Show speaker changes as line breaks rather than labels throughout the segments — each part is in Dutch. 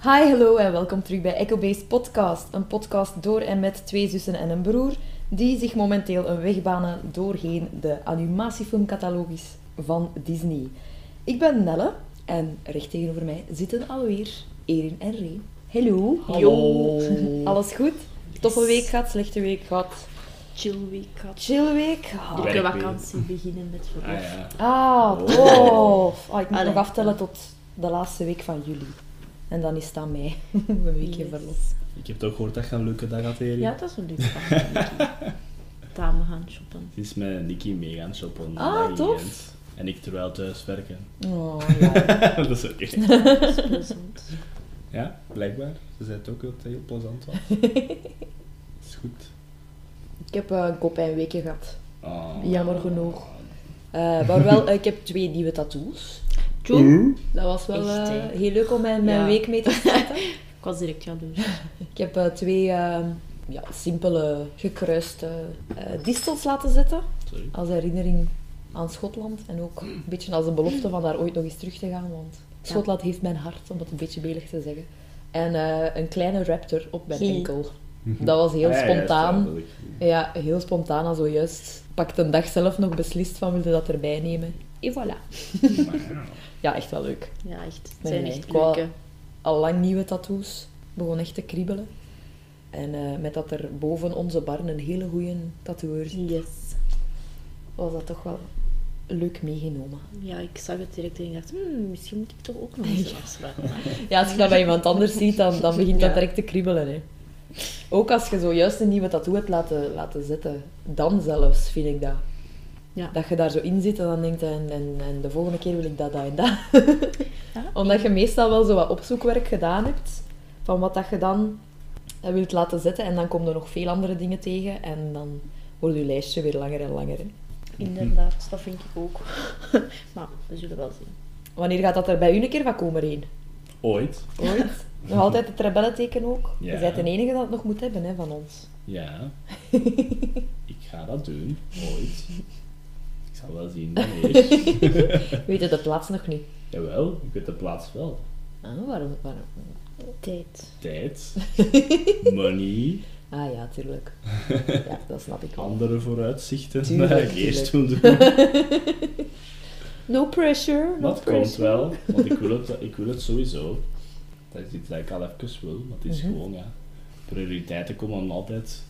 Hi, hallo en welkom terug bij Echo Base Podcast. Een podcast door en met twee zussen en een broer die zich momenteel een weg banen doorheen de animatiefilmcatalogus van Disney. Ik ben Nelle en recht tegenover mij zitten alweer Erin en Ray. Hallo.
Hallo.
Yo. Alles goed? Toffe week gehad, slechte week gehad,
chill week had.
chill week gehad.
Werk
De
weer.
vakantie beginnen met verlof.
Ah ja.
Ah, tof. Ah, ik moet
Allee.
nog aftellen tot de laatste week van juli. En dan is het aan mij. Een weekje
Yes.
verlof.
Ik heb toch gehoord dat je een leuke dag had, Erin.
Ja, dat is een leuk vakantie. Dame gaan shoppen.
Het is met Nicky mee gaan shoppen.
Ah,
dat
tof.
weekend. En ik terwijl thuis werken.
Oh, ja.
dat is oké.
Dat is plezant.
Ja, blijkbaar. Ze zei het ook dat het heel plezant was. is goed.
ik heb eh, een kopijnweekje gehad.
Ah.
Jammer genoeg. Eh, maar wel, eh, ik heb twee nieuwe tattoos.
Tjoe.
Dat was wel
Echt,
eh,
hè?
heel leuk om mijn, mijn
Ja.
week mee te starten.
Ik was direct jaloers.
ik heb eh, twee eh, ja, simpele gekruiste eh, distels laten zetten.
Sorry.
Als herinnering aan Schotland. En ook een beetje als een belofte van daar ooit nog eens terug te gaan. Want Schotland heeft mijn hart, om het een beetje belig te zeggen. En eh, een kleine raptor op mijn
Gie.
enkel. Dat was heel
Ah, ja, ja,
spontaan.
dat is wel leuk.
Ja, heel spontaan al zojuist. Pakte een dag zelf nog beslist van wilde dat erbij nemen. Et voilà.
Maar
Ja, echt wel leuk.
Ja, echt. Het
Nee,
zijn
nee,
echt
ik wou-
leuke.
Allang nieuwe tattoos. Begon echt te kriebelen. En eh, met dat er boven onze bar een hele goede tatoeëur zit,
Yes.
was dat toch wel leuk meegenomen.
Ja, ik zag het direct en ik dacht, hmm, misschien moet ik toch ook nog eens afsluiten.
Ja, als je dat bij iemand anders ziet, dan, dan begint dat
Ja.
direct te kriebelen. Hè. Ook als je zojuist een nieuwe tattoo hebt laten, laten zetten. Dan zelfs, vind ik dat.
Ja.
Dat je daar zo in zit en dan denkt, en, en, en de volgende keer wil ik dat, dat en dat.
Ja.
Omdat je meestal wel zo wat opzoekwerk gedaan hebt. Van wat dat je dan eh, wilt laten zetten. En dan komen er nog veel andere dingen tegen. En dan wordt je lijstje weer langer en langer. hè.
Inderdaad, dat vind ik ook. maar we zullen wel zien.
Wanneer gaat dat er bij u een keer van komen heen?
Ooit.
Ooit? Nog altijd het rebellenteken ook?
Ja.
Je bent de enige dat het nog moet hebben hè, van ons.
Ja. ik ga dat doen. Ooit. Ik zal wel zien wanneer.
We weten de plaats nog niet.
Jawel, ik weet de plaats wel.
Ah, waarom, waarom?
Tijd.
Tijd. Money.
Ah ja, tuurlijk. Ja, dat snap ik wel.
andere vooruitzichten
Tuurlijk,
dat ik
tuurlijk.
eerst wil doen.
No pressure, no
Dat komt
pressure.
wel, want ik wil, het, ik wil het sowieso. Dat is iets dat ik al even wil, maar het is
Mhm.
gewoon, ja. Prioriteiten komen altijd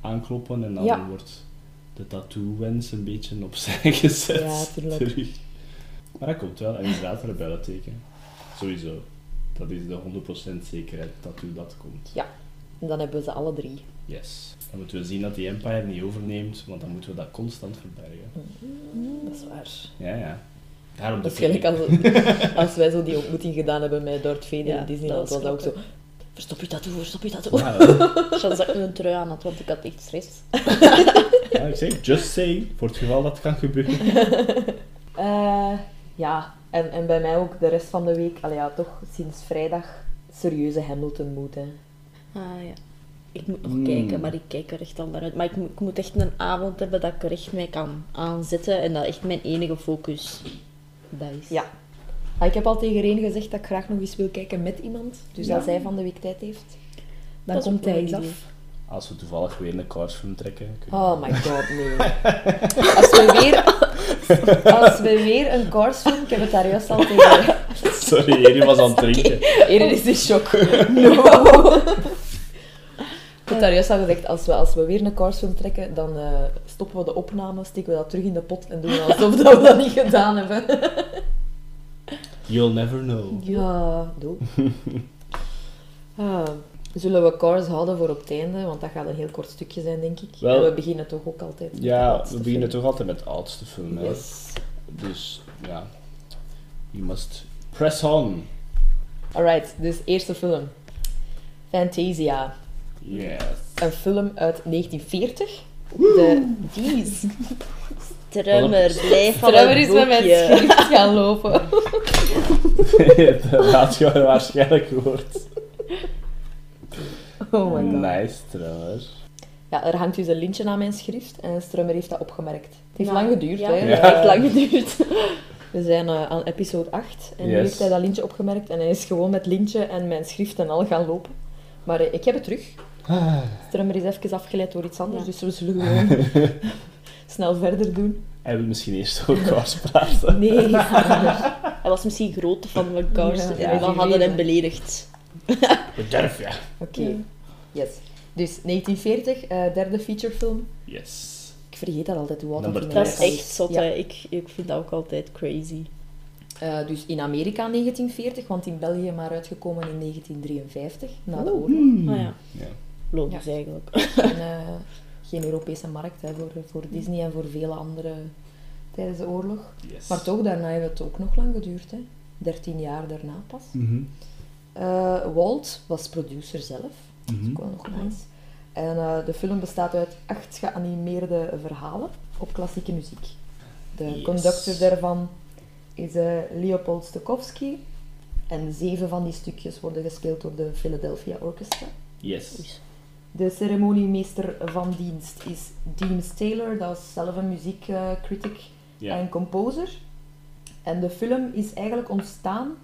aankloppen en dan
Ja.
wordt de tattoo-wens een beetje opzij gezet.
Ja, tuurlijk.
terug. Maar dat komt wel, en inderdaad, rebellenteken. Sowieso. Dat is de 100% zekerheid tattoo dat komt.
En dan hebben we ze alle drie.
Yes. Dan moeten we zien dat die Empire niet overneemt, want dan moeten we dat constant verbergen.
Dat is waar.
Ja, ja. Daarom de
Waarschijnlijk
publiek.
als, als wij zo die ontmoeting gedaan hebben met Darth Vader
Ja,
in Disneyland, was
dat was
dat ook zo...
grappig.
Verstop je tattoo, verstop je tattoo.
Ja,
Chance dat ik een trui aan had, want ik had echt stress.
ja, ik zeg, just saying, voor het geval dat het kan gebeuren.
Eh, ja, en, en bij mij ook de rest van de week. Allee, ja, toch sinds vrijdag serieuze Hamilton moed, hè.
Ah ja. Ik moet nog
Hmm.
Mm.
kijken, maar ik kijk er echt al naar uit. Maar ik, moet- ik moet echt een avond hebben dat ik er echt mee kan aanzetten en dat echt mijn enige focus dat is.
Ja. Ah, ik heb al tegen Reen gezegd dat ik graag nog eens wil kijken met iemand. Dus
Ja.
als hij van de week tijd heeft, dan
Dat is
komt
ook
hij
een
eens
idee.
af.
Als we toevallig weer een couchfilm trekken. kunnen we-
Oh my god, nee. Als we weer, als we weer een course doen, ik heb het daar juist al tegen.
Sorry, Erin was aan het drinken.
Erin is in shock. No. Ik heb daar juist al gezegd, als we, als we weer een course film trekken, dan eh, stoppen we de opname, steken we dat terug in de pot en doen we alsof dat we dat niet gedaan hebben.
You'll never know.
Ja, doe. Ah, zullen we cars houden voor op het einde? Want dat gaat een heel kort stukje zijn, denk ik.
Wel-
en we beginnen toch ook altijd met de
Ja,
laatste
we beginnen
film.
toch altijd met de oudste film. hè.
Yes.
Dus ja, you must press on.
Alright, dus eerste film. Fantasia.
Yes.
Een film uit 1940. De
Jeez. Trummer, blijf van
drummer
het
is met mijn
boekje.
schrift gaan lopen.
dat had je waarschijnlijk gehoord.
Oh my god.
nice trouwens.
Ja, er hangt dus een lintje aan mijn schrift en Strummer heeft dat opgemerkt. Het heeft
Ja.
lang geduurd,
Ja,
hè.
het heeft echt lang geduurd.
We zijn eh, aan episode 8 en nu
Yes.
heeft hij dat lintje opgemerkt en hij is gewoon met lintje en mijn schrift en al gaan lopen. Maar eh, ik heb het terug. Ah. Strummer is even afgeleid door iets anders,
Ja.
dus we zullen gewoon snel verder doen.
Hij wil misschien eerst over Cars praten.
Nee, vader.
Hij was misschien grote fan van
Ja,
Cars
ja,
en we
die
hadden hem
reden.
beledigd.
Ik durf, ja.
Oké, yes. Dus 1940, eh, derde featurefilm.
Yes.
Ik vergeet dat altijd, hoe oud
Nummer
dat in
Dat is
Yes.
Amerika
echt zot,
Ja.
hè. ik, ik vind dat ook altijd crazy.
Eh, dus in Amerika 1940, want in België maar uitgekomen in 1953, na de
Oeh.
oorlog.
Ah ja,
Hmm. Ja.
logisch
Ja.
eigenlijk.
Geen, eh, geen Europese markt hè, voor, voor Disney en voor vele andere tijdens de oorlog.
Yes.
Maar toch, daarna heeft het ook nog lang geduurd. Hè. 13 jaar daarna pas.
Mhm.
Eh, Walt was producer zelf. Dat is
Mhm.
ook wel nog nice. En eh, de film bestaat uit acht geanimeerde verhalen op klassieke muziek. De
Yes.
conductor daarvan is eh, Leopold Stokowski. En zeven van die stukjes worden gespeeld door de Philadelphia Orchestra.
Yes.
Dus.
De ceremoniemeester van dienst is Deems Taylor, dat is zelf een muziekcritic
Ja.
en composer. En de film is eigenlijk ontstaan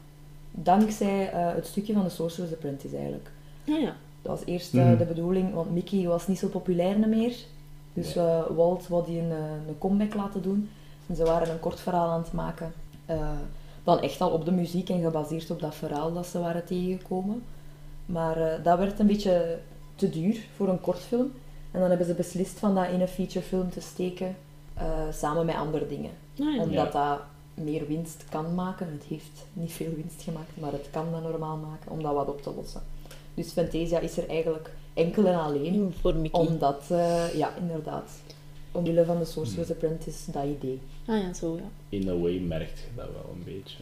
dankzij eh, het stukje van The Sorcerer's Apprentice eigenlijk.
Ah ja,
Dat was eerst eh,
Mhm.
de bedoeling, want Mickey was niet zo populair meer. Dus eh, Walt wou die een, eh, een comeback laten doen. En ze waren een kort verhaal aan het maken. eh, dan echt al op de muziek en gebaseerd op dat verhaal dat ze waren tegengekomen. Maar eh, dat werd een beetje te duur voor een kort film. En dan hebben ze beslist van dat in een featurefilm te steken. eh, samen met andere dingen.
ah ja.
Omdat dat meer winst kan maken. Het heeft niet veel winst gemaakt, maar het kan dat normaal maken om dat wat op te lossen. Dus Fantasia is er eigenlijk enkel en alleen
voor Mickey.
omdat, eh, ja, inderdaad, omwille van de Sorcerer's Apprentice, dat idee.
Ah ja, zo ja.
In a way merkt je dat wel een beetje.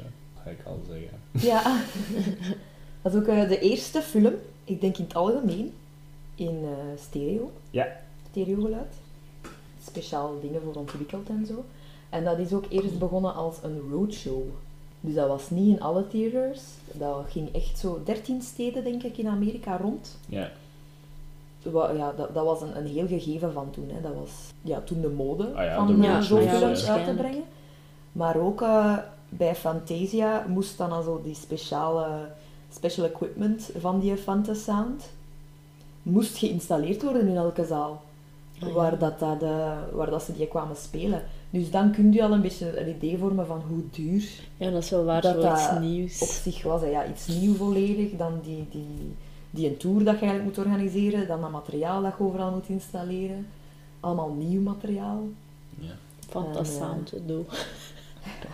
Ga ik al zeggen.
Ja, dat is ook eh, de eerste film, ik denk in het algemeen, in eh, stereo.
Ja.
Stereogeluid. Speciaal dingen voor ontwikkeld en zo. En dat is ook eerst begonnen als een roadshow. Dus dat was niet in alle theaters. Dat ging echt zo 13 steden, denk ik, in Amerika rond.
Ja.
Wa- ja, dat, dat was een, een heel gegeven van toen. Hè. Dat was ja, toen de mode
Ah ja, de
van eh,
mode,
zo'n
ja,
films uit te
waarschijnlijk.
brengen. Maar ook eh, bij Fantasia moest dan al zo die speciale special equipment van die Fantasound moest geïnstalleerd worden in elke zaal.
Ah ja.
Waar, dat, dat, eh, waar dat ze die kwamen spelen. Dus dan kun je al een beetje een idee vormen van hoe duur
Ja, dat is wel waar,
Dat
zoiets
dat
nieuws.
op zich was hij ja, iets nieuw volledig, dan die, die, die een tour dat je eigenlijk moet organiseren, dan dat materiaal dat je overal moet installeren. Allemaal nieuw materiaal.
ja.
Fantasound, doe.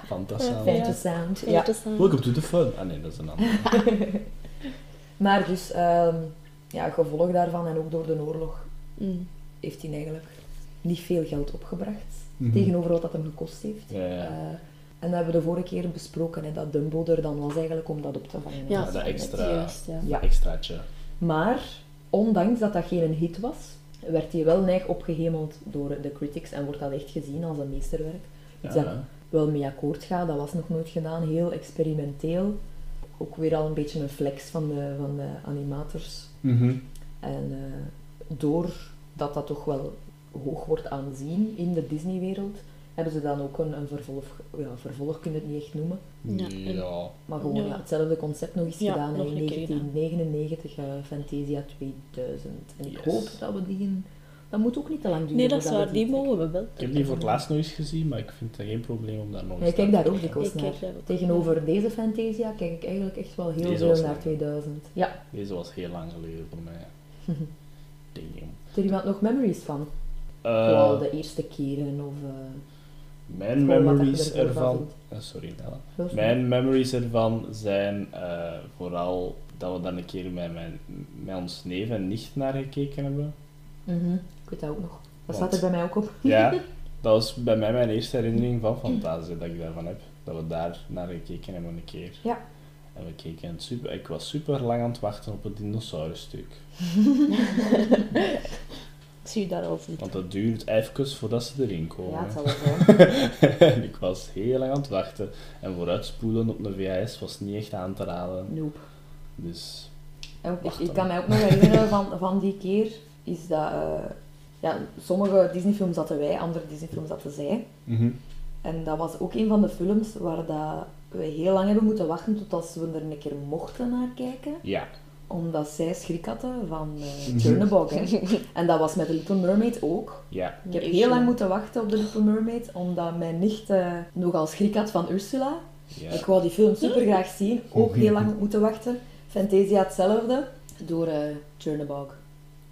Fantastisch.
Fantasy sound. Ja.
Welcome to the fun. Ah nee, dat is een ander.
Maar dus, ehm, ja, gevolg daarvan en ook door de oorlog
Mm.
heeft hij eigenlijk niet veel geld opgebracht
Mhm.
tegenover wat dat hem gekost heeft.
Ja, ja.
Eh, en dat hebben we de vorige keer besproken, hè, dat Dumbo er dan was eigenlijk om dat op te vangen.
Ja,
Ja, dat extra.
Juist, ja.
Ja.
Extraatje.
Maar ondanks dat dat geen hit was, werd hij wel neig opgehemeld door de critics en wordt dat echt gezien als een meesterwerk. Iets dat
Ja.
wel mee akkoord gaat, dat was nog nooit gedaan, heel experimenteel. Ook weer al een beetje een flex van de, van de animators.
Mhm.
En eh, doordat dat toch wel hoog wordt aanzien in de Disney-wereld, hebben ze dan ook een, een vervolg, ja, vervolg kun je het niet echt noemen,
Ja.
Ja.
maar gewoon ja.
Ja.
hetzelfde concept nog eens
Ja,
gedaan hè,
nog
in
een keer gedaan.
1999, eh, Fantasia 2000. En ik
Yes.
hoop dat we die... in- Dat moet ook niet te lang duren.
Nee, dat is
voordat
waar,
we
die
trekken.
mogen we wel.
Ik heb die voor het laatst nog eens gezien, maar ik vind het geen probleem om daar nog
Ja,
eens
ik kijk daar ook dikwijls
Ik kijk
naar.
daar ook.
Tegenover deze Fantasia kijk ik eigenlijk echt wel heel
Deze
veel
was
naar
leuk.
2000. Ja,
Deze was heel lang geleden voor mij. Damn.
heeft er iemand nog memories van?
Eh,
Wel de eerste keren of... eh,
mijn
gewoon wat
memories
je ervan
ervan.
vindt.
Eh, sorry, Nella.
wel zo.
Mijn memories ervan zijn eh, vooral dat we dan een keer met, mijn, met ons neef en nicht naar gekeken hebben.
Mhm, Ik weet dat ook nog. Dat staat
Want-
er bij mij ook op.
Ja, dat was bij mij mijn eerste herinnering van Fantasie dat ik daarvan heb. Dat we daar naar gekeken hebben een keer.
Ja.
En we keken het super. Ik was super lang aan het wachten op het dinosaurusstuk.
Ik zie je daar al zitten.
Want dat duurt even voordat ze erin komen.
Ja, het zal wel zijn.
en ik was heel lang aan het wachten. En vooruitspoelen op een VHS was niet echt aan te raden.
Nope.
Dus
En ook- ik,
Wacht
ik
dan.
kan mij ook nog herinneren van, van die keer, is dat... eh, ja, sommige Disney-films zaten wij, andere Disney-films zaten zij. En dat was ook een van de films waar dat we heel lang hebben moeten wachten totdat we er een keer mochten naar kijken.
Ja.
Omdat zij schrik hadden van eh Chernobog. hè. En dat was met The Little Mermaid ook.
Ja.
Ik heb heel lang moeten wachten op The Little Mermaid, omdat mijn nicht eh, nogal schrik had van Ursula. Ik
Ja.
wou die film super graag zien, ook heel lang op moeten wachten. Fantasia hetzelfde, door eh Chernobog.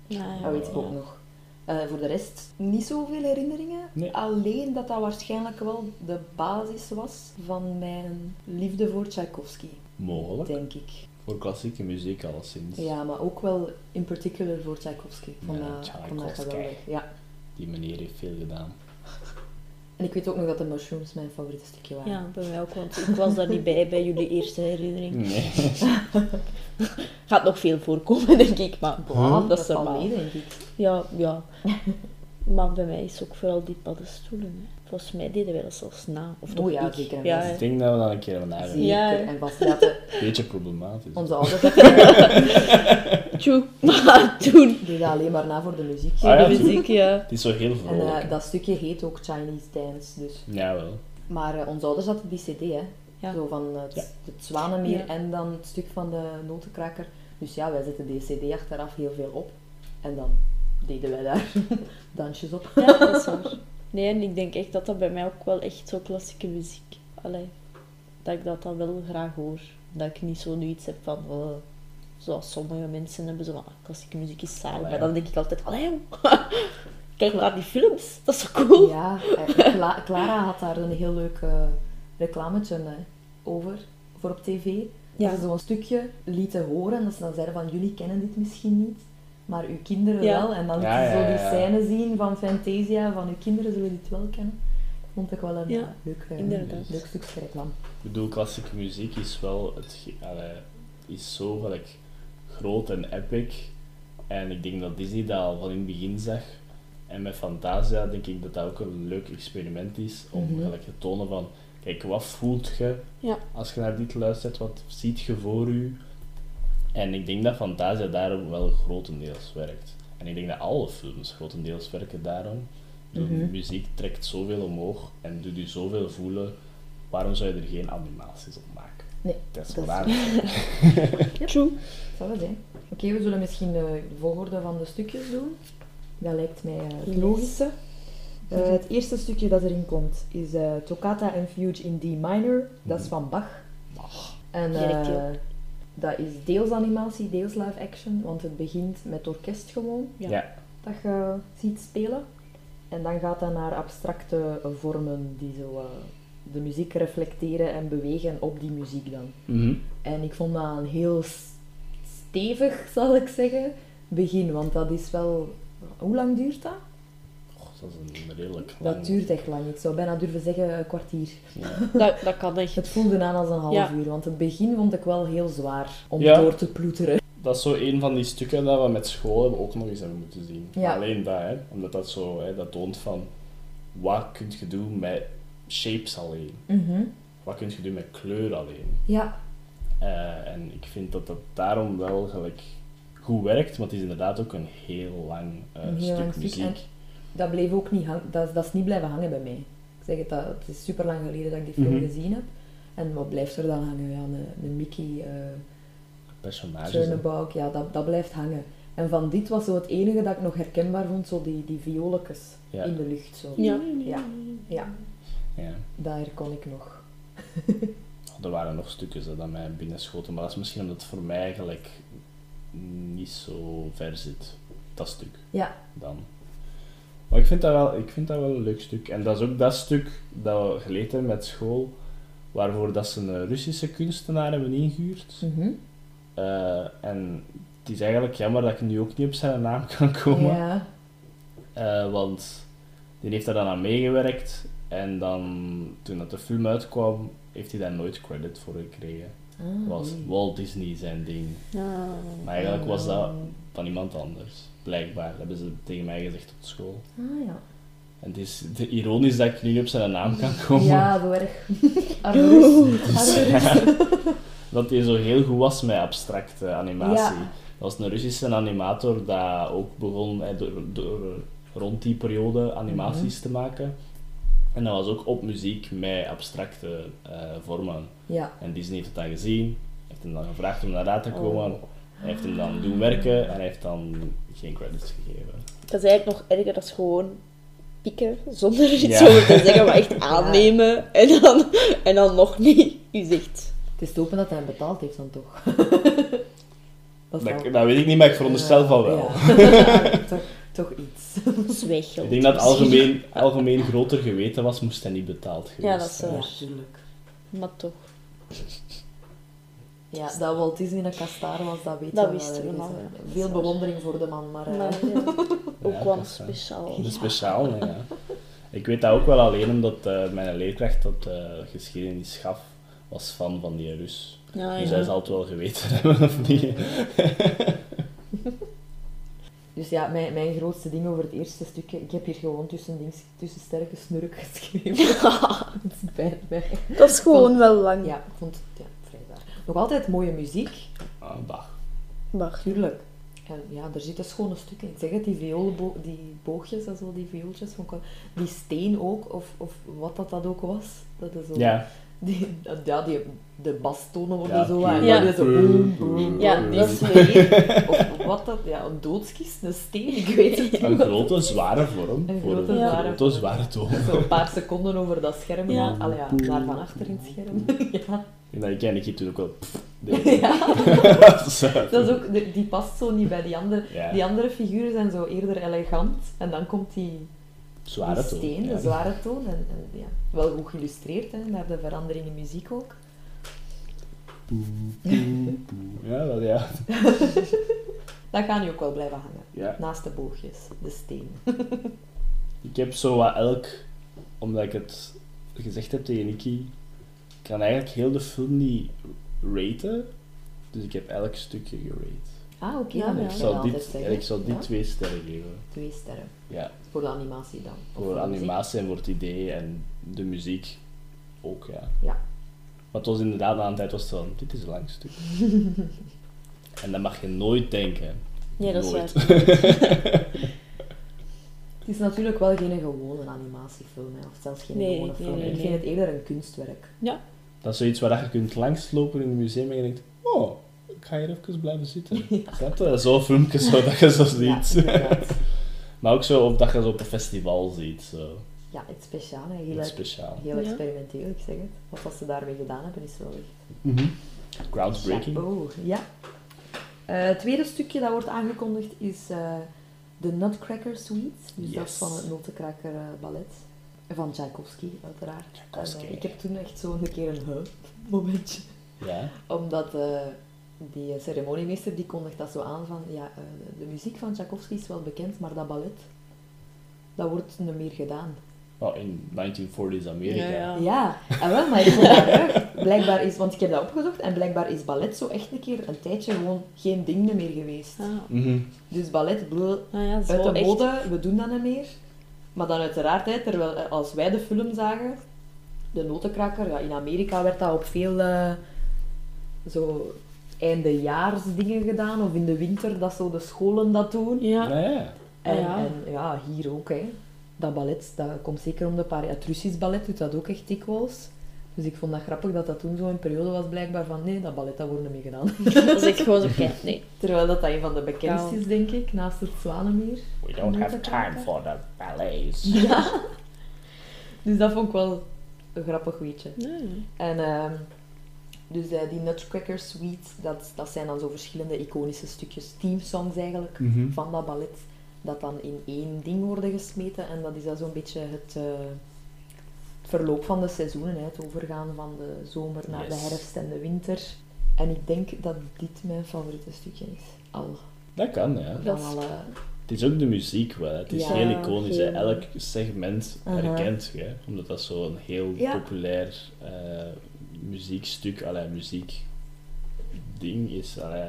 Ja,
Dat weet ik
Ah.
ook nog. Eh, voor de rest niet zoveel herinneringen.
Nee.
Alleen dat dat waarschijnlijk wel de basis was van mijn liefde voor Tchaikovsky,
Mogelijk.
denk ik.
Voor klassieke muziek alleszins.
Ja, maar ook wel in particular voor Tchaikovsky. Ik Vond
Ja,
dat, ik vond dat
Tchaikovsky.
geweldig. Ja.
Die meneer heeft veel gedaan.
En ik weet ook nog dat de mushrooms mijn favoriete stukje waren.
Ja, bij mij ook, want ik was daar niet bij, bij jullie eerste herinnering.
Nee.
Gaat nog veel voorkomen, denk ik, maar
Ah,
dat is
valt
normaal.
mee, denk ik.
Ja, ja. maar bij mij is ook vooral die paddenstoelen. Hè. Volgens mij deden wij dat zelfs na. Of toch
Oh ja,
ik.
zeker en
Ja,
vast.
hè.
Ik denk dat we daar een keer van
Zeker.
hebben.
Zie. Ja.
En vast laten
Beetje problematisch.
onze ouders dat
Tjoe, maar toen.
deden dat alleen maar na voor de muziek.
Ah, ja,
de
toen-
muziek, ja.
Het is zo heel
En
vrolijk.
eh, dat stukje heet ook Chinese Dance, dus.
Jawel.
Maar eh, onze ouders hadden die cd, hè.
Ja.
Zo van eh, het,
Ja.
het Zwanenmeer
Ja.
en dan het stuk van de notenkraker. Dus ja, wij zetten die cd achteraf heel veel op. En dan deden wij daar dansjes op.
Ja, dat is waar. Nee, en ik denk echt dat dat bij mij ook wel echt zo klassieke muziek. Allee, dat ik dat dan wel graag hoor. Dat ik niet zo nu iets heb van, eh, zoals sommige mensen hebben, zo van, ah, klassieke muziek is saai.
Allee,
Maar
ja.
dan denk ik altijd, allee, joh. kijk naar die films, dat is zo cool.
Ja, eh, Cla- Clara had daar een heel leuk eh, reclametje eh, over, voor op tv.
Ja.
Dat ze zo'n stukje lieten horen, dat ze dan zeiden van jullie kennen dit misschien niet, maar uw kinderen
Ja.
wel. En dan
Ja,
lieten ze
ja,
zo die
ja, ja.
scène zien van Fantasia, van uw kinderen zullen dit wel kennen. Vond ik wel een
Ja,
eh, leuk, eh,
inderdaad.
leuk stukje reclame.
Ik bedoel, klassieke muziek is wel... Het ge- allee, is zo gelijk groot en epic. En ik denk dat Disney dat al van in het begin zag. En met Fantasia denk ik dat dat ook een leuk experiment is. Om
Mhm.
gelijk te tonen van... Kijk, wat voelt je
Ja.
als je naar dit luistert? Wat ziet je voor u? En ik denk dat Fantasia daarom wel grotendeels werkt. En ik denk dat alle films grotendeels werken daarom. De
Mhm.
muziek trekt zoveel omhoog en doet u zoveel voelen. Waarom zou je er geen animaties op maken?
Nee,
dat is
dat is-
waar.
True.
Zal het zijn. Oké, we zullen misschien de volgorde van de stukjes doen. Dat lijkt mij eh, het
Yes.
logische. Eh, het eerste stukje dat erin komt is eh, Toccata en Fuge in D minor. Dat
Mhm.
is van Bach. En eh,
Direct,
dat is deels animatie, deels live action, want het begint met het orkest gewoon
Ja.
Ja.
dat je ziet spelen. En dan gaat dat naar abstracte eh, vormen die zo eh, de muziek reflecteren en bewegen op die muziek dan.
Mhm.
En ik vond dat een heel s- stevig, zal ik zeggen, begin. Want dat is wel... Hoe lang duurt dat?
Goh, dat is een redelijk lang...
Dat duurt echt lang. Ik zou bijna durven zeggen een kwartier.
Ja.
Dat, dat kan echt.
Het voelde aan als een half
Ja.
uur. Want het begin vond ik wel heel zwaar om
Ja.
door te ploeteren.
Dat is zo een van die stukken dat we met school hebben ook nog eens hebben moeten zien.
Ja.
Alleen dat, hè. Omdat dat zo, hè, dat toont van... Wat kun je doen met shapes alleen?
Mhm.
Wat kun je doen met kleur alleen?
Ja.
Eh, en ik vind dat dat daarom wel gelijk goed werkt, want het is inderdaad ook een heel lang eh,
Een heel
stuk
lang stuk,
muziek.
en- Dat bleef ook niet hangen. Dat, is- dat is niet blijven hangen bij mij. Ik zeg het, dat, het is super lang geleden dat ik die film
Mhm.
gezien heb. En wat blijft er dan hangen? Ja, een, een Mickey... eh,
Personages. hè.
Schönebalk, ja, dat, dat blijft hangen. En van dit was zo het enige dat ik nog herkenbaar vond, zo die, die violetjes
Ja.
in de lucht. Zo.
Ja.
Ja. Ja,
Ja. Oh,
daar kon ik nog.
Er waren nog stukjes hè, dat mij binnenschoten, maar dat is misschien omdat het voor mij eigenlijk niet zo ver zit, dat stuk.
Ja.
Dan. Maar ik vind, dat wel, ik vind dat wel een leuk stuk. En dat is ook dat stuk dat we geleerd hebben met school, waarvoor dat ze een Russische kunstenaar hebben ingehuurd.
Mhm.
Eh, en het is eigenlijk jammer dat ik nu ook niet op zijn naam kan komen.
Ja,
Eh, want die heeft daar dan aan meegewerkt. En dan, toen dat de film uitkwam, heeft hij daar nooit credit voor gekregen.
Ah,
was
nee.
Walt Disney zijn ding.
Ja.
Maar eigenlijk was dat
Ah.
van iemand anders. Blijkbaar, hebben ze tegen mij gezegd op school.
Ah ja.
En het is de- ironisch dat ik nu niet op zijn naam kan komen.
Ja, zo erg. Arme Rus. Arme Rus.
dat hij zo heel goed was met abstracte animatie.
Ja.
Dat was een Russische animator dat ook begon eh, door, door, rond die periode animaties te maken. En dat was ook op muziek met abstracte eh, vormen.
Ja.
En Disney heeft het dan gezien, heeft hem dan gevraagd om naar raad te
Oh.
komen. Hij heeft hem dan doen werken en hij heeft dan geen credits gegeven.
Dat is eigenlijk nog erger als gewoon pikken zonder er iets
Ja.
over te zeggen, maar echt aannemen en, dan, en dan nog niet. U zegt.
Het is te hopen dat hij hem betaald heeft dan toch. dat
Dat,
wel-
dat weet ik niet, maar ik veronderstel van wel.
Ja. toch, toch iets.
Zwijg
Ik denk dat het algemeen, algemeen groter geweten was, moest hij niet betaald geweest
Ja, dat is
zijn.
waar.
Ja, tuurlijk.
Maar toch,
Ja, Dus dat Walt Disney een kastaar was, dat weten
Dat
we
wisten we
wel.
nog,
hè. Dus, eh,
ja.
Veel bewondering voor de man, maar... eh,
maar ja,
Ja,
ook wel
dat is waar.
speciaal.
Oh, Dat is speciaal, hè, ja. Ik weet dat ook wel alleen omdat eh, mijn leerkracht dat eh, geschiedenis gaf, was fan van die Rus.
Ah,
Ja,
Dus
ja.
hij zal het wel geweten hebben, of niet?
Dus ja, mijn, mijn grootste ding over het eerste stukje... Ik heb hier gewoon tussen, dings, tussen sterke snurk geschreven. Het spijt mij.
Dat is gewoon wel lang.
Ja, ik vond het ja, vrij zwaar. Nog altijd mooie muziek,
Ah, bah.
Maar
tuurlijk. En ja, er zitten schone stukken in. Ik zeg het, die vioolbo- die boogjes en zo, die viooltjes, vond ik wel- die steen ook, of, of wat dat, dat ook was. Dat is zo...
Ja,
Die, ja, die, de bastonen worden
Ja,
zo waar.
ja.
Ja. zo
eh,
boem, boem,
Ja,
boem,
dat
die
is
sfeer. Of wat dat, ja, een doodskist, een steen, ik weet het niet.
een grote, zware vorm.
Een
voor
grote,
een
zware
grote,
vorm.
zware toon.
Zo'n paar seconden over dat scherm,
Ja.
ja. Allee, ja, daar van achter in het scherm. Ja,
En dat ik eigenlijk toen ook wel... pff, deed.
ja
Dat is, eh,
dat is ook, die die past zo niet bij die andere.
Ja.
Die andere figuren zijn zo eerder elegant. En dan komt die, die
Zware toon.
steen,
ja.
de zware toon. En, en ja, wel goed geïllustreerd, hè, naar de verandering in muziek ook.
Ja, wel ja.
Dat gaan die ook wel blijven hangen.
ja.
Naast de boogjes, de steen.
Ik heb zo wat elk, omdat ik het gezegd heb tegen Nicky, ik kan eigenlijk heel de film niet raten. Dus ik heb elk stukje gerate.
Ah, oké.
Ja,
dat
maar
ik,
moet je wel
zou
altijd
dit,
zeggen.
ik zou dit
Ja.
twee sterren geven.
Twee sterren.
Ja,
Voor de animatie dan. Of
voor
de muziek.
animatie en voor het idee en de muziek ook, ja.
Ja.
Maar het was inderdaad aan de tijd was het van, dit is een lang stuk. en dat mag je nooit denken.
nee, dat is
Nooit.
waar.
Het is natuurlijk wel geen gewone animatiefilm, hè, of zelfs geen
Nee,
gewone
nee,
film.
nee,
Ik
nee.
vind het eerder een kunstwerk.
Dat is zoiets waar je kunt langslopen in een museum en je denkt, oh, ik ga hier even blijven zitten. Snap je? Zo'n filmpje zo dat je zo ziet.
Ja, inderdaad.
Maar ook zo op dat je zo op een festival ziet. Zo.
ja, het is speciaal, hè. heel,
Iets speciaal.
heel
Ja.
experimenteel, ik zeg het. Wat dat ze daarmee gedaan hebben, is wel echt
Mhm. Groundbreaking.
chapeau. Ja. Eh, het tweede stukje dat wordt aangekondigd is eh, de Nutcracker Suite. Dus dat is
Yes.
van het Notenkraker eh, Ballet. Van Tchaikovsky, uiteraard.
Tchaikovsky.
En, eh, ik heb toen echt zo een keer een huh momentje.
Ja.
Omdat eh, die ceremoniemeester die kondigt dat zo aan van ja, eh, de muziek van Tchaikovsky is wel bekend, maar dat ballet, dat wordt niet meer gedaan.
Oh, in 1940s Amerika.
Ja, ja.
Ja, en wel, maar ik vond dat erg. Blijkbaar is, want ik heb dat opgezocht en blijkbaar is ballet zo echt een keer een tijdje gewoon geen ding meer geweest.
Ah,
Mhm.
Dus ballet, bleh,
nou ja, zo
uit de
echt.
mode, we doen dat niet meer. Maar dan uiteraard, hè, terwijl eh, als wij de film zagen, de notenkraker, ja, in Amerika werd dat op veel eh, zo eindejaarsdingen gedaan, of in de winter dat zo de scholen dat doen.
Ja,
Ja, ja.
En
Ja.
ja, en, ja hier ook. Hè. Dat ballet, dat komt zeker om de paar jaar. Het Russisch ballet doet dat ook echt dikwijls. Dus ik vond dat grappig dat dat toen zo'n periode was blijkbaar van nee, dat ballet dat wordt niet meer gedaan.
dat is echt gewoon zo kijk, nee.
Terwijl dat, dat een van de bekendste is, denk ik, naast het Zwanenmeer.
We don't have
Notenkraker.
time for the ballets.
Ja. Dus dat vond ik wel een grappig weetje.
Nee.
En ehm, dus eh, die Nutcracker Suite, dat, dat zijn dan zo verschillende iconische stukjes, teamsongs eigenlijk,
Mhm.
van dat ballet, dat dan in één ding worden gesmeten. En dat is dan zo'n beetje het, eh, het verloop van de seizoenen, hè, het overgaan van de zomer naar de
Yes.
herfst en de winter. En ik denk dat dit mijn favoriete stukje is. Al.
Dat kan, ja.
Van
is-
alle...
Het is ook de muziek wel. hè. Het is
Ja,
heel iconisch. hè.
heel.
Elk segment
Aha.
herkent je. Omdat dat zo'n heel
Ja.
populair eh, muziekstuk, allee, muziek ding is. Allee.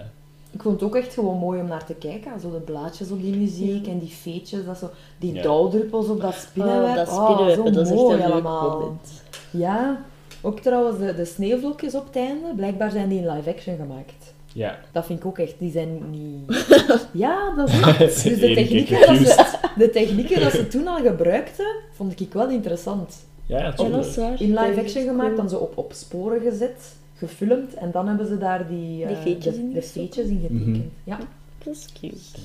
Ik vond het ook echt gewoon mooi om naar te kijken. Zo de blaadjes op die muziek
Ja.
en die feetjes, dat zo, die
Ja.
dauwdruppels op dat spinnenweb.
Oh, dat
Oh,
spinnenweb,
zo
dat is echt
mooi
een leuk
allemaal.
moment.
Ja, ook trouwens de, de sneeuwvlokjes op het einde. Blijkbaar zijn die in live action gemaakt.
Ja.
Dat vind ik ook echt, die zijn niet... Ja, dat is echt.
Dus
Dus de technieken, dat ze, de technieken dat ze toen al gebruikten, vond ik wel interessant.
Ja, ja,
Ja, dat
tuurlijk.
is waar.
In
Dat
live
is
action
cool.
gemaakt, dan zo op, op sporen gezet, gefilmd en dan hebben ze daar die, eh,
Die veetjes
de-
in
de
gestoken.
veetjes in getekend.
Mhm.
Ja.
Dat is cute.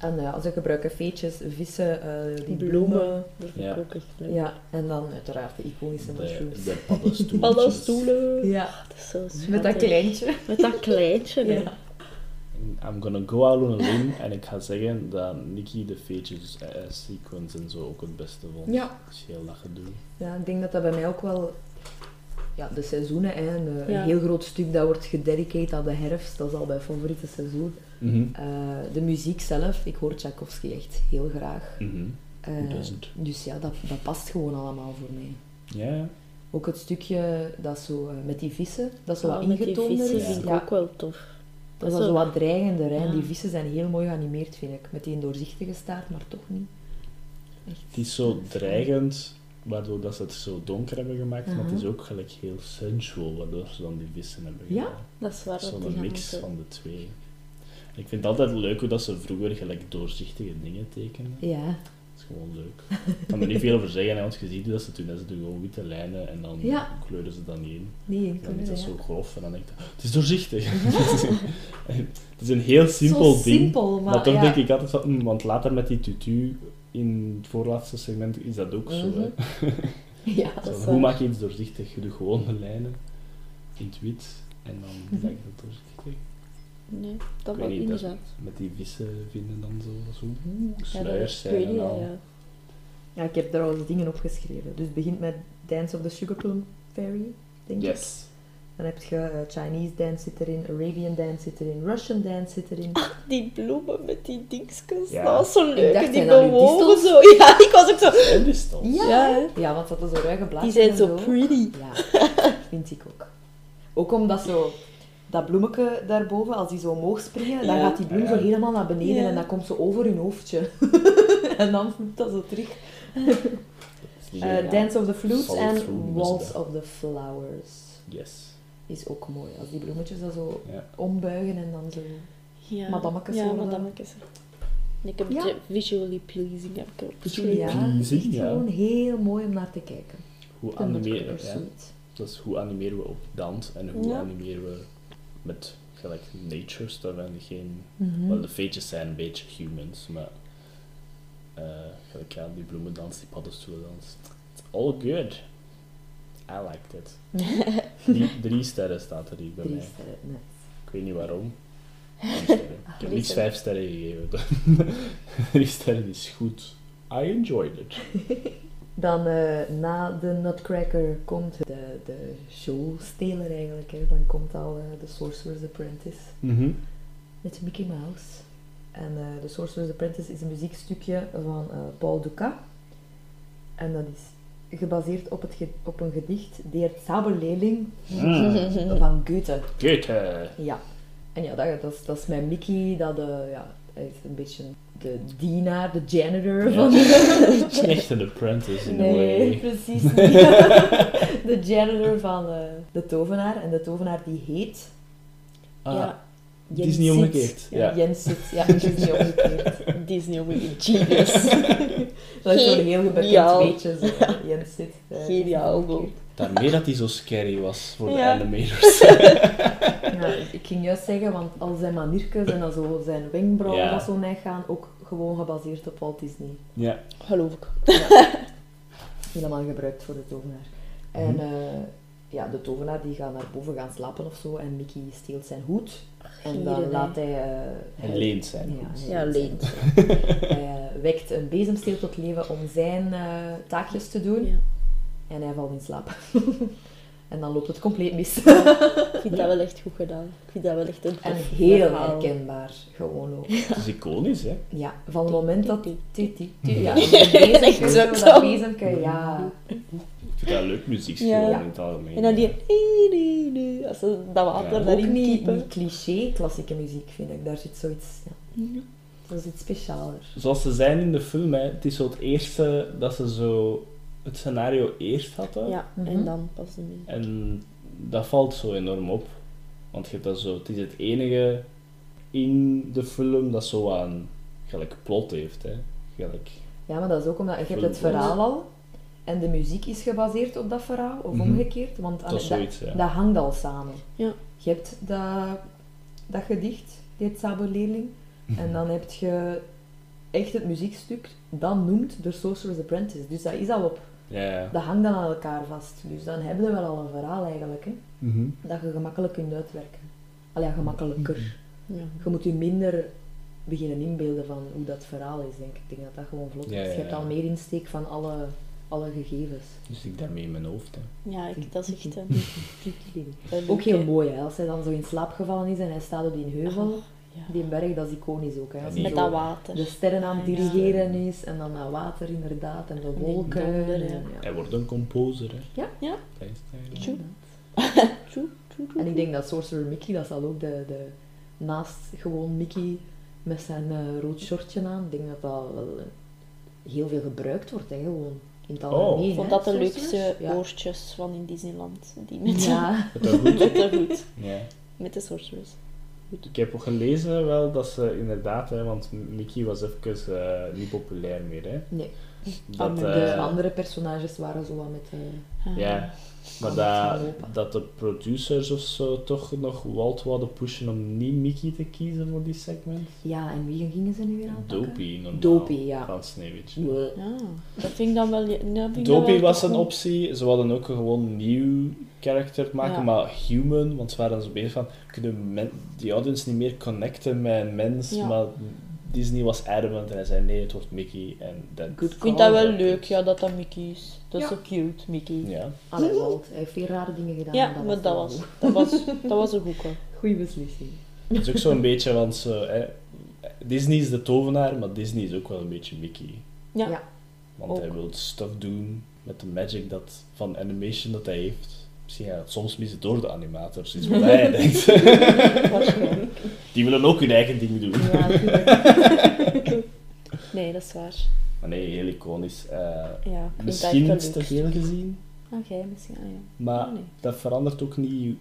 En eh, ja, ze gebruiken veetjes, vissen, eh, die bloemen.
Bloemen. Dat vind ik
Ja.
ook echt leuk.
Ja, en dan uiteraard de iconische
De,
mushrooms.
de paddenstoeltjes.
Paddenstoelen.
Ja,
Dat is zo
met dat
schattig.
kleintje.
Met dat kleintje, hè.
Ja.
I'm gonna go out on a limb en ik ga zeggen dat Nicky de features eh, sequence en zo ook het beste vond.
Ja.
Dus heel dat gedoe.
Ja, ik denk dat dat bij mij ook wel... Ja, de seizoenen, hè, een, eh,
Ja.
een heel groot stuk dat wordt gededicateerd aan de herfst. Dat is al mijn favoriete seizoen.
Mhm.
Eh, de muziek zelf, ik hoor Tchaikovsky echt heel graag.
Mhm.
Eh,
Hoe does it?
dus ja, dat, dat past gewoon allemaal voor mij.
Ja, ja.
Ook het stukje dat zo eh, met die vissen, dat zo
Ja,
wat
Ah, met die
ingetoonder
vissen
is.
vind ik
Ja,
ook wel tof.
dat is
is
wel zo
ook-
wat dreigender. Hè?
Ja.
Die vissen zijn heel mooi geanimeerd, vind ik. Met die doorzichtige staart, maar toch niet. Echt.
Het is zo dreigend, waardoor dat ze het zo donker hebben gemaakt, maar het is ook gelijk heel sensual, waardoor ze dan die vissen hebben
Mhm. Ja,
gedaan.
Dat is waar. dat die
Zo'n
gaan
mix
ook-
van de twee. En ik vind het altijd leuk hoe dat ze vroeger gelijk doorzichtige dingen tekenen.
Ja,
Dat is gewoon leuk. Ik kan er niet veel over zeggen, hè, want je ziet hoe dat ze doen. hè. Ze doen gewoon witte lijnen en dan
Ja.
kleuren ze dan niet in.
die
En Dan
inkleuren,
is dat
ja.
zo grof en dan denk ik, het is doorzichtig. En het is een heel simpel
zo
ding.
simpel, maar,
Maar, toch
ja.
denk ik altijd van, hm, want later met die tutu in het voorlaatste segment is dat ook zo. hè.
Mhm. Ja,
Dat is
Zo,
waar.
hoe maak je iets doorzichtig? Je doet gewoon de lijnen in het wit en dan
Mhm.
maak je dat doorzichtig.
Nee, dat
Ik
wel
weet niet, dat-
inderdaad.
Met die vissen vinden dan zo, zo oeh,
Ja, dat-
sluiers
ik weet
zijn en
niet,
al.
ja, ja.
ja, ik heb daar al eens dingen op geschreven. Dus het begint met Dance of the Sugar Plum Fairy, denk ik.
Yes.
Dan heb je eh, Chinese dance zit erin, Arabian dance zit erin, Russian dance zit erin.
Die bloemen met die dingetjes,
Ja.
dat was zo leuk.
dacht,
die
zijn dat nu
bewogen
distels?
zo. Ja, ik was ook zo...
En die stond.
Ja,
Ja,
hè?
hè?
ja want dat is zo ruige blaadjes
Die zijn
en
zo pretty.
Ja, vind ik ook. Ook omdat zo dat bloemetje daarboven, als die zo omhoog springen, dan
Ja.
gaat die bloem
Ah,
zo
ja.
helemaal naar beneden
Ja.
en dat komt zo over hun hoofdje. en dan voelt dat zo terug. Eh,
Ja.
Dance of the Flutes
Fall through,
en
dus
Waltz
dat.
of the Flowers
Yes.
is ook mooi. Als die bloemetjes dat zo
Ja.
ombuigen en dan zo...
Ja,
Madammetjes
Ja,
worden dat.
madammetjes. En Ik heb
Ja.
het visually pleasing heb ik erop geschreven.
Ja, het is
pleasing,
echt
ja.
gewoon heel mooi om naar te kijken.
Hoe
En dat
animeren,
is
ja.
zoiets.
Dat is hoe animeren we op dans en hoe
Ja.
animeren we met gelijk nature stuff en geen...
Mhm.
Wel, de feetjes zijn een beetje humans, maar... eh gelijk ja, die bloemendans, die paddenstoelendans. It's all good. I liked it.
Mhm.
drie, drie sterren staat er hier bij
Drie
mij.
sterren, eh, nee.
Ik weet niet waarom. Drie sterren. Ik heb
Drie
niks
sterren.
vijf sterren gegeven. drie sterren is goed. I enjoyed it.
Dan eh, na de Nutcracker komt de, de showsteler eigenlijk. Hè. Dan komt al eh, de Sorcerer's Apprentice met Mickey Mouse. En eh, de Sorcerer's Apprentice is een muziekstukje van eh, Paul Duca. En dat is gebaseerd op, het ge- op een gedicht Deer Sabelleerling
Mm.
van Goethe.
Goethe.
Ja. En ja, dat, dat, is, dat is mijn Mickey. Dat eh, ja, hij is een beetje de dienaar, de janitor
Ja.
van
Het is niet echt een apprentice in a
Nee,
way.
precies niet. de janitor van eh, de tovenaar. En de tovenaar die heet...
Ah,
Jens
het is niet
Sitz.
omgekeerd.
Ja.
Ja.
Jens Sitz. Ja, het is niet omgekeerd.
Ah.
Disney om een genius.
Dat is zo'n heel gebekend
Geniaal.
beetje. Zo. Jens Sitz. eh,
Geniaal,
is niet
bro.
Daarmee dat hij zo scary was voor de
Ja.
animators.
omgekeerd. Ja, ik ging juist zeggen, want al zijn maniertjes en dan zo zijn wenkbrauwen
Ja.
dat zo neig gaan, ook gewoon gebaseerd op Walt Disney.
ja.
Geloof ik.
Helemaal gebruikt voor de tovenaar. En
Mhm.
eh, ja, de tovenaar die gaat naar boven gaan slapen of zo en Mickey steelt zijn hoed. En dan
Gieren,
laat hij... eh,
En leent zijn.
Ja,
goed.
Ja, leent.
Hij eh, wekt een bezemsteel tot leven om zijn eh, taakjes te doen.
Ja.
En hij valt in slaap. en dan loopt het compleet mis.
Ik vind dat wel echt goed gedaan. Ik vind dat wel echt een
en
tof
heel
verhaal.
herkenbaar, gewoon ook.
Het is iconisch, hè?
Ja, van het moment dat...
Tuut,
tu- tu- tu- Ja, dat bezemke,
Echt zo.
zo, dat bezemke, ja.
Ik vind dat leuk muziek
Ja.
gewoon in het algemeen.
En dan die... Als ze dat water
Ja.
Ook
daarin
niet,
kiepen.
niet cliché klassieke muziek, vind ik. Daar zit zoiets... Ja. Dat is iets specialer.
Zoals ze zijn in de film, hè, het is zo het eerste dat ze zo het scenario eerst hadden.
Ja,
Mhm.
en dan pas de muziek.
En dat valt zo enorm op. Want je hebt dat zo, het is het enige in de film dat zo aan gelijk plot heeft. Hè. Gelijk,
Ja, maar dat is ook omdat... Je hebt het
Film-
verhaal al. En de muziek is gebaseerd op dat verhaal, of
Mhm.
omgekeerd, want
Dat is
allee,
zoiets, ja.
dat hangt al samen.
Ja.
Je hebt dat, dat gedicht, dit Sabo-leerling,
Mhm.
en dan heb je echt het muziekstuk, dat noemt de Sorcerer's Apprentice. Dus dat is al op,
Ja, ja.
dat hangt dan aan elkaar vast. Dus dan hebben we wel al een verhaal eigenlijk, hè,
Mhm.
dat je gemakkelijk kunt uitwerken. Allee, ja, gemakkelijker.
Ja.
Je moet je minder beginnen inbeelden van hoe dat verhaal is, denk ik. Ik denk dat dat gewoon vlot is.
Ja, ja,
Je hebt
ja.
al meer insteek van alle, alle gegevens.
Dus ik daarmee in mijn hoofd. Hè.
Ja, ik, dat is echt een, een
Ook heel
leuke-
mooi, hè. als hij dan zo in slaap gevallen is en hij staat op die heuvel.
Ah, ja.
Die berg, dat is iconisch ook. Hè. Als
Ja,
hij
Met
zo
dat
de
water.
sterren aan het
Ja.
dirigeren is en dan dat water inderdaad en de
die
wolken.
donder,
en,
ja.
ja.
Hij wordt een composer, hè?
Ja.
Ja.
Dat is het eigenlijk.
Tjoe. Tjoe, tjoe, tjoe.
En ik denk dat Sorcerer Mickey, dat zal ook de, de, naast gewoon Mickey met zijn eh, rood shortje aan, ik denk dat dat wel eh, heel veel gebruikt wordt hè, gewoon in het algemeen.
Ik vond
hè,
dat de
sorcerers.
leukste
Ja.
oortjes van in Disneyland. Die met,
Ja,
Dat is goed.
met de hoed.
Ja.
Met de sorcerers.
Ik heb ook gelezen wel dat ze inderdaad, hè, want Mickey was even eh, niet populair meer. Hè.
nee.
Dat,
de
eh,
andere personages waren zo wat met... eh,
Ah.
Ja, maar
Anders
dat,
lopen.
dat de producers of zo toch nog Walt wilden pushen om niet Mickey te kiezen voor die segment.
ja, en wie gingen ze nu weer aanpakken?
Dopey, normaal.
Dopey, ja.
Van Sneeuwwitje.
Bleh.
Ja, dat vind ik dan wel... dat vind ik dan
Dopey
wel
was een
goed.
optie. Ze wilden ook gewoon nieuw karakter maken,
Ja.
maar human, want ze waren zo bezig van, kunnen men, die audience niet meer connecten met een mens,
Ja.
maar Disney was adamant en hij zei nee, het wordt Mickey en dat.
Good
Ik vind
call,
dat wel
dat
leuk,
is-
ja, dat dat Mickey is. Dat is
Ja.
zo cute, Mickey. Ja,
Ja.
Allee, Walt, hij heeft veel rare dingen gedaan.
maar dat was, dat, was, dat was een goeie.
Goede beslissing.
Dat is ook zo'n beetje, want ze, hè, Disney is de tovenaar, maar Disney is ook wel een beetje Mickey.
Ja.
Ja.
Want
Ook.
hij wil stuff doen met de magic dat, van animation dat hij heeft. Misschien gaat het soms mis door de animators, is wat hij denkt.
Waarschijnlijk.
Die willen ook hun eigen ding doen.
Ja, tuurlijk.
Nee, dat is waar.
Maar nee, heel iconisch. eh,
Ja, ik vind
misschien
dat echt
iets
wel
te
leuk.
veel gezien,
Oké, misschien, ah, ja.
maar
Ah, nee.
dat verandert ook niet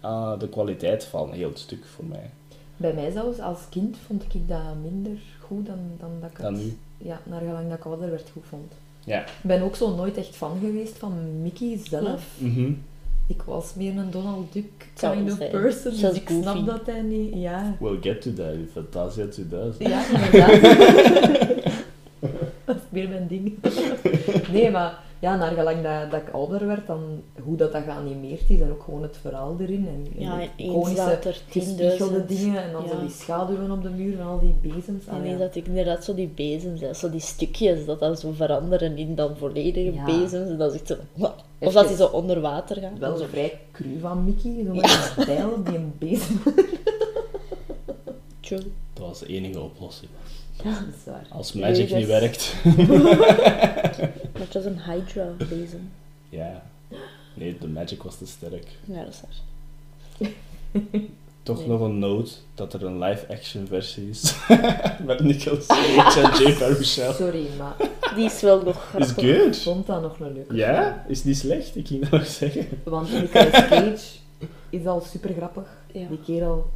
aan de kwaliteit van heel het stuk voor mij.
Bij mij zelfs, als kind vond ik dat minder goed dan, dan dat ik het-
Dan nu.
Ja, naar gelang dat ik ouder werd goed vond.
Ja.
Ik ben ook zo nooit echt fan geweest van Mickey zelf.
Mhm.
Ik was meer een Donald Duck
zou
kind
wel
of
zijn.
person, dus
Zelfs
ik snap
Goofy.
dat hij niet... Ja,
We'll get to that in Fantasia 2000.
ja inderdaad. dat is meer mijn ding. nee, maar ja, naar gelang dat, dat ik ouder werd, dan hoe dat, dat geanimeerd is en ook gewoon het verhaal erin. En, en
Ja,
de
eens dat er 10.000...
gespiegelde dingen en dan zo
dus, ja.
die schaduwen op de muur en al die bezems. Ah,
En
ja.
is dat ik inderdaad zo die bezems, hè, zo die stukjes, dat dan zo veranderen in dan volledige
Ja.
bezems. En dat is echt zo... Of dat die zo onder water gaan.
Wel
zo.
zo vrij cru van Mickey, zo met een bijl die een bezem.
Tjoe.
Dat was de enige oplossing.
Dat is waar.
Als magic
Vegas.
niet werkt.
Maar het was een hydra bezem.
Ja. Nee, de magic was te sterk.
Ja, dat is waar.
Toch
Nee.
nog een note dat er een live-action versie is. Met Nicolas Cage en Jay Baruchel.
Sorry, maar
Die is wel nog
Is
grappig.
ik
good.
vond dat nog een leuke.
Ja, is niet slecht. Ik ging dat nog zeggen.
Want Nicolas Cage is al super grappig.
Ja.
Die kerel...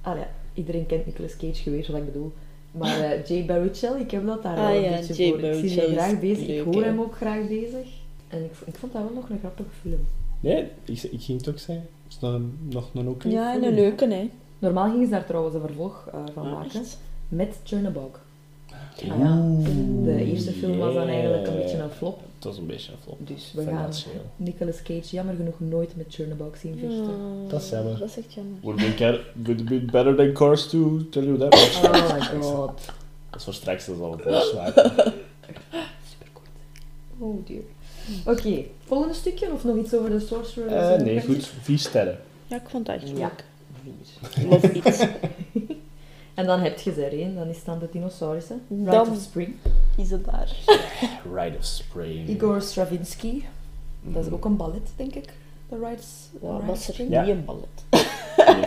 Ah ja, iedereen kent Nicolas Cage, je weet wat ik bedoel. Maar eh, Jay Baruchel, ik heb dat daar
Ah
al een
ja,
beetje
Jay
voor. ik zie
Baruchel
hem
is
graag bezig, ik
leuk,
hoor
hè.
hem ook graag bezig. En ik, v- ik vond dat wel nog een grappige film.
Nee, ik, ik ging het ook zeggen. Is nog een, nog een oké
Ja, en
film.
Ah, een leuke, hè.
Normaal gingen ze daar trouwens een vervolg eh, van
Ah,
maken.
echt?
Met Chernabog. Ah ja,
Oeh,
de eerste film was dan
yeah.
eigenlijk een beetje een flop.
Het was een beetje een flop.
Dus we gaan
Financieel.
Nicolas Cage jammer genoeg nooit met Chernabog zien vechten.
Ja,
Dat is jammer.
Dat is echt jammer.
Would be, car- would be better than Cars 2, tell you that much.
Oh my god.
Dat is voor straks, dat zal het losmaken.
Superkort. Oh dear. Oké, volgende stukje of nog iets over de Sorcerer?
Eh, nee, goed. Vier sterren.
Ja, ik vond dat echt
Ja.
leuk. Love it.
En dan heb je ze er één, dan is het dan de dinosaurussen. Rite
Dan-
of Spring.
Is het daar?
Rite of Spring.
Igor Stravinsky. Dat is
Mhm.
ook een ballet, denk ik. The Rites
Wat was er
Ja.
niet een ballet?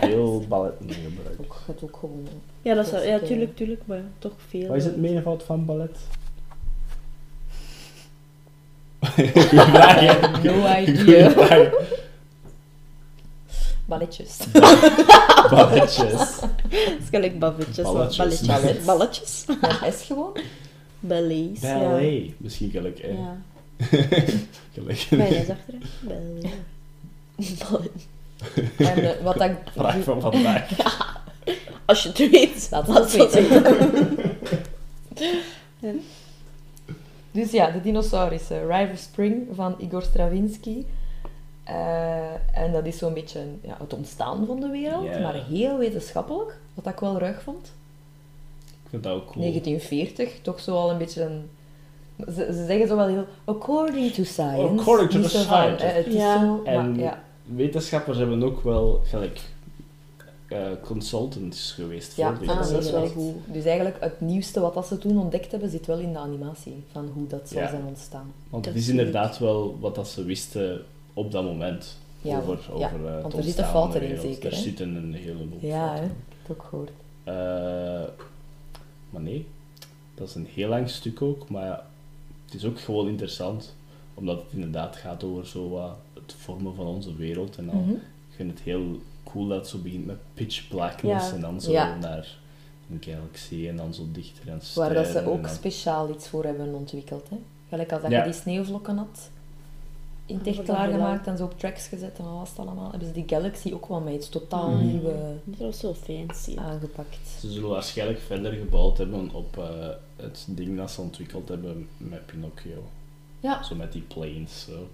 Die heel ballet mee gebruikt.
Ook, het ook gewoon.
Ja, dat is eh, wel- ja,
Klassieke-
tuurlijk, tuurlijk, maar toch veel.
Wat is het
eh,
meervoud van ballet? Goeie vraag, hè?
No
Goeie
idea.
vraag.
Balletjes.
Balletjes.
Het is gelijk balletjes.
Balletjes.
Balletjes. Balletjes.
Dat is gewoon.
Ballets. ja.
eh,
Ballet. Misschien gelijk, hè?
Ja.
Gelijk.
Mijn is achteraan. Bel. Bel.
En eh, wat dat ik...
Vraag van vandaag.
Als je het weet,
Laat
laat
het
het
ons
weten.
Dus ja, de dinosaurussen. River Spring van Igor Stravinsky. Eh, en dat is zo'n beetje ja, het ontstaan van de wereld,
Ja.
maar heel wetenschappelijk. Wat ik wel ruig vond.
Ik vind dat ook cool.
1940, toch zo al een beetje een... Ze, ze zeggen zo wel heel... According to science.
According to
Niet
the
zo van,
science.
eh, het is
Ja.
zo... maar
En-
ja.
Wetenschappers hebben ook wel gelijk eh, consultants geweest voor
Ja,
dit.
ah,
dat
nee,
is wel
echt.
goed.
Dus eigenlijk het nieuwste wat dat ze toen ontdekt hebben, zit wel in de animatie. Van hoe dat zal
Ja.
zijn ontstaan.
Want
Dat
het is
zie ik.
inderdaad wel wat dat ze wisten op dat moment.
Ja,
over,
ja,
over eh, het
want er
ontstaan
zitten
van
fouten
de
in,
wereld.
zeker,
Er
hè?
zitten een heleboel
Ja,
fouten
hè?
in.
Dat heb ik gehoord.
Eh, maar nee, dat is een heel lang stuk ook, maar het is ook gewoon interessant. Omdat het inderdaad gaat over zo wat het vormen van onze wereld en al.
Mhm.
Ik vind het heel cool dat het zo begint met pitch blackness
Ja.
en dan zo
Ja.
naar een galaxy en dan zo dichter en
Waar dat ze
sterren en
ook
dan-
speciaal iets voor hebben ontwikkeld. Hè? Gelijk als dat
Ja.
je die sneeuwvlokken had in het
Voor dat
echt klaargemaakt
heelal.
en zo op tracks gezet en al was het allemaal, hebben ze die Galaxy ook wel met iets totaal
Mhm.
nieuw eh,
Dat was zo fancy.
aangepakt.
Ze zullen waarschijnlijk verder gebouwd hebben op eh, het ding dat ze ontwikkeld hebben met Pinocchio.
Ja.
Zo met die planes. Zo.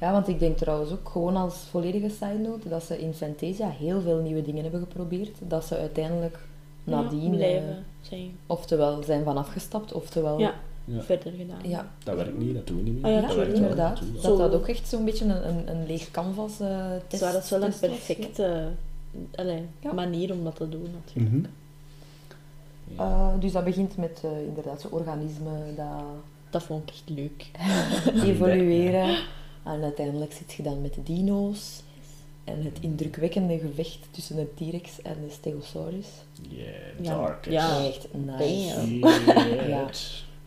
Ja, want ik denk trouwens ook gewoon als volledige side note dat ze in Fantasia heel veel nieuwe dingen hebben geprobeerd. Dat ze uiteindelijk nadien,
Ja,
eh,
blijven zijn
oftewel zijn van afgestapt, oftewel...
Ja.
Ja.
verder gedaan.
ja.
Dat werkt niet, dat doen we niet meer.
Ah ja,
Ja,
dat
sorry,
werkt wel
inderdaad.
naartoe, ja.
Dat dat
Zo.
ook echt zo'n beetje een, een, een leeg canvas eh test
Dus dat is wel een
test was,
perfecte allee,
Ja.
manier om dat te doen natuurlijk.
Mhm.
ja.
Ja.
Eh, dus dat begint met eh, inderdaad zo'n organisme dat
Dat vond ik echt leuk.
evolueren. En uiteindelijk zit je dan met de dino's. En het indrukwekkende gevecht tussen de T-Rex en de Stegosaurus.
Yeah,
Ja.
dark as
Ja.
Echt nice.
Ah, Damn.
shit.
Ja.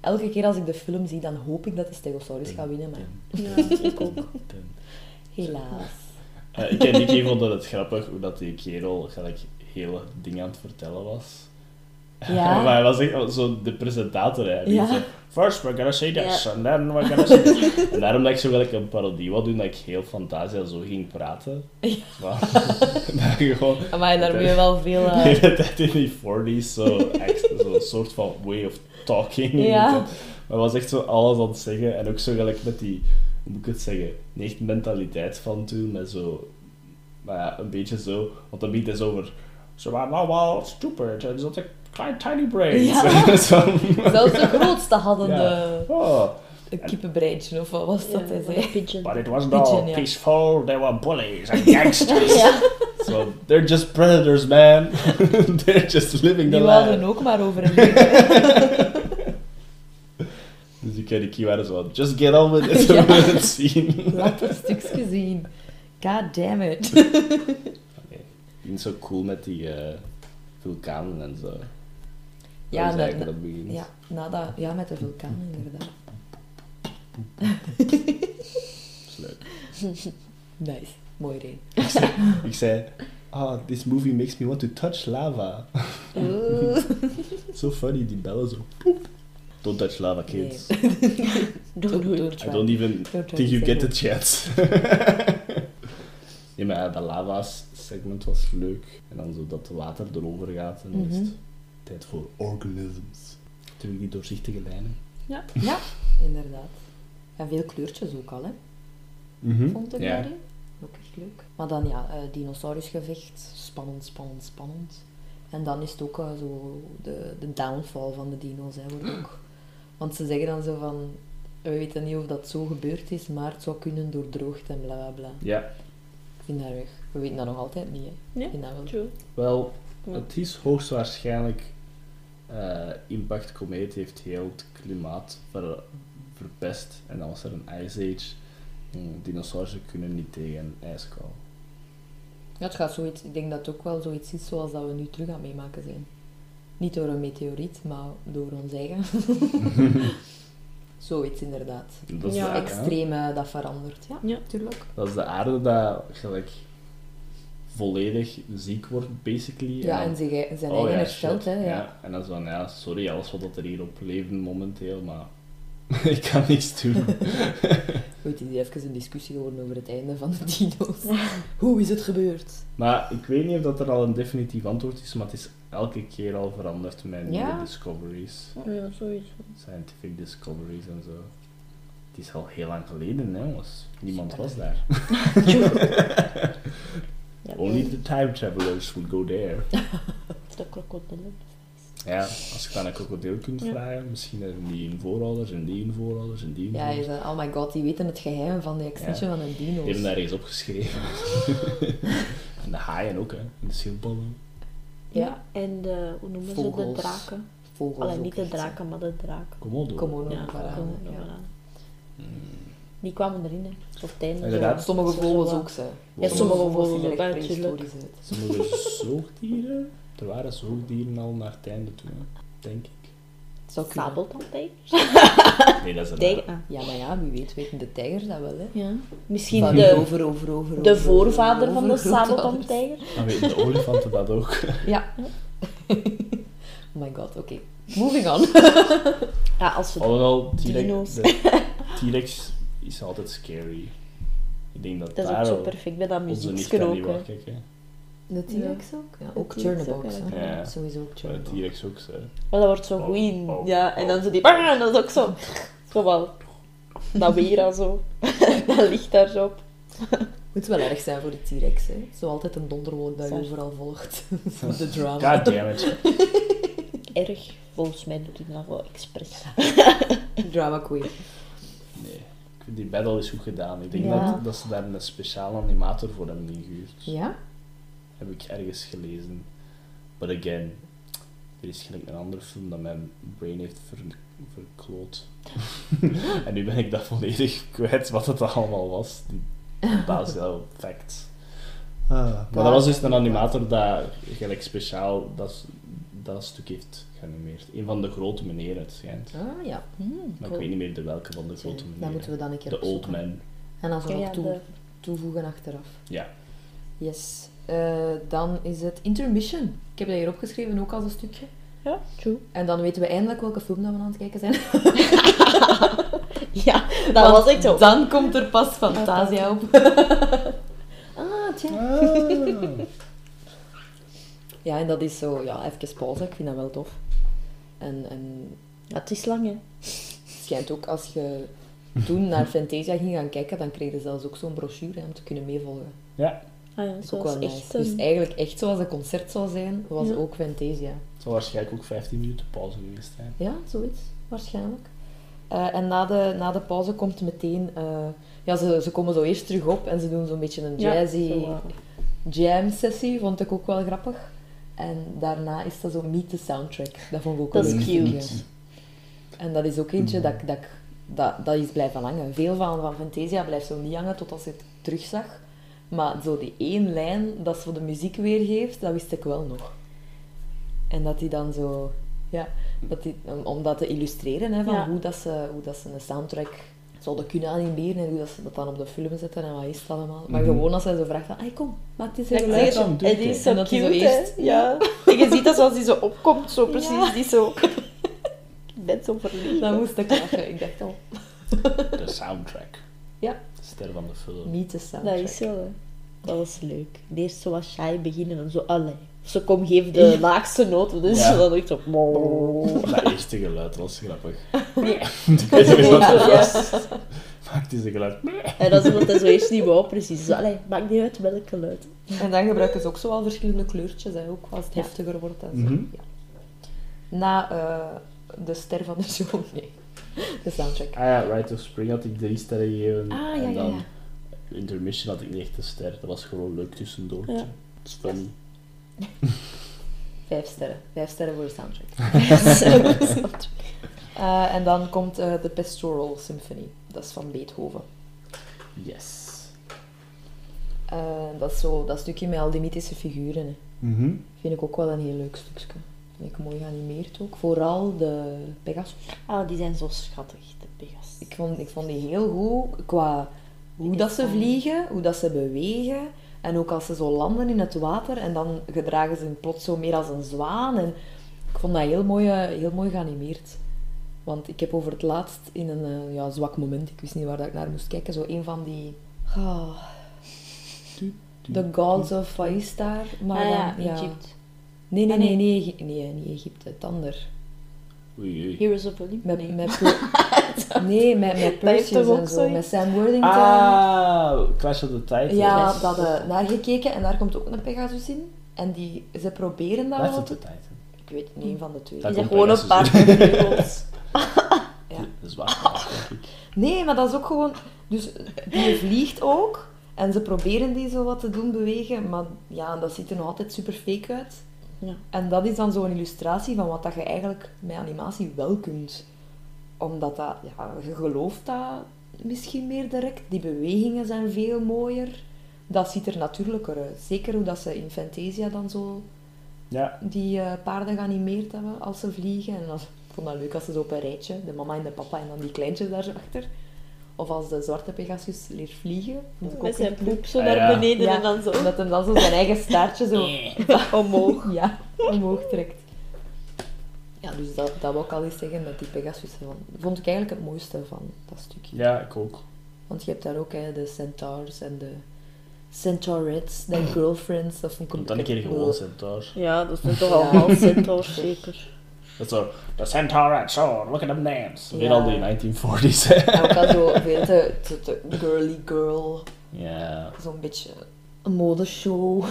Elke keer als ik de film zie, dan hoop ik dat de Stegosaurus gaat winnen. Maar
Ja, ik ook.
helaas.
Eh, ik en Nicky vonden het grappig hoe dat die kerel gelijk heel het ding aan het vertellen was.
Ja.
maar hij was echt zo de presentator. Hè. Die
Ja.
zei, First we're gonna say this,
Ja.
and then we're gonna say this. en daarom dat ik zo wel een parodie wou doen, dat ik heel Fantasia zo ging praten. Ja. dat je gewoon
Maar daar ben je wel veel...
de
eh,
hele tijd in die 40s, zo echt zo'n soort van way of talking.
Ja.
Maar was echt zo alles aan het zeggen. En ook zo gelijk met die, hoe moet ik het zeggen, die echt mentaliteit van toen. Met zo, maar ja, een beetje zo. Want dan biedt het over, ze waren allemaal stupid en ze hadden klein tiny brains.
Ja.
Zo.
Zelfs de grootste hadden
Ja.
de,
Oh,
een kippenbreintje, of wat was dat
Ja,
hij
van
zei?
een pigeon.
but it was
Pigeon,
not
ja.
peaceful, they were bullies and gangsters.
Ja.
so, they're just predators, man. they're just living
Die
the life.
wilden ook maar over een week.
Dus ik en Nicky waren zo, just get on with it,
Ja.
we willen het zien.
Laat dat stukje zien. God damn it.
Ik vind het zo cool met die eh, vulkanen en zo.
Ja,
dat is
dat-
eigenlijk dat begint.
Ja, nada, ja met de vulkaan inderdaad.
Dat is leuk.
Nice. Mooi idee.
Ik zei, ah, this movie makes me want to touch lava. so funny, die bellen zo. Poep. Don't touch lava, kids.
Doe, doe.
I don't even
Don't try
think
to
you
say
get the
no.
chance. nee, maar ja, dat lava-segment was leuk. En dan zo dat water erover gaat en dan is het
Mhm.
tijd voor organisms. Terug die doorzichtige lijnen.
Ja, inderdaad. En veel kleurtjes ook al, hè? Vond ik
Hm? Ja.
daarin. Ook echt leuk. Maar dan ja, eh, dinosaurusgevecht. Spannend, spannend, spannend. En dan is het ook eh, zo de, de downfall van de dino's, hè, wordt ook. Want ze zeggen dan zo van, we weten niet of dat zo gebeurd is, maar het zou kunnen door droogte en bla bla bla.
Ja,
Ik vind dat weg. We weten dat nog altijd niet, hè?
Nee.
Ik vind dat wel.
True.
wel,
Ja.
het is hoogstwaarschijnlijk eh Impact Comet heeft heel het klimaat ver- verpest. En dan was er een Ice Age. Hm, Dinosaurussen kunnen niet tegen een ijskou.
Ja, het gaat zoiets, ik denk dat het ook wel zoiets is zoals dat we nu terug aan het meemaken zijn. Niet door een meteoriet, maar door ons eigen. zoiets inderdaad.
Dat is
Ja.
de
Extreem
aarde.
Extreme dat verandert. Ja,
Ja.
tuurlijk.
Dat is de aarde dat gelijk volledig ziek wordt, basically.
Ja,
dan-
en zich ei- zijn
oh,
eigen
ja,
herstelt,
shit.
hè. Ja.
En dan zo, van, ja, sorry, alles wat er hier op leeft momenteel, maar ik kan niks doen.
Ooit is hier even een discussie geworden over het einde van de dino's. Hoe is het gebeurd?
Maar ik weet niet of dat er al een definitief antwoord is, maar het is elke keer al veranderd met nieuwe
Ja?
discoveries.
Ja, sowieso.
Scientific discoveries en zo. Het is al heel lang geleden, hè, jongens. Niemand was daar.
Ja,
Only the time travelers would go there.
de krokodillen.
Ja, als je aan een krokodil kunt
Ja.
vragen, misschien hebben die hun voorouders en die hun voorouders en die hun
Ja, je
voorouders.
zei, oh my god, die weten het geheim van de extinction van de
Mhm. Die hebben
dino's.
daar eens opgeschreven. en de haaien ook, hè. En de schildpadden.
Ja.
En de, hoe noemen ze de
Vogels.
draken?
Vogels
Allee,
ook
niet de
echt, hè.
draken, maar de draken.
Komodo.
Komodo.
Ja,
vogels,
komen
ja.
er wel aan.
Hmm.
Die kwamen erin, hè. Op het einde.
Inderdaad.
zo.
Sommige
Zo
vogels
wat.
ook, ze.
Ja,
sommige
vogels
vogels
zien er
ook,
echt
hè,
prehistorisch uit.
Sommige dus zoogdieren. Er waren zoogdieren al naar het einde toe, hè, denk ik.
Zou kunnen.
Sabeltandtijgers?
Nee, dat is een
Tijger- ah,
Ja, maar ja, wie weet weten de tijgers dat wel, hè.
Ja. Misschien
Van
de,
over, over, over,
de
over,
voorvader
over,
van de
over, grootouders.
sabeltandtijger.
Dan weten de olifanten dat ook.
Ja. oh my god, oké. Moving on.
Ja, als we...
Alhoewel, T-Rex
Dino's.
de T-Rex is altijd scary. Ik denk dat,
Dat is ook
daar
zo
wel
perfect bij dat
onze nicht
muziekje
aan
ook,
die
hè.
wou kijken.
De
T-Rex
ook? Ja,
De
ook
T-Rex ook
Churnabox, hè.
eigenlijk. Ja.
Sowieso ook
Maar
Churnabox.
T-Rex ook, hè.
Maar dat wordt zo
Oh,
goed in.
oh,
ja, en dan
oh.
zo die... "Bah!" en dat is ook zo... Zo wel... Dat weer al zo. dat ligt daar zo op.
Moet wel erg zijn voor de T-Rex, hè. Zo altijd een donderwolk dat je
Zwaar.
overal volgt. Zo de drama.
God damn it.
Erg. Volgens mij doet hij dat wel expres.
Drama queen.
Nee. Ik vind die battle is goed gedaan. Ik denk
Ja.
dat, dat ze daar een speciale animator voor hebben ingehuurd.
Ja?
Heb ik ergens gelezen. But again, er is gelijk een andere film dat mijn brain heeft ver- verkloot. en nu ben ik dat volledig kwijt wat het allemaal was. Die basel facts. maar dat was dus een animator dat gelijk speciaal dat, dat stuk heeft geanimeerd. Een van de grote meneren, het schijnt.
Ah, ja. Hmm,
Maar
cool.
ik weet niet meer de welke van de grote
Dat
meneren.
moeten we dan een keer
De Old
opzoeken.
Man.
En dan zo
Ja,
nog toe-
de-
toevoegen achteraf.
Ja.
Yes. Eh, dan is het Intermission. Ik heb dat hier opgeschreven, ook als een stukje.
Ja, true.
En dan weten we eindelijk welke film dat we aan het kijken zijn.
Ja, dat
Want
was echt zo.
Dan komt er pas Fantasia op. ah, tja. Ja, en dat is zo... Ja, even pauze. Ik vind dat wel tof. En, en
Ja, het is lang, hè.
het schijnt ook als je toen naar Fantasia ging gaan kijken, dan kreeg je zelfs ook zo'n brochure hè, om te kunnen meevolgen.
ja,
Ah ja,
Dat is
zo
ook
was
wel
echt...
nice. Dus
een-
eigenlijk echt zoals een concert zou zijn, was
Ja.
ook Fantasia.
het zal waarschijnlijk ook 15 minuten pauze geweest zijn.
Ja, zoiets, waarschijnlijk. Eh, en na de, na de pauze komt meteen... eh, ja, ze, ze komen zo eerst terug op en ze doen zo'n beetje een
Ja,
jazzy
zo, eh,
jam-sessie. Vond ik ook wel grappig. En daarna is dat zo Meet the Soundtrack. Dat vond ik ook
Dat
wel
is
een goeie.
cute.
En dat is ook eentje dat, ik- dat, ik- dat, dat is blijven hangen. Veel van, van Fantasia blijft zo niet hangen totdat ze het terugzag. Maar zo die één lijn dat ze de muziek weergeeft, dat wist ik wel nog. En dat die dan zo... Ja, dat die, om, om dat te illustreren, hè, van
Ja.
hoe, dat ze, hoe dat ze een soundtrack zouden kunnen animeren en hoe dat ze dat dan op de film zetten en wat is het allemaal. Maar
Mhm.
gewoon als zij zo vraagt van, "Ai, kom, maak dit een
Ja,
geluid.
zeg dan, doe
en
het,
die
hè.
is
En
zo
dat die
cute,
zo eerst-
hè. Ja. En je ziet dat zoals die zo opkomt, zo precies, die zo... Ik ben zo verliefd.
Dan moest ik lachen. Ik dacht oh, al,
De soundtrack.
Ja.
De ster van de film.
niet de
Dat
soundtrack.
is zo, hè. Dat was leuk. Eerst zo wat shy beginnen en zo, allee. Ze kom, geef de laagste noot, dus
Ja.
dan echt zo...
Oh, Dat eerste geluid was grappig.
Ja.
Ik weet niet wat dat
Ja.
was. Maakt deze geluid.
En dat is omdat hij zo eerst niet wou, precies. Dus, allee, maakt niet uit welk geluid.
En dan gebruiken ze ook zo wel verschillende kleurtjes, hè, ook als het
Ja.
heftiger wordt. En zo.
Mhm.
ja. Na eh, de ster van de show, nee, de soundtrack.
Ah ja, Right of Spring had ik drie sterren gegeven.
Ah, ja, ja,
en dan
ja.
Intermission had ik niet echt een ster. Dat was gewoon leuk tussendoor.
Ja.
Dat is funny.
Vijf sterren. Vijf sterren voor de soundtrack. Eh, en dan komt eh, de Pastoral Symphony. Dat is van Beethoven.
Yes.
Eh, dat is zo dat stukje met al die mythische figuren. Hè.
Mhm.
Vind ik ook wel een heel leuk stukje. Vind ik mooi geanimeerd ook. Vooral de Pegasus.
Ah, die zijn zo schattig, de Pegasus.
Ik vond, ik vond die heel goed qua hoe
Ik
dat ze
vond-
vliegen, hoe dat ze bewegen. En ook als ze zo landen in het water en dan gedragen ze hun plots zo meer als een zwaan. En ik vond dat heel mooi, eh, heel mooi geanimeerd. Want ik heb over het laatst in een eh, ja, zwak moment, ik wist niet waar dat ik naar moest kijken, zo een van die... ah, the Gods of Faistar. Maar
ah ja,
dan, ja.
Egypte.
Nee, nee,
Ah,
nee,
nee.
nee, Egy- nee, niet Egypte, het ander.
Oei, oei.
Heroes of Olympia.
Met,
Nee.
met Pe- nee, met, met
Dat heeft
Perseus
toch ook
en zo,
zoiets?
met Sam Worthington.
Ah, Clash of the Titans.
eh, ja,
Yes.
dat eh naar gekeken en daar komt ook een Pegasus in. En die, ze proberen dat
Clash
wel
of
te...
the Titan.
Ik weet niet, een van de twee.
Dat
Is
komt
dat gewoon een paar
Pegasus
van die heroes?
Ja.
Dat is waar, denk ik.
Nee, maar dat is ook gewoon... Dus die vliegt ook. En ze proberen die zo wat te doen bewegen. Maar ja, dat ziet er nog altijd super fake uit.
Ja.
En dat is dan zo'n illustratie van wat dat je eigenlijk met animatie wel kunt. Omdat dat... Ja, je gelooft dat misschien meer direct. Die bewegingen zijn veel mooier. Dat ziet er natuurlijker uit. Zeker hoe dat ze in Fantasia dan zo
Ja,
die eh, paarden geanimeerd hebben als ze vliegen. En dat, ik vond dat leuk als ze zo op een rijtje, de mama en de papa en dan die kleintjes daar zo achter. Of als de zwarte Pegasus leert vliegen. Vond ik
Met
ook
zijn
echt leuk.
poep zo
Ah,
naar
ja.
beneden
Ja.
en dan zo
Omdat hem dan zo zijn eigen staartje zo
omhoog.
ja, omhoog trekt. Ja, dus dat, dat wou ik al eens zeggen met die Pegasus. Van, vond ik eigenlijk het mooiste van dat stukje.
ja, ik ook.
Want je hebt daar ook hè, de centaurs en de centaurettes, de girlfriends. Dat vond ik
Mm. Komt dan een keer gewoon Centaur.
Ja, dat zijn toch
Ja.
allemaal centaurs zeker.
Dat is zo, the Centaur at shore, look at them names.
Ja.
Weer al die 1940s, hè.
En ook al zo veel te, te, te girly girl.
Ja.
zo'n beetje een modeshow.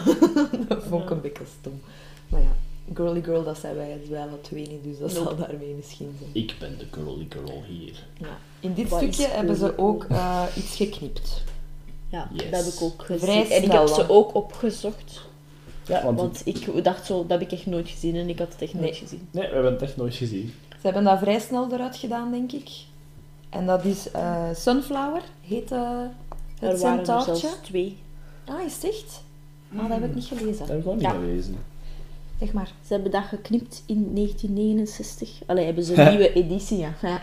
dat vond ik een beetje stom. Maar ja, girly girl, dat zijn wij het wel alle twee niet, dus dat zal daarmee misschien zijn.
Ik ben de girly girl hier.
Ja. In dit
Wat
stukje
is
hebben ze
girly girl?
ook eh, iets geknipt.
Ja,
Yes.
dat heb ik ook gezien.
Vrij
en ik
snel,
heb ze
want-
ook opgezocht.
Ja, want...
Want ik dacht zo, dat heb ik echt nooit gezien en ik had het echt nooit
Nee.
gezien.
Nee, we hebben het echt nooit gezien.
Ze hebben dat vrij snel eruit gedaan, denk ik. En dat is eh, Sunflower, heet eh, het
Er waren er zelfs
centaurtje.
twee.
Ah, is het echt? Ah, dat heb ik niet
Dat
Hmm.
gelezen.
heb ik ook niet
Ja.
gelezen.
Zeg maar.
Ze hebben dat geknipt in 1969. Allee, hebben ze een nieuwe editie, ja. ja.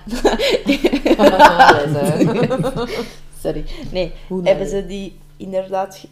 Sorry. Nee,
Hoe
hebben
nou?
ze die inderdaad ge-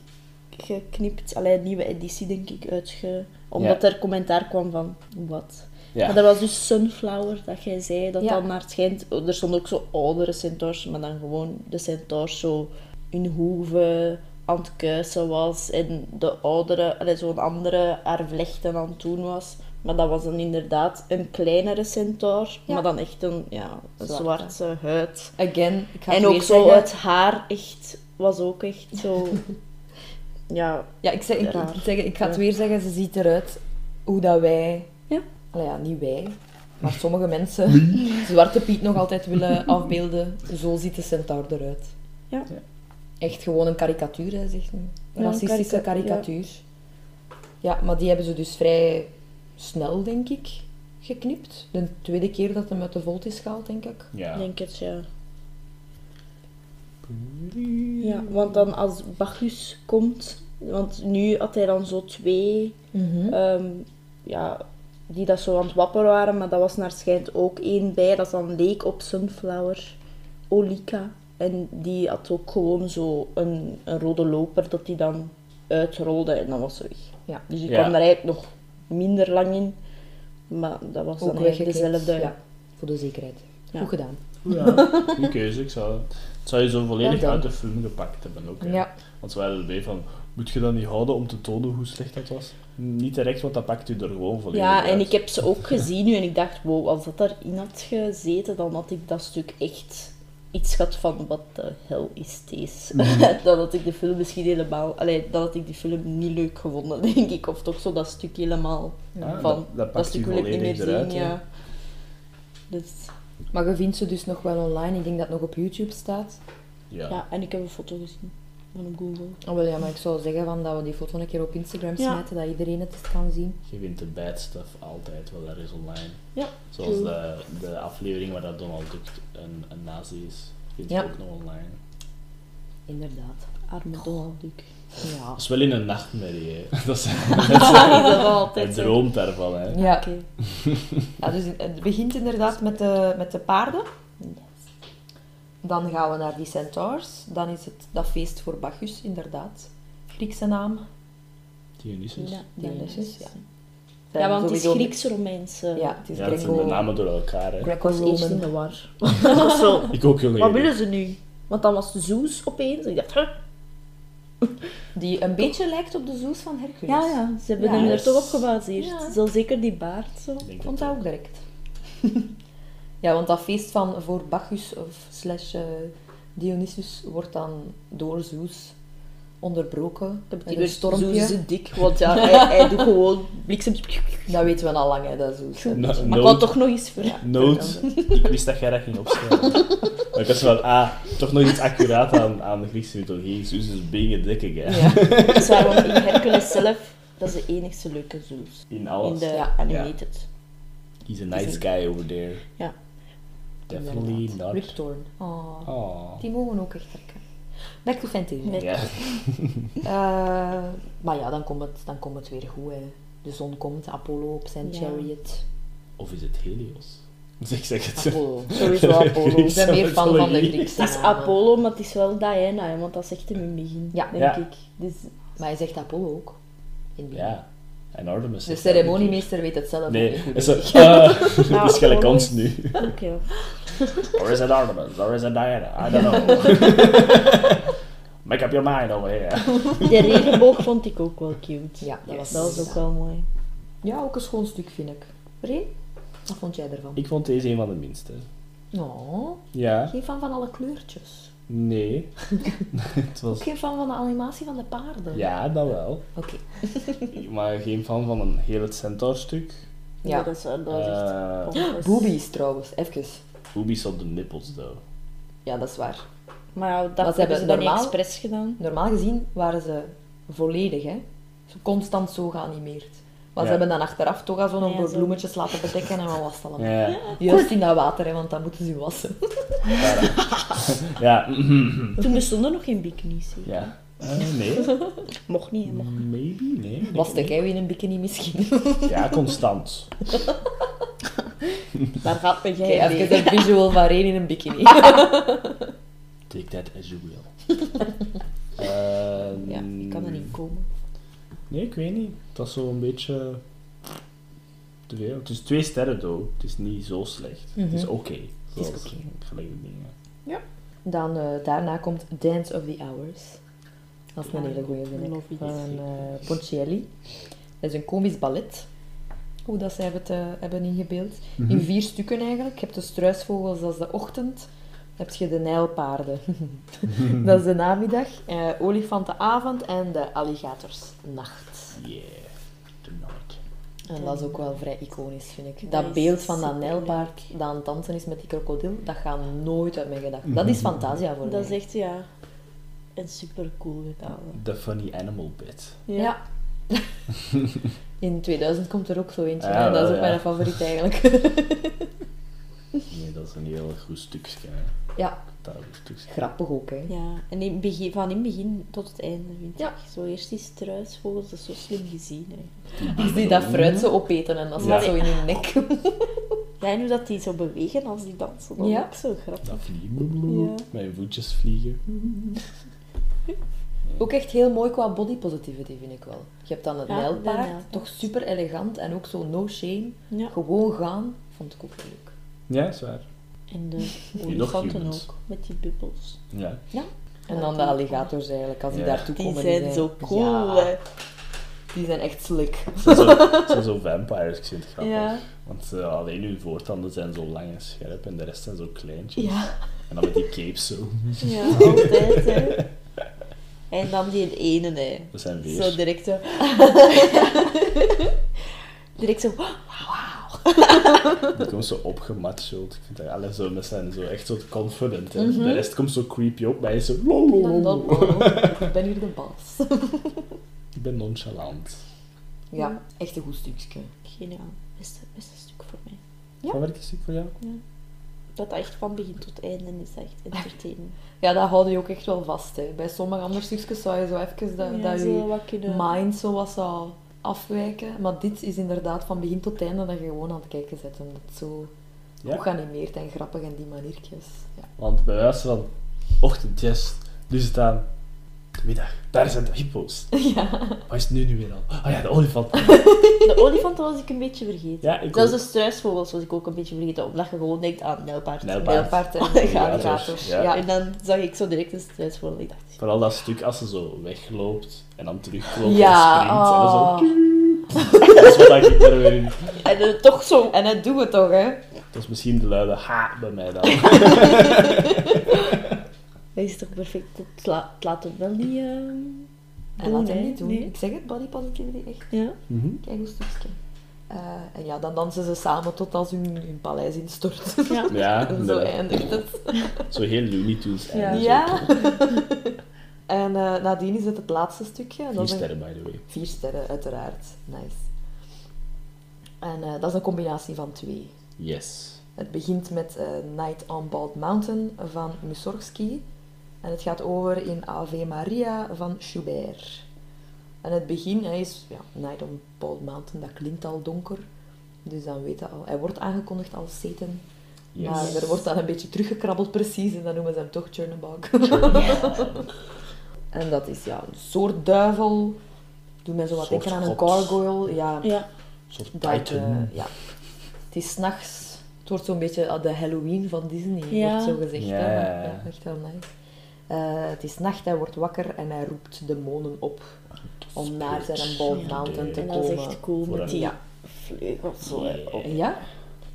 geknipt. Allee, een nieuwe editie, denk ik, uitge... Omdat er commentaar kwam van, wat?
Ja.
Maar dat was dus Sunflower, dat jij zei, dat
Ja.
dan naar het schijnt... oh, Er stonden ook zo oudere centaurs, maar dan gewoon de centaurs zo hun hoeven aan het kuisen was. En de oudere, allee, zo'n andere, haar vlechten aan het doen was. Maar dat was dan inderdaad een kleinere centaur,
Ja.
maar dan echt een, ja, een
Zwarte.
zwarte huid.
Again, ik ga het
En
weer
ook zo
zeggen.
het haar echt, was ook echt zo... ja,
Ja, ik, zeg, ik,
Raar.
ik zeg, ik ga het
Ja.
weer zeggen, ze ziet eruit hoe dat wij...
Ja.
Nou ja, niet wij, maar sommige mensen Zwarte Piet nog altijd willen afbeelden. Zo ziet de centaur eruit.
Ja.
Ja.
Echt gewoon een karikatuur, hè, zegt men. Een
Ja, een
racistische
karika- ja.
karikatuur. Ja. maar die hebben ze dus vrij snel, denk ik, geknipt. De tweede keer dat hem uit de volt is gehaald, denk ik.
Ja.
denk het, ja. Ja, want dan als Bacchus komt, want nu had hij dan zo twee,
Mhm.
ehm, ja, die dat zo aan het wapperen waren, maar dat was naar schijnt ook één bij, dat dan leek op Sunflower, Olika. En die had ook gewoon zo een, een rode loper dat die dan uitrolde en dan was ze weg.
Ja.
Dus je
Ja.
kwam er eigenlijk nog minder lang in, maar dat was
Ook
dan eigenlijk
weggekikt.
dezelfde.
Ja, voor de zekerheid.
Ja.
Goed gedaan.
Ja, goede keuze. Ik zou, het zou je zo volledig
Wel
uit
done.
de film gepakt hebben ook. hè.
Ja.
Want ze waren erbij van, moet je dat niet houden om te tonen hoe slecht dat was? Niet terecht, want dat pakt u er gewoon volledig
Ja,
uit.
en ik heb ze ook gezien nu en ik dacht, wow, als dat daarin had gezeten, dan had ik dat stuk echt iets gehad van, wat de hel is deze? dan had ik de film misschien helemaal, allee, dan had ik die film niet leuk gevonden, denk ik. Of toch zo dat stuk helemaal
Ah,
van,
dat- dat
dat,
pakt u
stuk wil ik niet meer
volledig eruit,
zien,
hè.
ja. Dus,
Maar je vindt ze dus nog wel online. Ik denk dat het nog op YouTube staat.
Ja.
ja. en ik heb een foto gezien van op Google.
Oh, wel, ja, maar ik zou zeggen van dat we die foto een keer op Instagram
Ja.
smijten, dat iedereen het eens kan zien.
Je wint de bad stuff altijd wel er is online.
Ja,
Zoals
true.
de, de aflevering waar dat Donald Duck een, een nazi is, vind je
Ja.
ook nog online.
Inderdaad.
Arme Donald Duck.
Ja.
Dat is wel in een nachtmerrie, hè. Dat is,
dat is
hij
altijd zo.
droomt daarvan, hè.
Ja.
Oké.
Ja, dus het begint inderdaad met de, met de paarden. Dan gaan we naar die centaurs. Dan is het dat feest voor Bacchus, inderdaad. Griekse naam.
Dionysus.
Ja,
Dionysus,
Dionysus,
ja.
ja.
Ze ben
ja, want het is
sowieso-
Grieks-Romeinse.
Ja, het is
Ja, dat zijn de
Gringo.
namen door elkaar, hè.
Ik was eerst in
Greco-Roman.
de war. Of zo.
Ik ook heel
Wat
eerlijk.
willen ze nu? Want dan was de Zeus opeens. Ik dacht, huh?
Die een beetje lijkt op de zoes van Hercules.
ja, ja, ze hebben
Ja.
hem er toch op gebaseerd.
Ja.
Zo zeker die baard zo.
Ik denk
Ik vond
dat
dat ook direct. ja, want dat feest van voor Bacchus of slash eh, Dionysus wordt dan door Zeus onderbroken.
Dat
Met een
betekent
stormpje.
Zeus is dik, want ja, hij, hij doet gewoon bliksem.
Dat weten we al lang, hè, dat Zeus. hè.
No-
Maar ik wou
note,
toch nog eens vragen.
note. ik wist dat jij dat ging opschrijven. maar ik was wel, ah, toch nog iets accuraat aan, aan de Griekse mythologie. Zeus is being a dick again.
Ja.
Dat is waar, want in Hercules zelf, dat is de enigste leuke Zeus.
In
In
alles.
de
Ja.
animated.
He's a nice guy over there.
Ja.
Definitely not.
Riptorn. Oh,
Oh.
die mogen ook echt trekken. Back to Fantine.
Ah. Nee.
Ja.
Eh, maar ja, dan komt, het, dan komt het weer goed. Hè. De zon komt, Apollo op zijn
Ja.
chariot.
Of is het Helios? Dus ik zeg het zo.
Apollo, sowieso Apollo. Ik ben meer fan van de
mythologie.
Griekse
Het is
namen.
Apollo, maar het is wel Diana, hè, want dat zegt hem in het begin,
Ja.
denk
Ja.
ik. Dus
Maar hij zegt Apollo ook. In het begin.
Ja. En Artemis.
De
zegt dat
ceremoniemeester weet het zelf
ook.
ook
Nee,
niet
het
goed,
is
denk
zo, ah,
Ja,
dat is gelijk
Apollo
ons
is-
nu.
oké.
Or is it Artemis? Or is it Diana? I don't know. Make up your mind over here.
De regenboog vond ik ook wel cute.
Ja,
dat,
yes.
was, dat was ook wel mooi.
ik. Ja, ook een schoon stuk vind ik. Reen, wat vond jij ervan?
Ik vond deze een van de minste.
Oh,
Ja.
geen fan van alle kleurtjes.
Nee. het was...
Ook geen fan van de animatie van de paarden.
Ja, dat wel.
Oké.
Maar geen fan van een heel het centaurstuk.
Ja.
Dat is, dat was echt
Eh,
pompous.
Boobies trouwens, even.
Boobies op de nippels, though.
Ja, dat is waar.
Maar ja, dat
Maar ze
hebben ze
hebben
dan niet
normaal-
expres gedaan.
Normaal gezien waren ze volledig, hè. Zo Constant zo geanimeerd. Maar ze
Ja.
hebben dan achteraf toch al zo'n
Ja,
door
zo.
bloemetjes laten bedekken en wat was het allemaal.
Ja.
Juist in dat water, hè, want dan moeten ze wassen.
Ja.
Toen bestonden nog geen bikinis. hè.
ja. Eh, nee.
Mocht niet, hè, mocht niet.
Maybe? Nee. denk
Was
ik
de
niet.
jij in een bikini misschien?
Ja, constant.
Waar gaat men jij
Oké,
mee?
even een visual van Reen in een bikini.
Take that as you will. Eh,
Ja, ik kan er niet komen.
Nee, ik weet niet. Het was zo een beetje... Te veel. Het is twee sterren, though. Het is niet zo slecht. Het is
Mhm.
oké. Zoals
oké.
gelijk de dingen.
Dan eh, daarna komt Dance of the Hours. Dat is een hele goeie, vind ik.
Love it.
Van eh, Ponchielli. Dat is een komisch ballet. Hoe dat zij het eh, hebben ingebeeld. In vier stukken eigenlijk. Je hebt de struisvogels, dat is de ochtend. Dan heb je de nijlpaarden. dat is de namiddag. Eh, olifantenavond en de alligatorsnacht.
Yeah. Tonight.
En dat is ook wel vrij iconisch, vind ik.
Dat
Dat
is
beeld van dat
super
nijlpaard dat aan het dansen is met die krokodil, dat gaat nooit uit mijn gedachten. Dat is Fantasia voor
Dat is
mij.
echt, ja, een super cool gedaan.
The funny animal bit.
Ja. In 2000 komt er ook zo eentje.
Ja,
en dat is
wel,
ook
ja.
mijn favoriet eigenlijk.
Nee, dat is een heel goed stukje.
ja,
Dat is een stukje.
grappig ook, hè.
Ja, en in het begin, van in het begin tot het einde, vind
Ja.
ik. Zo eerst die struisvogels, dat is zo slim gezien. Hè.
Als die dat fruit zo opeten en dat zat
Ja.
zo in hun nek.
Ja, en hoe dat die zo bewegen als die dansen, dat
Ja.
is ook zo grappig.
Dat vliegen.
Ja.
Mijn voetjes vliegen.
ook echt heel mooi qua body positivity, vind ik wel. Je hebt dan het
Ja, de
nijlpaard,
nijlpaard.
toch super elegant en ook zo no shame.
Ja.
Gewoon gaan, vond ik ook leuk.
Ja, is waar.
En de
nog
olifanten
humans.
ook, met die bubbels.
Ja.
En dan de alligators eigenlijk, als die
Ja.
daartoe
Die
komen.
zijn zo cool,
Ja,
hè.
die zijn echt slick.
Het zijn zo, het zijn zo vampires, ik vind het grappig.
Ja.
Want eh, alleen hun voortanden zijn zo lang en scherp en de rest zijn zo kleintjes.
Ja.
En dan met die capes zo.
Ja, altijd, hè. En dan die ene, hè.
Dat zijn weer.
Zo direct zo. direct zo. "Oh,
Die komt zo opgematcheld. Ik vind dat alle zo, dat zijn zo echt zo confident. hè. De rest komt zo creepy op, maar hij is zo. "Lo, lo, lo,
Mhm. Dan, dan,
lo."
dan, Oh. ik ben hier de baas.
Ik ben nonchalant.
Ja, echt een goed stukje.
Geniaal. Beste, beste stuk voor mij.
Ja.
Van werk is het voor jou?
Dat dat echt van begin tot einde is echt entertainend.
Ja, dat houden je ook echt wel vast. Hè. Bij sommige andere stukjes zou je zo even dat,
Ja,
dat
zo
je
wat kunnen...
mind zo wat zou afwijken. Maar dit is inderdaad van begin tot einde dat je gewoon aan het kijken zit. Omdat het zo
Ja.
goed geanimeerd en grappig en die maniertjes. Ja.
Want bij wijze van ochtendjes, dus dan Middag, daar zijn de hippo's.
Ja.
Waar is het nu, nu weer al? Ah ja, de olifant.
De olifanten was ik een beetje vergeten.
Ja, ik
Zelfs
dus-
de
ook.
struisvogels was ik ook een beetje vergeten, omdat je gewoon denkt aan nijlpaard.
Nijlpaard.
Nijlpaard en
Ja,
alligators.
ja.
Ja.
En dan zag ik zo direct een struisvogel. Ik dacht,
Vooral dat stuk als ze zo wegloopt en dan terugloopt
Ja,
en springt. En dan
oh.
zo... Dat is wat ik er weer in...
en eh, toch zo.
Ah. En dat doen we toch, hè?
Dat is misschien de luide ha bij mij dan.
Dat is toch perfect. Het, la- het laat het wel niet ehm,
En
doen,
laat hem
hè.
niet doen.
Nee.
Ik zeg het, body positivity, echt.
Ja.
Mhm.
Kijk hoe stukje. Eh, en ja, dan dansen ze samen tot als hun, hun paleis instort.
ja.
Ja,
en zo
inderdaad.
eindigt het.
Zo heel Looney Tunes
Ja.
einde, zo.
Ja. en eh, nadien is het het laatste stukje. En dat
Vier
is een-
sterren, by the way.
Vier sterren, uiteraard. Nice. En eh, dat is een combinatie van twee.
Yes.
Het begint met eh, Night on Bald Mountain van Mussorgsky. En het gaat over in Ave Maria van Schubert. En het begin hè, is ja, Night on Bald Mountain, dat klinkt al donker. Dus dan weet je al. Hij wordt aangekondigd als Satan.
Yes.
Maar er wordt dan een beetje teruggekrabbeld precies en dan noemen ze hem toch Chernabog. en dat is ja, een soort duivel. Doet mij zo wat
Soort
denken aan een
god.
gargoyle. Ja,
ja.
Een soort
dat, eh,
Titan.
ja. Het is s'nachts. Het wordt zo'n beetje ah, de Halloween van Disney,
Ja.
wordt zo gezegd.
Ja,
hè.
ja, ja.
ja echt wel nice. Eh, het is nacht, hij wordt wakker en hij roept demonen op om naar zijn Bald
Ja.
Mountain te
En dat is
komen.
echt cool
Voor
met
een-
die
Ja.
vleugels zo hè, op.
Oh.
Ja.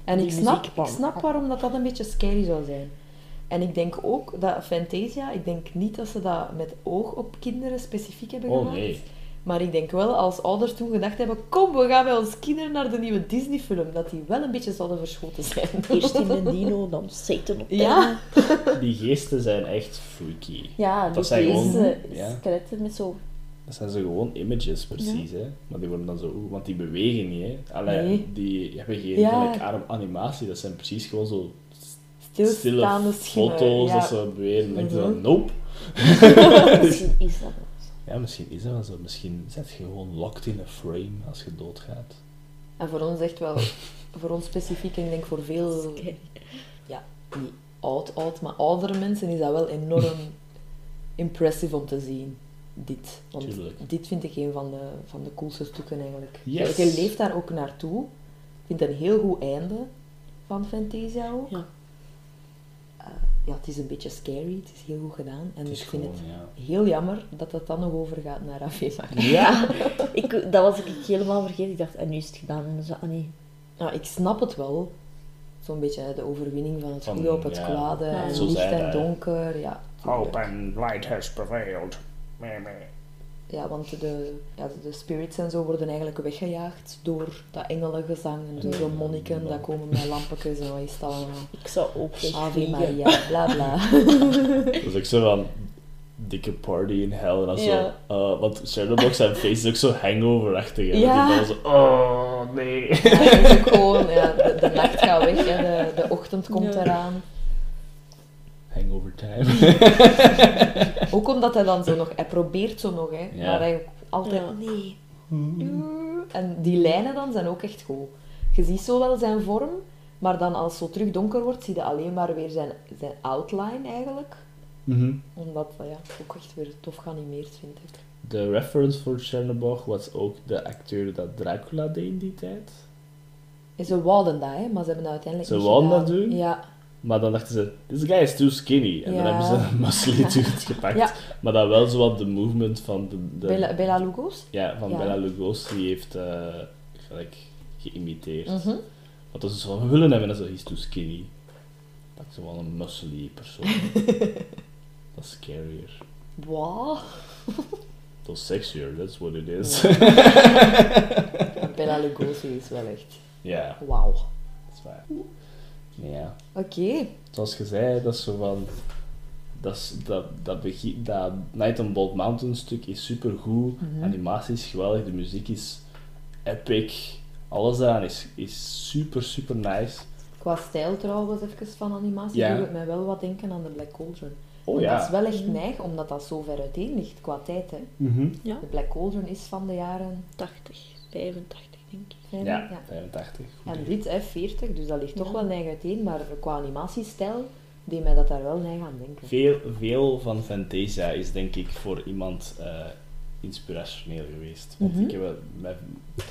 En
Die
ik snap,
muziek van-
ik snap waarom dat, dat een beetje scary zou zijn. En ik denk ook dat Fantasia, ik denk niet dat ze dat met oog op kinderen specifiek hebben
Oh,
gemaakt.
nee.
Maar ik denk wel als ouders toen gedacht hebben, kom we gaan bij ons kinderen naar de nieuwe Disney film, dat die wel een beetje zouden verschoten zijn.
Eerst in een dino, dan Satan op de
Ja.
Die geesten zijn echt freaky.
Ja,
Dat
dus
zijn
deze
gewoon- ja.
skeletten met zo...
Dat zijn zo gewoon images, precies. Hè? Maar die worden dan zo... oeh, Want die bewegen niet, hè. Allee,
Nee.
die hebben geen
Ja.
gelijk arm animatie. Dat zijn precies gewoon zo
Stilstaande
stille
schimmen.
foto's
ja.
dat ze beweren. En dan denk je
Mhm.
zo, nope.
Misschien is dat wel zo.
Ja, misschien is dat wel zo. Misschien zit je gewoon locked in een frame als je doodgaat.
En voor ons echt wel, voor ons specifiek, en ik denk voor veel
Scary.
niet oud, oud, maar oudere mensen is dat wel enorm impressive om te zien. Dit. Want
Tuurlijk.
dit vind ik een van de, van de coolste stukken eigenlijk.
Yes.
Je leeft daar ook naartoe. Ik vind het een heel goed einde van Fantasia ook.
Ja.
Eh, ja, het is een beetje scary, het is heel goed gedaan. En
Het is
ik vind
gewoon,
het
ja.
heel jammer dat het dan nog overgaat naar Avema.
Ja!
Ik, dat was ik helemaal vergeten. Ik dacht, en nu is het gedaan. En dan zo, ah nee.
Nou, ik snap het wel. Zo'n beetje hè, de overwinning van het
Van,
goede op het
ja.
kwade.
Ja.
En
Zo
licht
zei
en
hij.
donker. Ja,
Hope
tuurlijk.
and light has prevailed. Meh, meh.
Ja, want de, ja, de- de spirits en zo worden eigenlijk weggejaagd door dat engelengezang en zo.
Ja.
Zo'n monniken, dat komen met lampetjes en wat is dat allemaal.
Ik zou ook echt
Ave
vliegen.
Maria, bla bla.
Dus ik zo van, dikke party in hell. En dan zo,
Ja.
eh, want Shadowbox zijn face is ook zo hangoverachtig. En
Ja.
dan zo, oh nee.
Ja, dat is ook gewoon, ja, de, de nacht gaat weg en de, de ochtend komt
Ja.
eraan.
Hangover
Mhm.
time.
Ook omdat hij dan zo nog, hij probeert zo nog, hè.
Ja.
Maar hij altijd,
Ja.
nee. En die lijnen dan zijn ook echt goed. Je ziet zo wel zijn vorm, maar dan als het zo terug donker wordt, zie je alleen maar weer zijn, zijn outline eigenlijk.
Mhm.
Omdat dat ja, ook echt weer tof geanimeerd vind ik.
De reference voor Shadowbox was ook de acteur dat Dracula deed in die tijd.
En ze wouden dat, hè, maar ze hebben dat uiteindelijk
Ze
niet
wouden
gedaan.
dat doen?
Ja.
Maar dan dachten ze, this guy is too skinny. En
Ja.
dan hebben ze een muscly dude gepakt.
Ja.
Maar dat wel zo wat de movement van de... de
Bella, Bella Lugos?
Ja, van
Ja.
Bella Lugosi heeft eh, gelijk geïmiteerd.
Mhm.
Want dat is wat we willen hebben, dat is he's too skinny. Pak ze wel een muscly persoon. dat is scarier.
Wow.
Dat is sexier, that's what it is.
Bella Lugosi is wel echt...
ja,
Wauw.
dat is waar. Ja.
Oké.
Zoals je zei, dat is zo van... Dat, is, dat, dat, begin, dat Night on Bald Mountain stuk is supergoed.
Mhm.
Animatie is geweldig, de muziek is epic. Alles daaraan is, is super, super nice.
Qua stijl trouwens, even van animatie,
Ja.
doet het mij wel wat denken aan de Black Cauldron.
Oh
Dat is
ja.
wel echt neig, omdat dat zo ver uiteen ligt qua tijd. Hè.
Mhm.
De Black Cauldron is van de jaren
80, 85 denk ik.
50.
Ja,
ja.
85. goed
En
idee.
dit, hè, 40, dus dat ligt toch
Ja.
wel neig uiteen. Maar qua animatiestijl die mij dat daar wel naar gaan denken.
Veel, veel van Fantasia is denk ik voor iemand eh, inspirationeel geweest. Want
Mhm.
ik heb, wel- wij-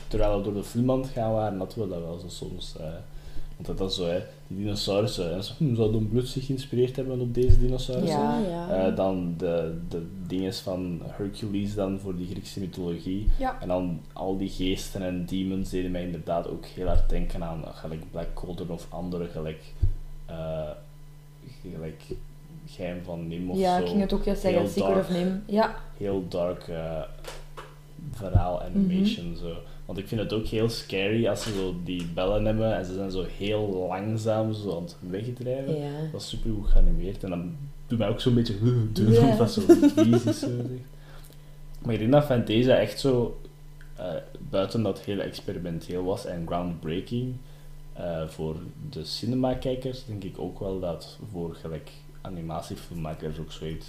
terwijl we door de film aan het gaan waren, hadden we dat wel zo soms. eh, want dat was zo, hè, die dinosaurussen. En zo, hm, zou Don Bluth zich geïnspireerd hebben op deze dinosaurussen?
Ja.
ja.
Ah.
Eh, dan de, de dinges van Hercules dan voor de Griekse mythologie.
Ja.
En dan al die geesten en demons deden mij inderdaad ook heel hard denken aan eh, gelijk Black Cauldron of andere gelijk, eh, gelijk Geheim van Nim of
ja,
zo.
ik ging het ook juist zeggen,
Heel
secret
dark.
of name. Ja,
Heel dark eh, verhaal animation
Mhm.
zo. Want ik vind het ook heel scary als ze zo die bellen hebben en ze zijn zo heel langzaam zo aan het wegdrijven.
ja.
Dat is super goed geanimeerd en dan doet mij ook zo'n beetje doen,
Ja.
omdat dat zo vies is. zo gezegd. Maar ik denk dat Fantasia echt zo, eh, buiten dat het heel experimenteel was en groundbreaking, eh, voor de cinemakijkers denk ik ook wel dat voor gelijk animatiefilmmakers ook zoiets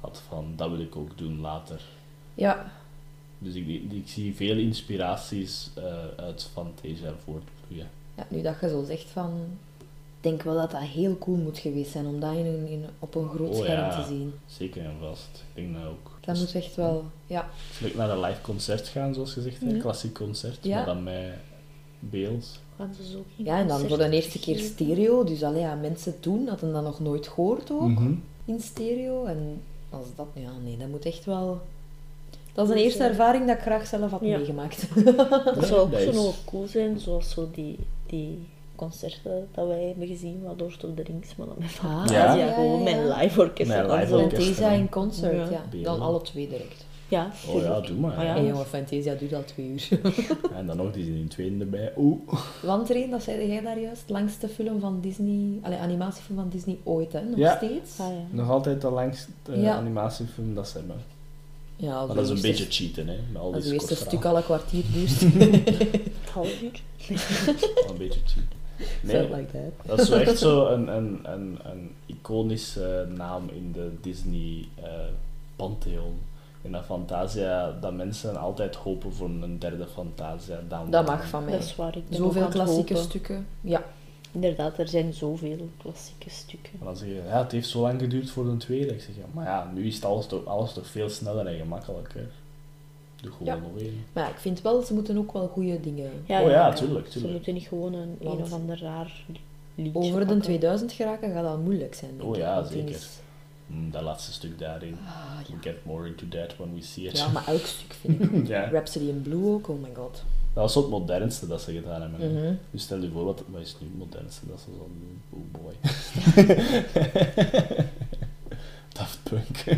had van dat wil ik ook doen later.
ja.
Dus ik, ik zie veel inspiraties eh, uit Fantasia voortvloeien.
Ja, nu dat je zo zegt van... Ik denk wel dat dat heel cool moet geweest zijn om dat in, een- in- op een groot
Oh,
scherm
ja. Dus
te zien.
Zeker en vast. Ik denk dat ook.
Dat moet echt wel... Ja.
Zal ik naar een live concert gaan, zoals gezegd, een
Ja.
klassiek concert,
Ja.
maar dan met beeld.
Gaan ze zo geen
ja, en dan voor de
concert
eerste keer
geven?
stereo. Dus allee, ja, mensen toen hadden dat nog nooit gehoord ook,
Mhm.
in stereo. En als dat... Ja, nee, dat moet echt wel... Dat is een
Dus,
eerste
eh,
ervaring dat ik graag zelf had
ja.
meegemaakt.
Dat zou ook
dat
zo
is-
nog cool zijn, zoals zo die, die concerten dat wij hebben gezien, wat door op de rings, maar dan met
Ah,
Ja.
ja,
ja, ja, ja.
gewoon mijn live orkest.
Mijn
en dan
live
zo.
orkest.
Fantasia in concert,
Ja.
ja. Dan
Beelden.
alle twee direct.
Ja,
Oh ja,
tuurlijk.
doe maar.
Ah ja.
En jongen, Fantasia doet al twee uur.
En dan nog die in tweede erbij. Oeh.
Want Reen, dat zei jij daar juist, langste film van Disney, allee, animatiefilm van Disney ooit, hè? Nog
Ja.
steeds?
Ah, ja.
Nog altijd de langste eh,
Ja.
animatiefilm dat ze hebben.
Ja, als
Maar dat is
uw
een
eerste-
beetje cheaten, hè. Met al
Als
die
uw eerste
kort
stuk
verhaal.
al een kwartier duurt.
Een half uur.
Al een beetje cheaten.
Felt
Nee,
like that.
dat is zo echt zo een, een, een, een iconische naam in de Disney eh, pantheon. In dat Fantasia, dat mensen altijd hopen voor een derde Fantasia. Dan
Dat mag van
Dat
mij.
is waar, ik ben ook aan
Zoveel
het
klassieke
hopen.
stukken. Ja.
Inderdaad, er zijn zoveel klassieke stukken.
En dan zeg je, ja, het heeft zo lang geduurd voor de tweede. Ik zeg, ja, maar ja, nu is het alles toch, alles toch veel sneller en gemakkelijker. Doe gewoon
Ja.
nog één.
Maar ja, ik vind wel, ze moeten ook wel goede dingen...
Oh ja, tuurlijk,
Ze
tuurlijk.
moeten niet gewoon een, een
Want-
of ander raar liedje
Over de
pakken.
2000 geraken gaat al moeilijk zijn, denk
Oh
ik,
ja,
want die
zeker.
is-
Hm, dat laatste stuk daarin.
Ah,
We'll get more into that when we see it.
Ja, maar elk stuk vind ik.
Ja.
Rhapsody in Blue ook, oh my god.
Dat was zo het modernste dat ze gedaan hebben.
Mhm.
Dus stel je voor, wat, wat is nu het modernste dat ze zouden doen? Oh boy. Daft Punk.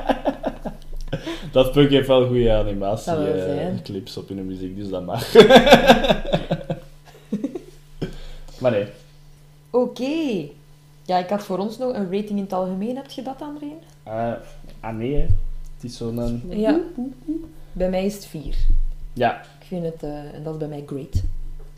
Daft Punk heeft wel goede animatie
Dat wel
eh,
zijn.
clips op hun muziek, dus dat mag. maar nee,
Oké. Ja, ik had voor ons nog een rating in het algemeen. Heb je dat dan, Reen?
eh, ah nee, hè. het is zo'n... eh,
Ja. Bij mij is het 4.
Ja.
Ik vind het, eh, en dat is bij mij great.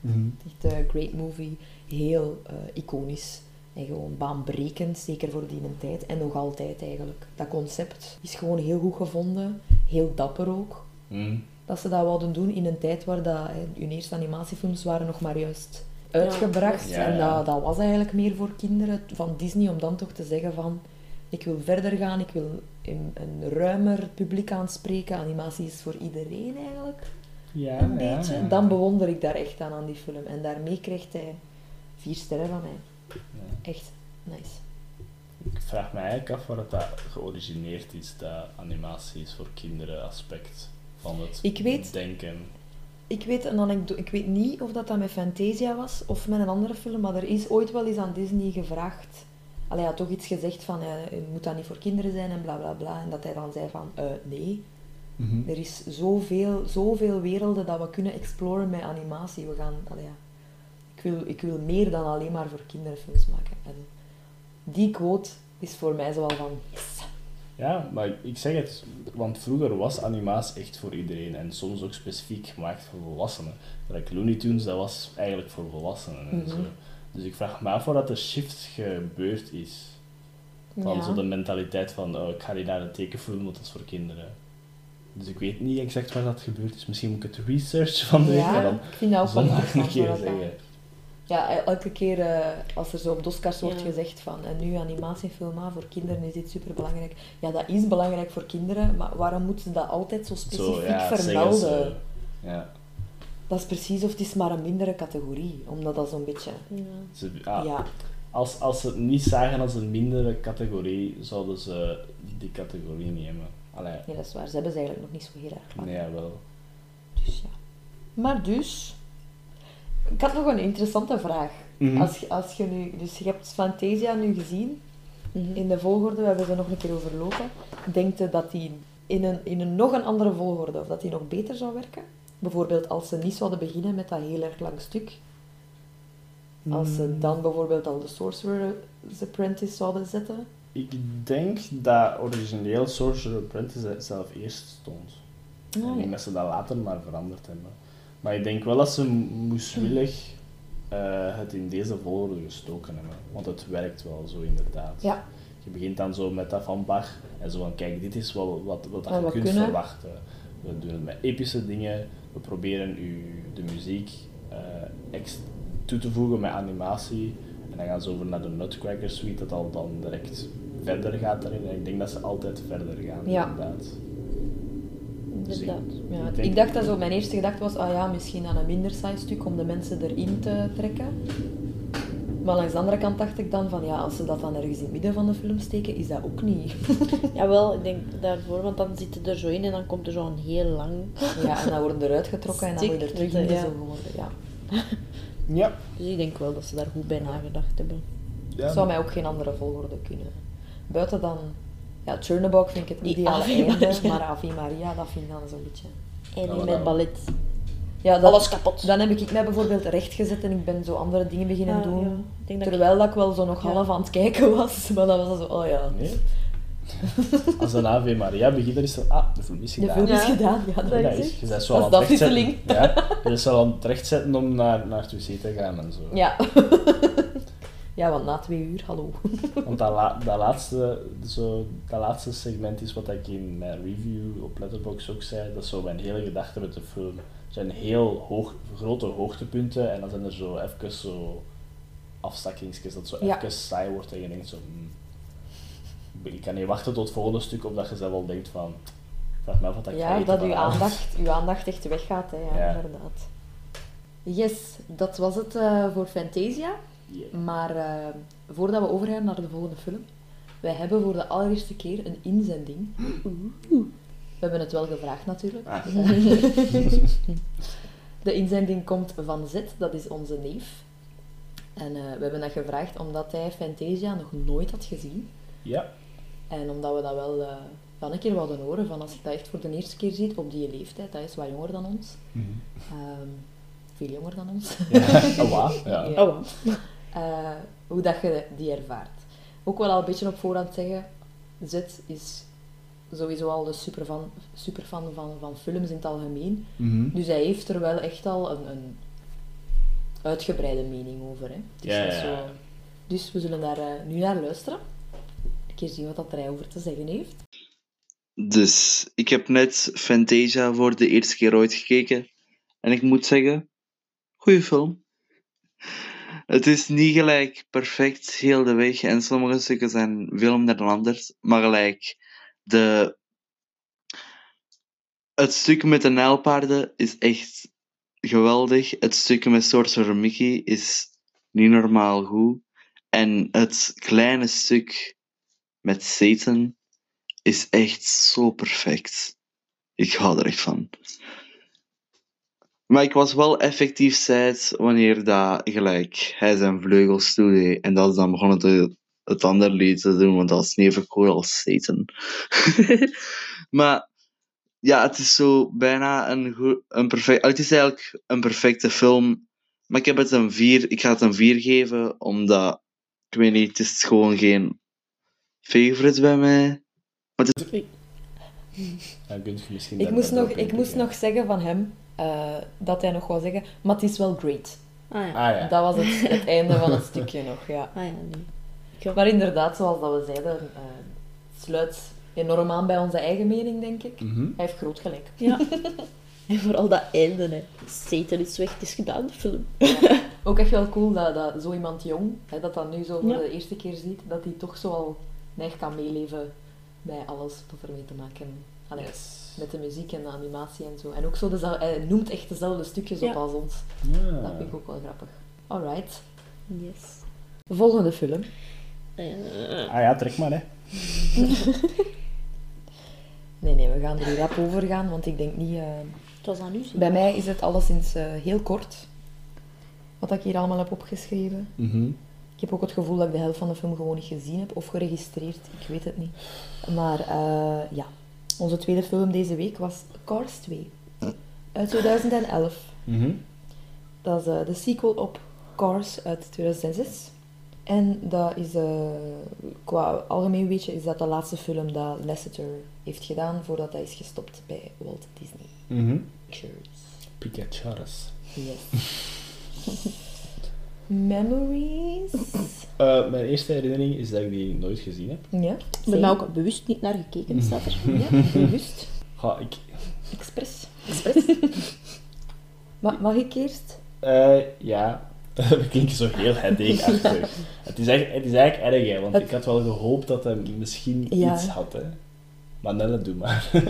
mm.
Echt een great movie. Heel eh, iconisch. En gewoon baanbrekend, zeker voor die tijd. En nog altijd eigenlijk. Dat concept is gewoon heel goed gevonden. Heel dapper ook.
Hm.
Dat ze dat wouden doen in een tijd waar dat, hè, hun eerste animatiefilms waren nog maar juist uitgebracht.
Ja, ja.
En dat, dat was eigenlijk meer voor kinderen van Disney om dan toch te zeggen van... Ik wil verder gaan, ik wil een, een ruimer publiek aanspreken. Animatie is voor iedereen eigenlijk
Ja,
een
ja,
beetje.
ja.
Dan bewonder ik daar echt aan, aan die film. En daarmee krijgt hij vier sterren van mij.
Ja.
Echt nice.
Ik vraag me eigenlijk af waar het dat georigineerd is, dat animatie is voor kinderen aspect van het
Ik weet-
denken.
Ik weet, een anekdote, ik weet niet of dat, dat met Fantasia was of met een andere film, maar er is ooit wel eens aan Disney gevraagd. Allee, hij had toch iets gezegd van, eh, moet dat niet voor kinderen zijn en bla bla bla. En dat hij dan zei van, eh, nee. Er is zoveel, zoveel werelden dat we kunnen exploren met animatie. We gaan, allee, ja. ik, wil, ik wil meer dan alleen maar voor kinderen films maken. En die quote is voor mij zo wel van, yes.
Ja, maar ik- ik zeg het, want vroeger was animatie echt voor iedereen en soms ook specifiek gemaakt voor volwassenen. Like Looney Tunes, dat was eigenlijk voor volwassenen en
Mhm.
zo. Dus ik vraag me af waar dat de shift gebeurd is. Van
Ja.
zo de mentaliteit van, oh, ik ga niet naar een tekenfilm, want dat is voor kinderen. Dus ik weet niet exact waar dat gebeurd is. Misschien moet ik het research van de week en
Ja,
dan
ik vind dat ook wel
zondag
interessant
een keer
wat dat-
zeggen.
Ja, el- elke keer eh, als er zo op de Oscars wordt
Ja.
gezegd van en nu animatiefilm, ah, voor kinderen is dit superbelangrijk. Ja, dat is belangrijk voor kinderen, maar waarom moeten ze dat altijd zo specifiek
Zo, ja, zeggen
vermelden?
ze. Ja,
Dat is precies of het is maar een mindere categorie, omdat dat zo'n beetje...
Ja.
ze, ah,
Ja,
Als, als ze het niet zagen als een mindere categorie, zouden ze die categorie niet hebben. Allee,
nee, dat is waar. Ze hebben ze eigenlijk nog niet zo heel erg lang.
nee, jawel.
Dus ja. Maar dus... Ik had nog een interessante vraag.
Mhm.
Als, je- als je nu... Dus je hebt Fantasia nu gezien.
Mhm.
In de volgorde, we hebben ze nog een keer overlopen. Denkt je dat die in een, in een nog een andere volgorde, of dat die nog beter zou werken? Bijvoorbeeld als ze niet zouden beginnen met dat heel erg lang stuk. Als ze dan bijvoorbeeld al de Sorcerer's Apprentice zouden zetten.
Ik denk dat origineel Sorcerer Apprentice zelf eerst stond.
Ah,
ik denk dat ze dat later maar veranderd hebben. Maar ik denk wel dat ze moeswillig eh, het in deze volgorde gestoken hebben. Want het werkt wel zo inderdaad.
Ja.
Je begint dan zo met dat van Bach en zo van kijk, dit is wel wat, wat
Ah, Wat
je
we
kunt
kunnen.
verwachten. We doen het met epische dingen, we proberen u de muziek eh, ex- toe te voegen met animatie. En dan gaan ze over naar de Nutcracker Suite, dat al dan direct verder gaat daarin. En ik denk dat ze altijd verder gaan,
Ja.
inderdaad. Dus
Inderdaad.
Ja,
Ik
ik,
denk-
dacht dat zo, mijn eerste gedachte was, ah ja, misschien aan een minder saai stuk om de mensen erin te trekken. Maar langs de andere kant dacht ik dan van, ja, als ze dat dan ergens in het midden van de film steken, is dat ook niet.
Jawel, ik denk daarvoor, want dan zit het er zo in en dan komt er zo'n heel lang.
Ja, en dan worden ze eruit getrokken en dan moet je er terug in
Stik, ja.
gezogen worden. Ja.
Ja.
Dus ik denk wel dat ze daar goed bij nagedacht hebben.
ja.
Zou mij ook geen andere volgorde kunnen. Buiten dan, ja, Chernobog vind ik het
Die
ideale
Ave
einde,
Maria.
maar Ave Maria, dat vind ik dan zo'n beetje...
En
maar
die
dan-
met ballet.
Ja, dat,
Alles kapot.
Dan heb ik mij bijvoorbeeld rechtgezet en ik ben zo andere dingen beginnen
Ah,
doen.
ja. Ik denk dat ik-
Terwijl dat ik wel zo nog
Ja.
half aan het kijken was, maar dat was dan zo, oh ja.
Nee. Als een Ave Maria begint, dan is er... Ah, de film is
De
gedaan.
film is
Ja.
gedaan, ja. Dat
Ja,
is
dat is, je bent zo
Dat
aan
is de
het rechtzetten.
afwisseling.
Ja, je bent zo aan het rechtzetten om naar, naar het wc te gaan en zo.
Ja. ja, want na twee uur, hallo.
Want dat, la- dat, laatste, zo, dat laatste segment is wat ik in mijn review op Letterboxd ook zei. Dat is zo mijn hele gedachte met de film. Er zijn heel hoog, grote hoogtepunten en dan zijn er zo even zo afzakkingsjes dat zo
Ja.
even saai wordt en je denkt zo... hmm. ik kan niet wachten tot het volgende stuk of dat je zelf al denkt van... Vraag me af wat ik ga
ja,
eten
dat uw
vanavond.
aandacht, uw aandacht echt weggaat, hè. Ja,
Ja.
inderdaad. Yes, dat was het eh, voor Fantasia.
Yeah.
Maar eh, voordat we overgaan naar de volgende film, wij hebben voor de allereerste keer een inzending. We hebben het wel gevraagd natuurlijk.
Ah.
de inzending komt van Zet, dat is onze neef. En eh, we hebben dat gevraagd omdat hij Fantasia nog nooit had gezien.
Ja,
En omdat we dat wel eh, van een keer wilden horen, van als je dat echt voor de eerste keer ziet op die leeftijd, dat is wat jonger dan ons.
Mhm.
Ehm, veel jonger dan ons.
oh, wow. Ja.
Ja.
Oh,
eh, hoe dat je die ervaart. Ook wel al een beetje op voorhand zeggen, Zet is sowieso al een superfan, superfan van, van films in het algemeen.
Mhm.
Dus hij heeft er wel echt al een, een uitgebreide mening over. Hè. Het is
Ja,
niet
ja, ja.
zo- Dus we zullen daar eh, nu naar luisteren. Een keer zien wat dat er hij over te zeggen heeft.
Dus ik heb net Fantasia voor de eerste keer ooit gekeken. En ik moet zeggen, goede film. Het is niet gelijk perfect heel de weg. En sommige stukken zijn veel minder dan anders. Maar gelijk, de... het stuk met de nijlpaarden is echt geweldig. Het stuk met Sorcerer Mickey is niet normaal goed. En het kleine stuk met Satan is echt zo perfect. Ik hou er echt van. Maar ik was wel effectief sad wanneer dat gelijk hij zijn vleugels toedeed. En dat ze dan begonnen te, het ander lied te doen, want dat is niet even cool als Satan. maar ja, het is zo bijna een, goe- een perfect... Het is eigenlijk een perfecte film. Maar ik heb het een 4... Ik ga het een 4 geven, omdat... Ik weet niet, het is gewoon geen favorite bij mij.
Dan kun je misschien
Ik
daar
moest,
met
nog,
op in
ik moest
pikken.
nog zeggen van hem, eh, dat hij nog wou zeggen, maar het is wel great.
ah ja.
Ah ja.
Dat was het, het einde van het stukje nog, ja.
Ah ja, nee.
Maar inderdaad, zoals dat we zeiden, eh, het sluit enorm aan bij onze eigen mening, denk ik.
Mhm.
Hij heeft groot gelijk.
Ja. en vooral dat einde, hè. Satan is weg, het is gedaan, de film.
Ook echt wel cool dat, dat zo iemand jong, hè, dat dat nu zo voor
Ja.
de eerste keer ziet, dat hij toch zo al neig kan meeleven bij alles wat ermee te maken heeft.
Yes.
Met de muziek en de animatie en zo. En ook zo, dezelfde, hij noemt echt dezelfde stukjes
Ja.
op als ons.
Ja.
Dat vind ik ook wel grappig. Alright.
Yes.
Volgende film.
Eh,
Ah ja, trek maar hè.
Nee, nee, we gaan er hier rap over gaan, want ik denk niet... eh,
het was aan u. zo.
Bij mij is het alleszins eh heel kort. Wat ik hier allemaal heb opgeschreven.
Mhm.
Ik heb ook het gevoel dat ik de helft van de film gewoon niet gezien heb of geregistreerd. Ik weet het niet. Maar eh, ja, onze tweede film deze week was Cars 2. Uit 2011.
Mhm.
Dat is eh, de sequel op Cars uit 2006. En dat is, eh, qua algemeen weetje, is dat de laatste film dat Lasseter heeft gedaan voordat hij is gestopt bij Walt Disney
Mhm.
Pictures.
Pikachu's.
Yes. Memories?
Eh, mijn eerste herinnering is dat ik die nooit gezien heb.
Ja.
Ik ben daar ook bewust niet naar gekeken, staat er.
Ja, bewust.
Ga ik...
Express. Express. Ma- mag ik eerst?
eh, ja, dat klinkt zo heel headache-achtig. het, is echt, het is eigenlijk erg, hè, want
Het-
ik had wel gehoopt dat hij misschien
Ja.
iets had. Hè. Maar Nelle, doe maar.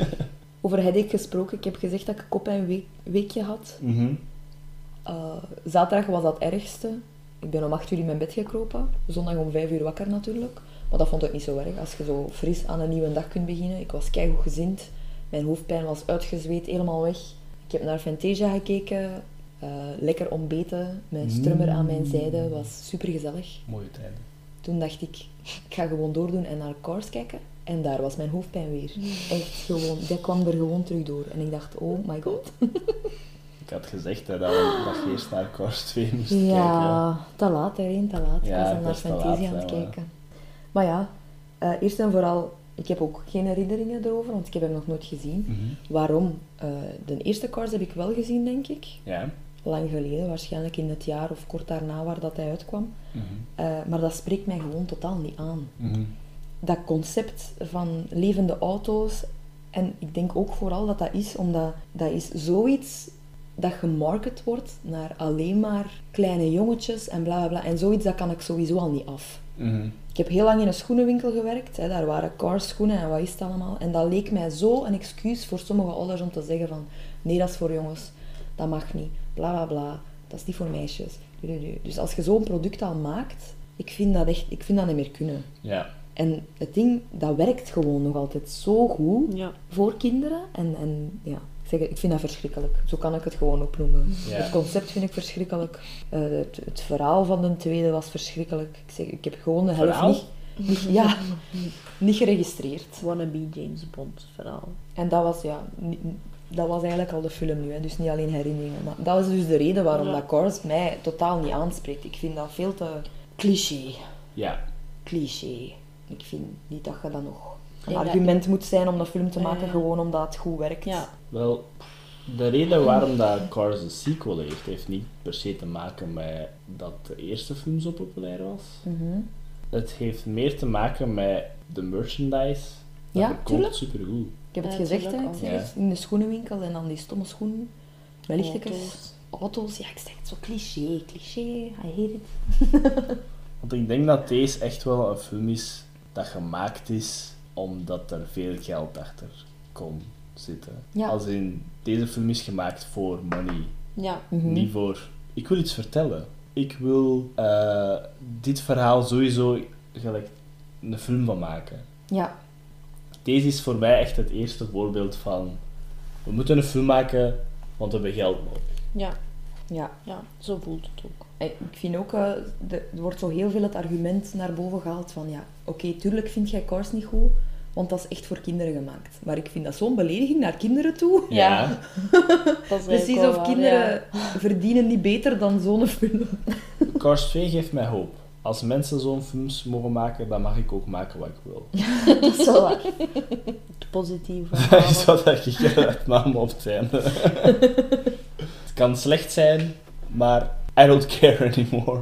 Over headache gesproken, ik heb gezegd dat ik kop- en week- weekje had.
Mhm.
Eh, zaterdag was dat ergste. Ik ben om 8 uur in mijn bed gekropen. Zondag om 5 uur wakker natuurlijk. Maar dat vond ik niet zo erg. Als je zo fris aan een nieuwe dag kunt beginnen. Ik was keigoed gezind. Mijn hoofdpijn was uitgezweet, helemaal weg. Ik heb naar Fantasia gekeken. eh, lekker ontbeten. Mijn strummer aan mijn zijde was super gezellig.
Mooie tijden.
Toen dacht ik, ik ga gewoon doordoen en naar Cars kijken. En daar was mijn hoofdpijn weer. Echt gewoon, dat kwam er gewoon terug door. En ik dacht, oh my god.
Ik had gezegd hè, dat, we, dat je eerst naar Cars 2 moest kijken. hè.
Ja, te laat, hè, te laat. ik was
Ja,
al
ik
naar
was te laat,
Fantasia aan het
hè, maar-
kijken. Maar ja, eh, eerst en vooral, ik heb ook geen herinneringen erover, want ik heb hem nog nooit gezien.
Mhm.
Waarom? Eh, de eerste Cars heb ik wel gezien, denk ik.
Ja.
Lang geleden, waarschijnlijk in het jaar of kort daarna waar dat hij uitkwam.
Mhm.
Eh, maar dat spreekt mij gewoon totaal niet aan.
Mhm.
Dat concept van levende auto's. En ik denk ook vooral dat dat is omdat dat is zoiets dat gemarket wordt naar alleen maar kleine jongetjes en bla bla bla. En zoiets dat kan ik sowieso al niet af.
Mhm.
Ik heb heel lang in een schoenenwinkel gewerkt. Hè. Daar waren cars schoenen en wat is het allemaal. En dat leek mij zo een excuus voor sommige ouders om te zeggen van... Nee, dat is voor jongens. Dat mag niet. Bla, bla, bla. Dat is niet voor meisjes. Du, du, du. Dus als je zo'n product al maakt... Ik vind dat echt... Ik vind dat niet meer kunnen.
Ja.
En het ding, dat werkt gewoon nog altijd zo goed
Ja.
voor kinderen. En, en ja, ik, zeg, het, ik vind dat verschrikkelijk. Zo kan ik het gewoon ook noemen.
Ja.
Het concept vind ik verschrikkelijk. Eh, het, het verhaal van de tweede was verschrikkelijk. Ik, zeg, ik heb gewoon de helft
Verhaal?
niet, niet, ja, niet geregistreerd.
Wannabe James Bond verhaal.
En dat was, ja, niet- dat was eigenlijk al de film nu, hè. dus niet alleen herinneringen. Maar dat is dus de reden waarom
Ja.
dat Cars mij totaal niet aanspreekt. Ik vind dat veel te cliché.
Ja.
Cliché. Ik vind niet dat je dat nog een
Ja, dat-
argument moet zijn om dat film te maken,
Eh.
gewoon omdat het goed werkt.
Ja.
Wel, de reden waarom dat Cars een sequel heeft, heeft niet per se te maken met dat de eerste film zo populair was.
Mhm.
Het heeft meer te maken met de merchandise. Dat
Ja, tuurlijk.
verkoopt supergoed.
Ik heb het
Ja,
gezegd, hè.
tuurlijk
ik zeg
ook.
het, in de schoenenwinkel en dan die stomme schoenen. Met lichtekens.
Auto's.
Auto's, ja, ik zeg het zo cliché, cliché, I hate it.
Want ik denk dat deze echt wel een film is dat gemaakt is omdat er veel geld achter kon zitten.
Ja.
Als in, deze film is gemaakt voor money.
Ja.
Mhm.
Niet voor, ik wil iets vertellen. Ik wil eh, dit verhaal sowieso gelijk een film van maken.
Ja,
Deze is voor mij echt het eerste voorbeeld van, we moeten een film maken, want we hebben geld nodig.
Ja.
ja.
Ja. Zo voelt het ook.
En Ik vind ook, eh, de- er wordt zo heel veel het argument naar boven gehaald van, ja, oké, tuurlijk vind jij Cars niet goed, want dat is echt voor kinderen gemaakt. Maar ik vind dat zo'n belediging naar kinderen toe.
Ja. Dat is
Precies of
eigenlijk wel waar, ja.
kinderen verdienen niet beter dan zo'n film.
Cars 2 geeft mij hoop. Als mensen zo'n films mogen maken, dan mag ik ook maken wat ik wil.
Dat is wel waar.
Het positieve.
Dat is
verhaal.
wat ik uit naam op zijn. het kan slecht zijn, maar I don't care anymore.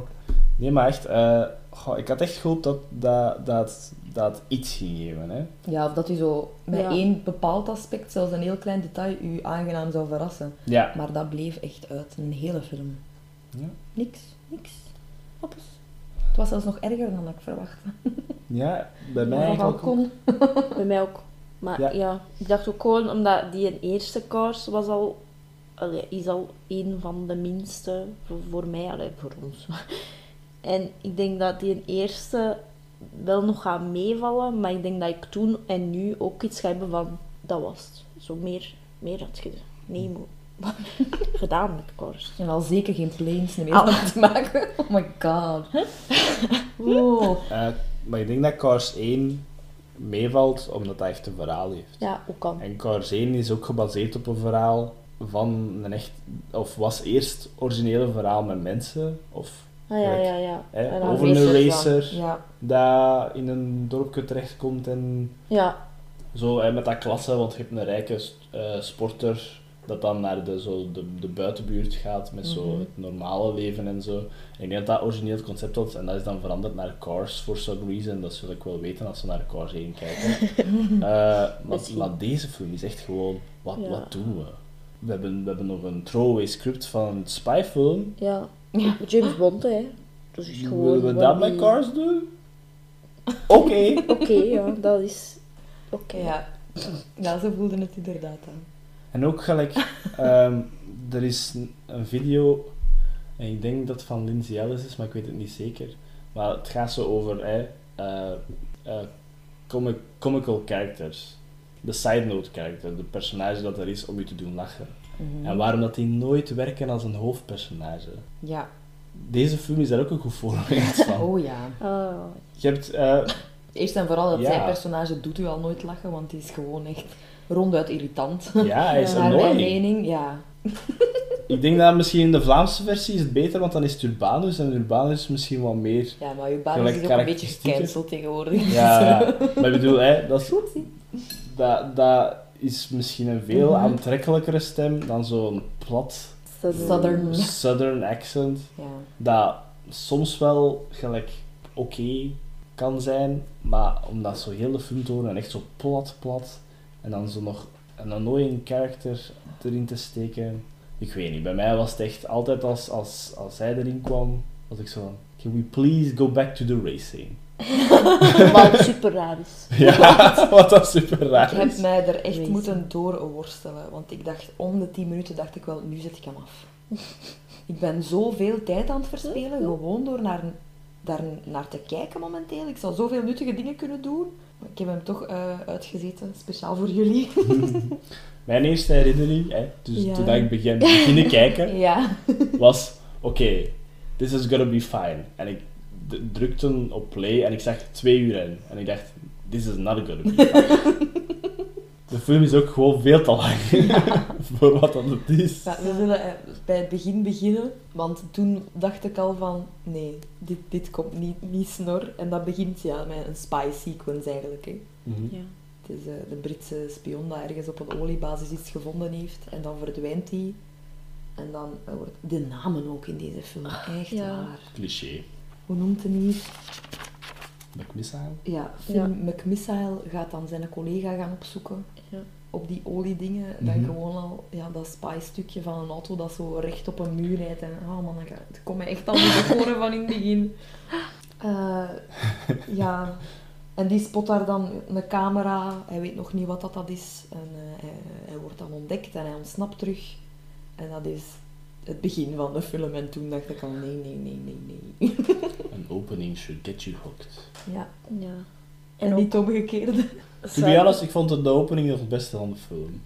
Nee, maar echt, eh, goh, ik had echt gehoopt dat dat, dat, dat iets ging geven. Hè?
Ja, of dat u zo met
Ja.
één bepaald aspect, zelfs een heel klein detail, u aangenaam zou verrassen.
Ja,
Maar dat bleef echt uit, een hele film.
Ja.
Niks, niks. Appels. Het was zelfs nog erger dan ik verwachtte.
Ja, bij mij
Van
eigenlijk ook.
balkon.
Bij mij ook. Maar
Ja.
ja. ik dacht ook gewoon omdat die een eerste kaars was al, allee, is al een van de minste voor, voor mij, allee, voor ons. En ik denk dat die een eerste wel nog gaat meevallen, maar ik denk dat ik toen en nu ook iets ga hebben van dat was het. Zo meer, meer had je niet mo- gedaan met kaars.
En al zeker geen planes meer
Au.
van te maken. Oh my god. Wow.
Eh, maar ik denk dat Cars 1 meevalt omdat dat echt een verhaal heeft.
Ja, ook al.
En Cars 1 is ook gebaseerd op een verhaal van een echt... Of was eerst originele verhaal met mensen. Of
Ah, ja, ja, ja.
hè,
En dan
over een
racer
Dus-
racer
Ja,
dat in een dorpje terechtkomt en
Ja,
Zo hè, met dat klasse, want je hebt een rijke eh, sporter dat dan naar de, zo de, de buitenbuurt gaat met zo
Mhm.
het normale leven en zo. En ik denk dat dat origineel het concept was en dat is dan veranderd naar Cars for some reason. Dat zul ik wel weten als we naar Cars 1 kijken. Eh, maar,
Misschien.
maar deze film is echt gewoon, wat,
Ja.
wat doen we? We hebben, we hebben nog een throwaway script van een spyfilm.
ja. James Bond, hè. Dus is gewoon...
Willen we
wat
dat met
die-
Cars doen? Oké.
Oké, ja, dat is. Oké.
ja. Ja, ze voelden het inderdaad aan.
En ook gelijk, ehm, er is een- een video, en ik denk dat het van Lindsay Ellis is, maar ik weet het niet zeker. Maar het gaat zo over hè, eh, eh, comic, comical characters. De side note character, de personage dat er is om je te doen lachen.
Mhm.
En waarom dat die nooit werken als een hoofdpersonage.
Ja.
Deze film is daar ook een goed voorbeeld van.
Oh ja.
Ah,
Je hebt eh,
Eerst en vooral dat
Ja.
zijpersonage doet u al nooit lachen, want die is gewoon echt ronduit irritant.
Ja, hij is
Naar mijn
annoying.
mening, ja.
Ik denk dat misschien in de Vlaamse versie is het beter, want dan is het Urbanus. En Urbanus is misschien wat meer...
Ja, maar uw baan
Gelijk
is ook een beetje
karakteristieken.
gecanceld tegenwoordig.
Ja, ja. maar ik bedoel, hè, dat, is,
Oepsie.
dat, dat is misschien een veel
Mhm.
aantrekkelijkere stem dan zo'n plat
Southern.
Southern.
Southern accent.
Ja.
Dat soms wel gelijk oké kan zijn, maar omdat zo heel de film door en echt zo plat plat en dan zo nog een annoying character erin te steken. Ik weet niet, bij mij was het echt altijd als, als, als hij erin kwam, was ik zo van, can we please go back to the racing?
Wat super raar is.
Ja, wat dat super raar
Ik heb
is.
mij er echt
Wezen.
moeten doorworstelen, want ik dacht, om de 10 minuten dacht ik wel, nu zet ik hem af. ik ben zoveel tijd aan het verspelen, gewoon door naar, daar naar te kijken momenteel. Ik zou zoveel nuttige dingen kunnen doen. Maar ik heb hem toch eh, uitgezeten, speciaal voor jullie.
Mijn eerste herinnering, hè, dus
Ja.
toen ik begon beginnen kijken,
ja.
was: oké, this is gonna be fine. En ik d- drukte op play en ik zag twee uur in. En ik dacht: this is not gonna be fine. De film is ook gewoon veel te lang voor wat dat het is.
Ja, we zullen eh, bij het begin beginnen, want toen dacht ik al van, nee, dit, dit komt niet, niet snor. En dat begint ja, met een spy sequence eigenlijk. Hè.
Mhm.
Ja.
Het is eh, de Britse spion die ergens op een oliebasis iets gevonden heeft en dan verdwijnt hij. En dan eh, wordt de namen ook in deze film echt
Ah, ja.
waar.
Cliché.
Hoe noemt hij die?
McMissile?
Ja, Finn McMissile gaat dan zijn collega gaan opzoeken
Ja.
op die oliedingen. Dan
Mhm.
gewoon al ja, dat spy-stukje van een auto dat zo recht op een muur rijdt. En oh man, dat ga- het komt mij echt al voor van in het begin. Eh, ja, en die spot daar dan een camera. Hij weet nog niet wat dat, dat is. En eh, hij, hij wordt dan ontdekt en hij ontsnapt terug. En dat is het begin van de film. En toen dacht ik al, nee, nee, nee, nee, nee.
An opening should get you hooked.
ja,
ja.
en
ook
niet omgekeerd.
To be honest, ik vond het de opening nog het beste van de film.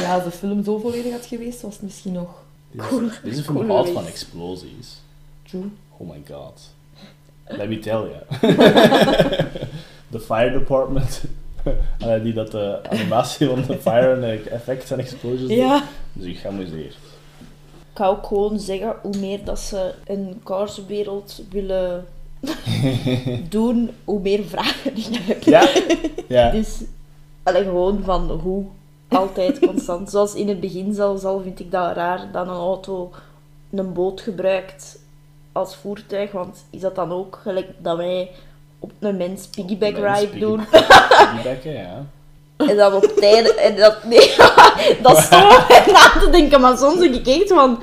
Ja, als de film zo volledig had geweest, was het misschien nog
Deze, deze film
Cool
houdt
race.
van explosies.
true.
Oh my god. Let me tell you. De fire department. eh, die dat de animatie van de fire en de effects en explosions doet.
Ja.
Dus ik ga amuseren.
Ik ga ook gewoon zeggen, hoe meer dat ze een kaarswereld willen doen, hoe meer vragen die ik heb.
Ja? Ja.
Dus, alleen gewoon van hoe. Altijd constant. Zoals in het begin zelfs al vind ik dat raar dat een auto een boot gebruikt als voertuig. Want is dat dan ook gelijk dat wij op een mens piggyback
Op een mens
ride doen?
Feedbacken, ja.
En dan op tijden. En dat, nee, dat stond mij na te denken. Maar soms denk ik echt van...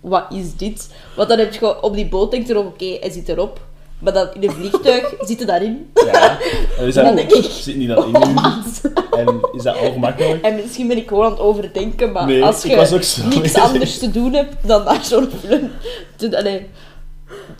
wat is dit? Want dan heb je gewoon op die boot denkt erop, oké, hij zit erop. Maar dan in een vliegtuig zit hij daarin.
Ja. En is dat,
Dan denk ik-
Zit niet dat in u? En is dat ongemakkelijk?
En misschien ben ik gewoon aan het overdenken, maar
Nee,
als
ik
je
was ook zo.
niks anders te doen hebt dan naar zo'n film te- allee,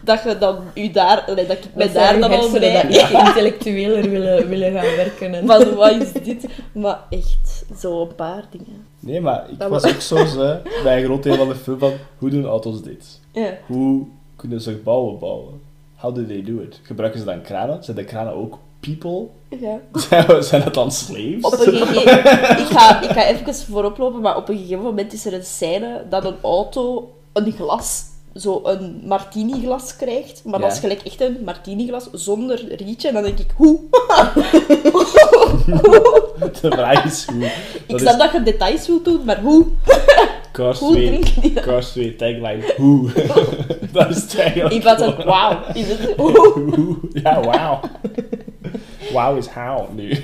dat je dan u daar, allee, dat ik mij
Dat zijn
daar dan
uw
al
hersenen
bij...
dat iets intellectueler willen, willen gaan werken. En...
Van wat is dit? Maar echt, zo'n paar dingen.
Nee, maar ik
Dat
was
was-
ook zo zo, bij een groot deel van de film van hoe doen auto's dit?
Ja.
Hoe kunnen ze gebouwen bouwen? How do they do it? Gebruiken ze dan kranen? Zijn de kranen ook people?
ja.
Zijn we- zijn dat dan slaves?
Op een gegeven ik ga, ik ga even voorop lopen, maar op een gegeven moment is er een scène dat een auto een glas, zo een martini-glas krijgt. Maar dat
Ja.
is gelijk echt een martini-glas zonder rietje. En dan denk ik, hoe?
De vraag is hoe.
ik
Dat
snap
is
dat je details wilt doen, maar hoe?
Cars
Hoe
2,
drinken die dat?
Cars 2 tagline, hoe. dat is het eigenlijk.
Ik was
gewoon.
een, wauw, is het hoe?
Hoe? Ja, wauw. Wauw is how nu.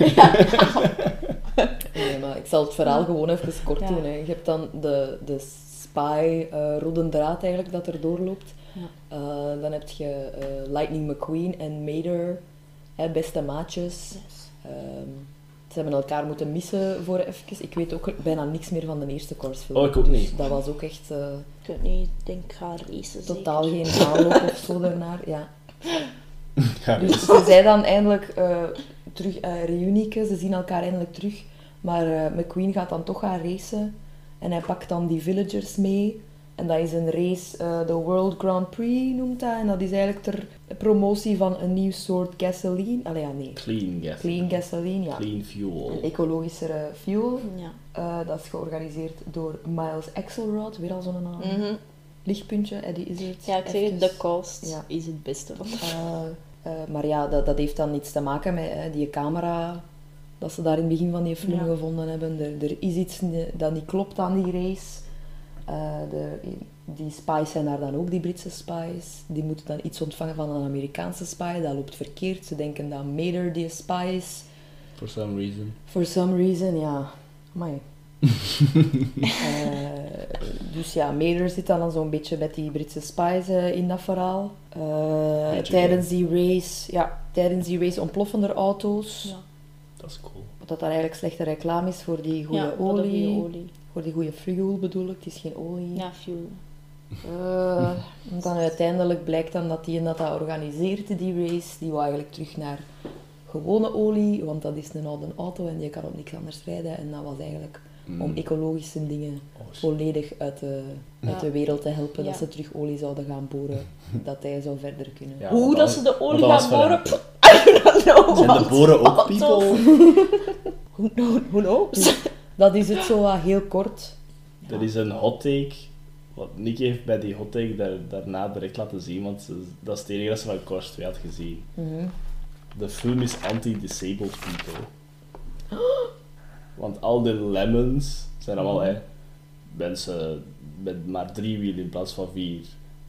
Nee, maar ik zal het verhaal gewoon even kort
Ja.
doen. Hè. Je hebt dan de, de spy, eh rode draad eigenlijk, dat er doorloopt.
Ja.
Eh, dan heb je eh, Lightning McQueen en Mater, hè, beste maatjes. Ehm, ze hebben elkaar moeten missen voor even. Ik weet ook bijna niks meer van de eerste Cars film.
Oh, ik ook
Dus
niet.
dat was ook echt eh,
Ik weet niet, ik denk ga racen
totaal geen aanloop of zo daarnaar. Ja.
Ja,
Dus ze zijn dan eindelijk eh, terug eh reunieken, ze zien elkaar eindelijk terug. Maar eh, McQueen gaat dan toch gaan racen. En hij pakt dan die villagers mee. En dat is een race, eh, de World Grand Prix noemt dat. En dat is eigenlijk ter promotie van een nieuw soort gasoline. Allee, ja, nee.
Clean gas.
Clean gasoline, ja.
Clean fuel.
Een ecologischere fuel.
Ja.
Eh, dat is georganiseerd door Miles Axelrod, weer al zo'n naam.
Mhm.
Lichtpuntje, eh, die is het.
ja, ik zeg
Even.
het, de cost
Ja.
is het beste van de
Eh, eh, maar ja, dat, dat heeft dan iets te maken met hè, die camera dat ze daar in het begin van die film
Ja.
gevonden hebben. Er, er is iets ni- dat niet klopt aan die race. Eh, de, die spies zijn daar dan ook, die Britse spies. Die moeten dan iets ontvangen van een Amerikaanse spy. Dat loopt verkeerd. Ze denken dat Mader die spy is.
For some reason.
For some reason, ja. Amai. Eh, dus ja, Mader zit dan al zo'n beetje met die Britse spies eh, in dat verhaal. Eh,
Beetje
tijdens die race, ja, tijdens die race ontploffen er auto's.
Ja.
Dat is cool.
Wat dat dan eigenlijk slechte reclame is voor die goede
ja, voor de
olie.
goede olie.
Voor die goede fuel bedoel ik, het is geen olie.
Ja, fuel.
Eh, want dan uiteindelijk blijkt dan dat die en dat dat organiseert, die race, die wil eigenlijk terug naar gewone olie, want dat is een oude auto en je kan op niks anders rijden. En dat was eigenlijk om ecologische dingen
Hmm. Oh, shit.
volledig uit de, uit
Ja.
de wereld te helpen, dat
Ja.
ze terug olie zouden gaan boren, dat hij zou verder kunnen.
Ja,
Hoe
want
dat
dan-
ze de olie
want dat
gaan
was
boren,
van-
pff, I don't know.
Zijn de
want- Ah,
boren ook
want-
people?
Who, kno- who
nou?
knows? dat is het zo wat heel kort.
Dat is een hot take. Wat Nick heeft bij die hot take daar, daarna direct laten zien, want ze- dat is het enige dat ze van Cars 2 had gezien. De film is anti-disabled people. Want al die lemons zijn allemaal hè, mensen met maar drie wielen in plaats van vier.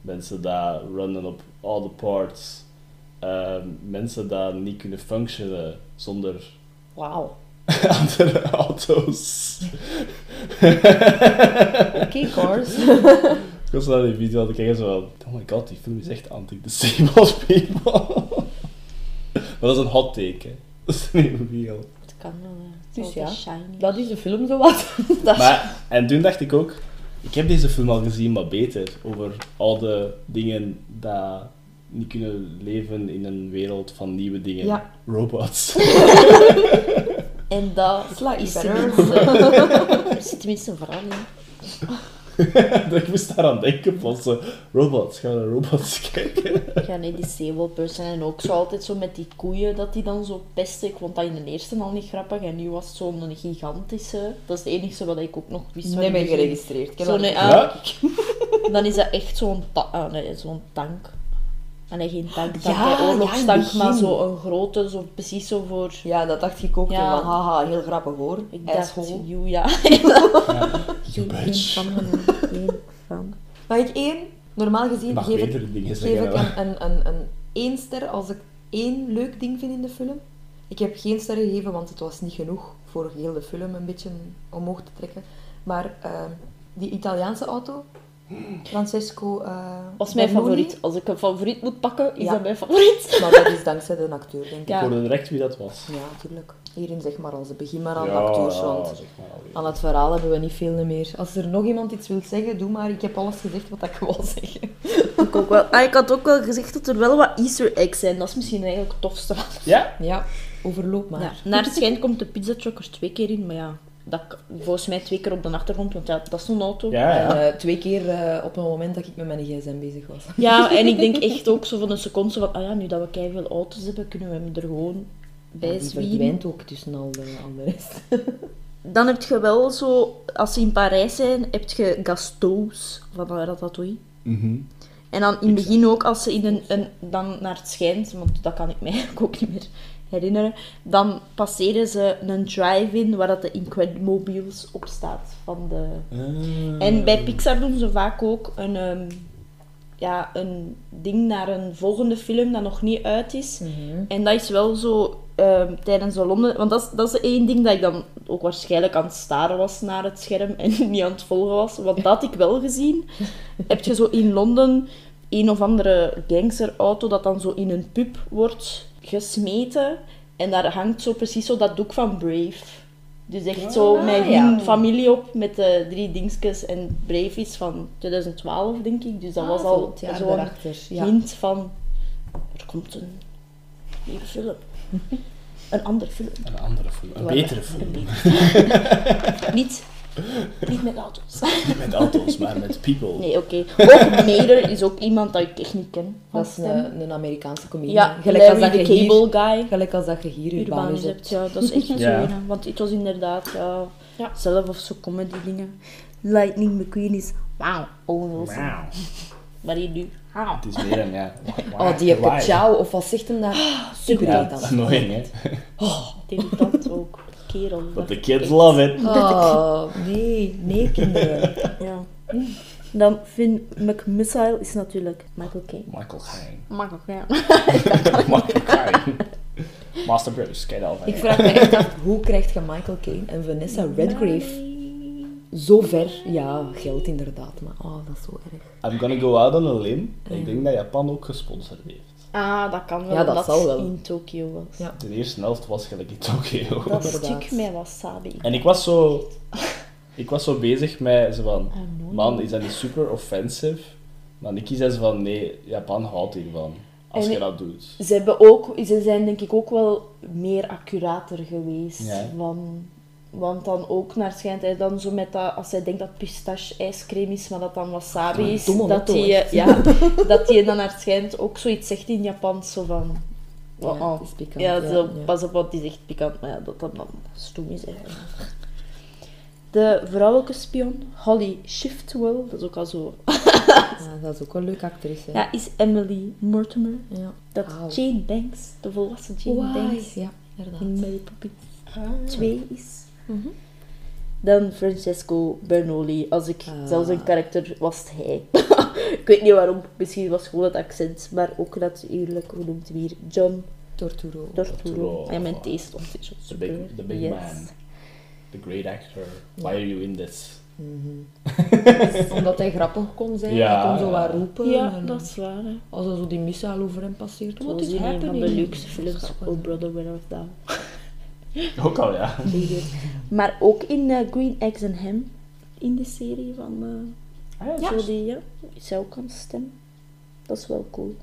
Mensen daar runnen op all the parts. Ehm, mensen daar niet kunnen functionen zonder
Wauw.
andere auto's.
Oké, Cars.
Ik was naar die video aan het kijken zo van, oh my god, die film is echt anti-disabled people. maar dat is een hot take, hè. Dat is niet real.
Het kan wel, ja. Het
Dus
is
ja,
altijd shiny.
dat is de film zo wat.
Maar, en toen dacht ik ook, ik heb deze film al gezien, maar beter. Over al de dingen dat niet kunnen leven in een wereld van nieuwe dingen.
Ja.
Robots.
En dat
like
is
better.
tenminste, er zit tenminste een verhaal in.
ik moest daaraan denken, plots. zo, Robots, gaan we naar robots kijken?
Ja, nee, disabled person. En ook zo altijd zo met die koeien dat die dan zo pesten. Ik vond dat in de eerste al niet grappig. En nu was het zo'n gigantische. Dat is het enige wat ik ook nog wist. van
Nee,
in
ben
het begin.
geregistreerd. Ik heb
Zo,
dat
nee,
niet-
ah,
Ja.
Dan is dat echt zo'n ta ah, nee, zo'n tank. Ah, nee, geen tank, tank
Ja,
hè,
ja, in het
oorlogstank,
begin.
maar zo'n grote, zo, precies zo voor...
ja, dat dacht ik ook.
Ja.
Ja. Van, haha, heel grappig hoor.
Ik dacht,
Asshole.
you, ja.
You bitch.
Mag ik één? Normaal gezien
Je mag
geef ik
betere dingen
geef
zeggen.
ik
hè.
een, een, een, een één ster als ik één leuk ding vind in de film. Ik heb geen ster gegeven, want het was niet genoeg voor heel de film een beetje omhoog te trekken. Maar eh, die ehm, Italiaanse auto, Francesco... eh
was mijn
Bernoulli.
favoriet. Als ik een favoriet moet pakken, is
Ja.
dat mijn favoriet.
Maar dat is dankzij de acteur, denk ik.
Ja.
Ik hoorde direct wie dat was.
Ja, natuurlijk. Hierin zeg maar onze begin maar aan de acteurs, want
zeg maar alweer.
aan het verhaal hebben we niet veel meer. Als er nog iemand iets wil zeggen, doe maar. Ik heb alles gezegd wat ik wil zeggen.
Ik, ook wel, ah, ik had ook wel gezegd dat er wel wat easter eggs zijn. Dat is misschien eigenlijk het tofste van
Ja?
Ja, overloop maar.
Ja, naar het schijnt komt de pizza truck er twee keer in, maar ja, dat k- volgens mij twee keer op de achtergrond, want ja, dat is zo'n auto.
Ja,
En,
ja.
eh, twee keer eh, op een moment dat ik met mijn gsm bezig was.
Ja, en ik denk echt ook zo van een seconde zo van, ah ja, nu dat we keiveel auto's hebben, kunnen we hem er gewoon bij
Die
zwieren.
verdwijnt ook tussen al de, al de rest.
Dan heb je wel zo, als ze in Parijs zijn, heb je Gastos van eh, Ratatouille. En dan in het begin ook, als ze in een, een, dan naar het schijnt, want dat kan ik mij eigenlijk ook niet meer herinneren, dan passeren ze een drive-in waar dat de Incredibles op staat van de En bij Pixar doen ze vaak ook een, ehm, ja, een ding naar een volgende film dat nog niet uit is. En dat is wel zo ehm, tijdens de Londen. Want dat is, dat is één ding dat ik dan ook waarschijnlijk aan het staren was naar het scherm en niet aan het volgen was. Want dat had ik wel gezien. Heb je zo in Londen een of andere gangsterauto dat dan zo in een pub wordt gesmeten. En daar hangt zo precies zo dat doek van Brave. Dus echt zo met hun familie op, met de drie dingetjes. En Brave is van 2012, denk ik. Dus dat was al
ja,
zo'n
Ja.
hint van... Er komt een nieuwe film. een andere film.
Een andere film. Een betere film.
Niet, niet met auto's.
Niet met auto's, maar met people.
Nee, oké. Ook Mader is ook iemand dat ik echt niet ken. van
Dat is eh,
stem.
een, een Amerikaanse comedie.
Ja,
gelijk als,
Larry
dat je
the
hier,
Cable Guy.
gelijk als dat je hier
Urbanus
Urbanus hebt.
hebt, ja. Dat is echt zo.
Ja.
ja. Want het was inderdaad ja,
Ja.
zelf of zo comedy dingen. Lightning McQueen is wauw, Owen Wilson.
Wow.
Maar hier nu, wauw.
Het is weer een, ja.
Oh, die heb
Why?
ik ciao. Of wat zegt hem daar? Ah, Super
Ja,
dan.
dat is annoying, hè.
Irritant ook. Kerel.
But the kids love it.
Oh, nee. Nee, kinderen.
Ja. Dan Finn McMissile is natuurlijk Michael Caine.
Michael Caine.
Michael Caine.
Michael Caine. Master Bruce, ken je al van
Ik vraag me echt af, hoe krijgt je Michael Caine en Vanessa Redgrave zo ver? Ja, geld inderdaad, maar oh, dat is zo erg.
I'm gonna go out on a limb. Ik denk dat Japan ook gesponsord heeft.
Ah, dat kan wel.
Ja, dat
omdat
zal wel.
het in Tokio was.
Ja.
De eerste helft was gelijk in Tokio.
Dat
Inderdaad.
stuk met wasabi.
En ik was zo... Ik was zo bezig met zo van...
Annoying.
Man, is dat niet super offensive? Maar Nicky zei zo van... Nee, Japan houdt hiervan. Als
En
je
ik-
dat doet.
Ze, hebben ook, ze zijn denk ik ook wel meer accurater geweest.
Ja.
Van, want dan ook naar schijnt hij dan zo met dat, als hij denkt dat pistache ijscream is, maar dat dan wasabi is,
domme
dat
motto,
hij
echt.
ja, dat die dan naar schijnt ook zoiets zegt in Japans, zo van... oh,
Ja,
oh.
het is pikant.
Ja,
ja,
zo,
ja.
pas op, want die is echt pikant, maar ja, dat dat dan stoem is eigenlijk. De vrouwelijke spion, Holly Shiftwell, dat is ook al zo,
Ja, dat is ook een leuke actrice.
ja, is Emily Mortimer.
Ja.
Dat is
Au.
Jane Banks, de volwassen Jane
Why?
Banks,
Ja,
in
inderdaad.
Mary Poppins 2 is. Dan Francesco Bernoulli, als ik
Ah.
zelfs een karakter was, het hij. ik weet niet waarom, misschien was het gewoon het accent, maar ook natuurlijk, hoe noemt hij hem hier? John
Torturo.
Torturo. Ah
Torturo.
Ja, mijn taste stond is
The big, the big man. The great actor. Why are you in this?
Omdat hij grappig kon zijn,
Ja,
hij kon zo
ja.
wat roepen.
Ja,
en
dat is waar. Hè.
Als er zo die missaal over hem passeert,
Dat
wat
was
is
in een van
happening?
de luxe
Dat is
films,
grappig.
Oh Brother, Where Art Thou?
Ook al, ja.
Maar ook in eh, Green Eggs and Ham, in de serie van... eh,
Ah,
Ja. Zo die, ja, is hij ook aan het stem. Dat is wel cool.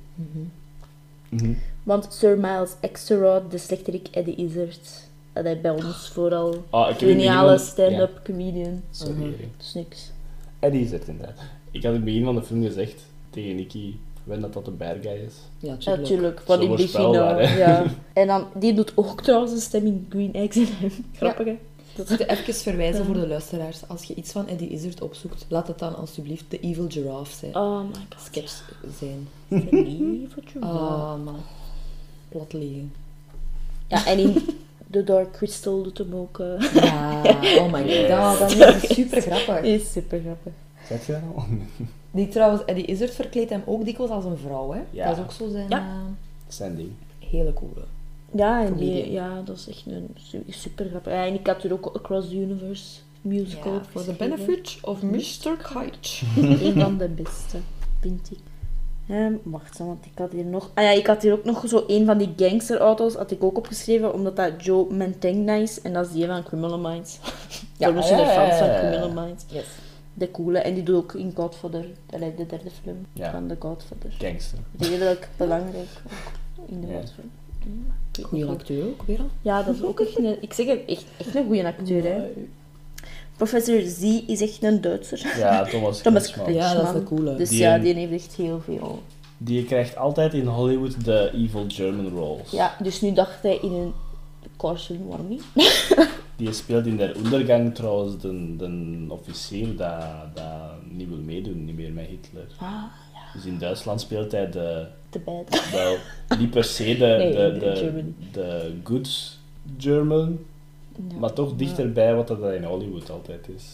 Mhm.
Want Sir Miles Axelrod, de slechterik Eddie Izzard, dat hij bij ons vooral
Ah, ik heb in het begin
geniale
van-
stand-up
Ja,
comedian.
sorry.
Dat is niks.
Eddie is het inderdaad. Ik had in het begin van de film gezegd tegen Nicky Wen dat dat een bad guy is.
Ja,
Ja,
tuurlijk.
Natuurlijk, wat
Zo
ik begin al,
voorspelbaar, hè.
ja. En dan, die doet ook trouwens een stem in Green Eggs en hem. Grappig, hè?
Ik moet even verwijzen voor de luisteraars. Als je iets van Eddie Izzard opzoekt, laat het dan alsjeblieft de Evil Giraffe zijn.
Oh my god.
Sketch zijn.
Lieve
Ah,
jongen.
man. Plat liggen.
Ja, en in The Dark Crystal doet hem ook... eh,
Ja, oh my god, dat is super grappig.
die is super grappig.
Zeg je dat al?
Die trouwens, Eddie Izzard verkleedt hem ook dikwijls als een vrouw, hè?
Ja.
Dat is ook zo zijn
Ja.
eh,
Sandy.
hele coole.
Ja, en die-
Comedian.
ja, Mhm. dat is echt een su- super grappig. Ja, en ik had er ook Across the Universe musical
Ja,
heeft
for the
geschreven.
benefit of Mr. Kite.
Een van de beste, vind ik. Ehm, wacht, hè, want ik had hier nog... Ah ja, ik had hier ook nog zo een van die gangsterauto's had ik ook opgeschreven, omdat dat Joe Mantegna is. En dat is die van Criminal Minds. Ja, moest je
ja,
de fans
ja,
van
ja, ja.
Criminal Minds.
Yes.
De coole. En die doet ook in Godfather, allee, de derde film
Ja.
van de Godfather.
Gangster.
Redelijk belangrijk ook in de
Ja.
Godfather.
Goeie acteur ook weer al.
Ja, dat is ook echt een... Ik zeg het, echt, echt een goede acteur, hè. Professor Z is echt een Duitser.
Ja, Thomas
Thomas
Kretschmann.
Ja, dat is een
Man.
coole.
Dus
Die-
ja, die heeft echt heel veel...
Die krijgt altijd in Hollywood de evil German roles.
Ja, dus nu dacht hij in een Carson Warming.
Die speelt in Der Ondergang trouwens de, de officier dat, dat niet wil meedoen, niet meer met Hitler.
Ah,
Dus in Duitsland speelt hij de,
te bad.
wel, niet per se de,
Nee,
de,
in
de,
Germany.
de good German, maar toch dichterbij wat dat in Hollywood altijd is.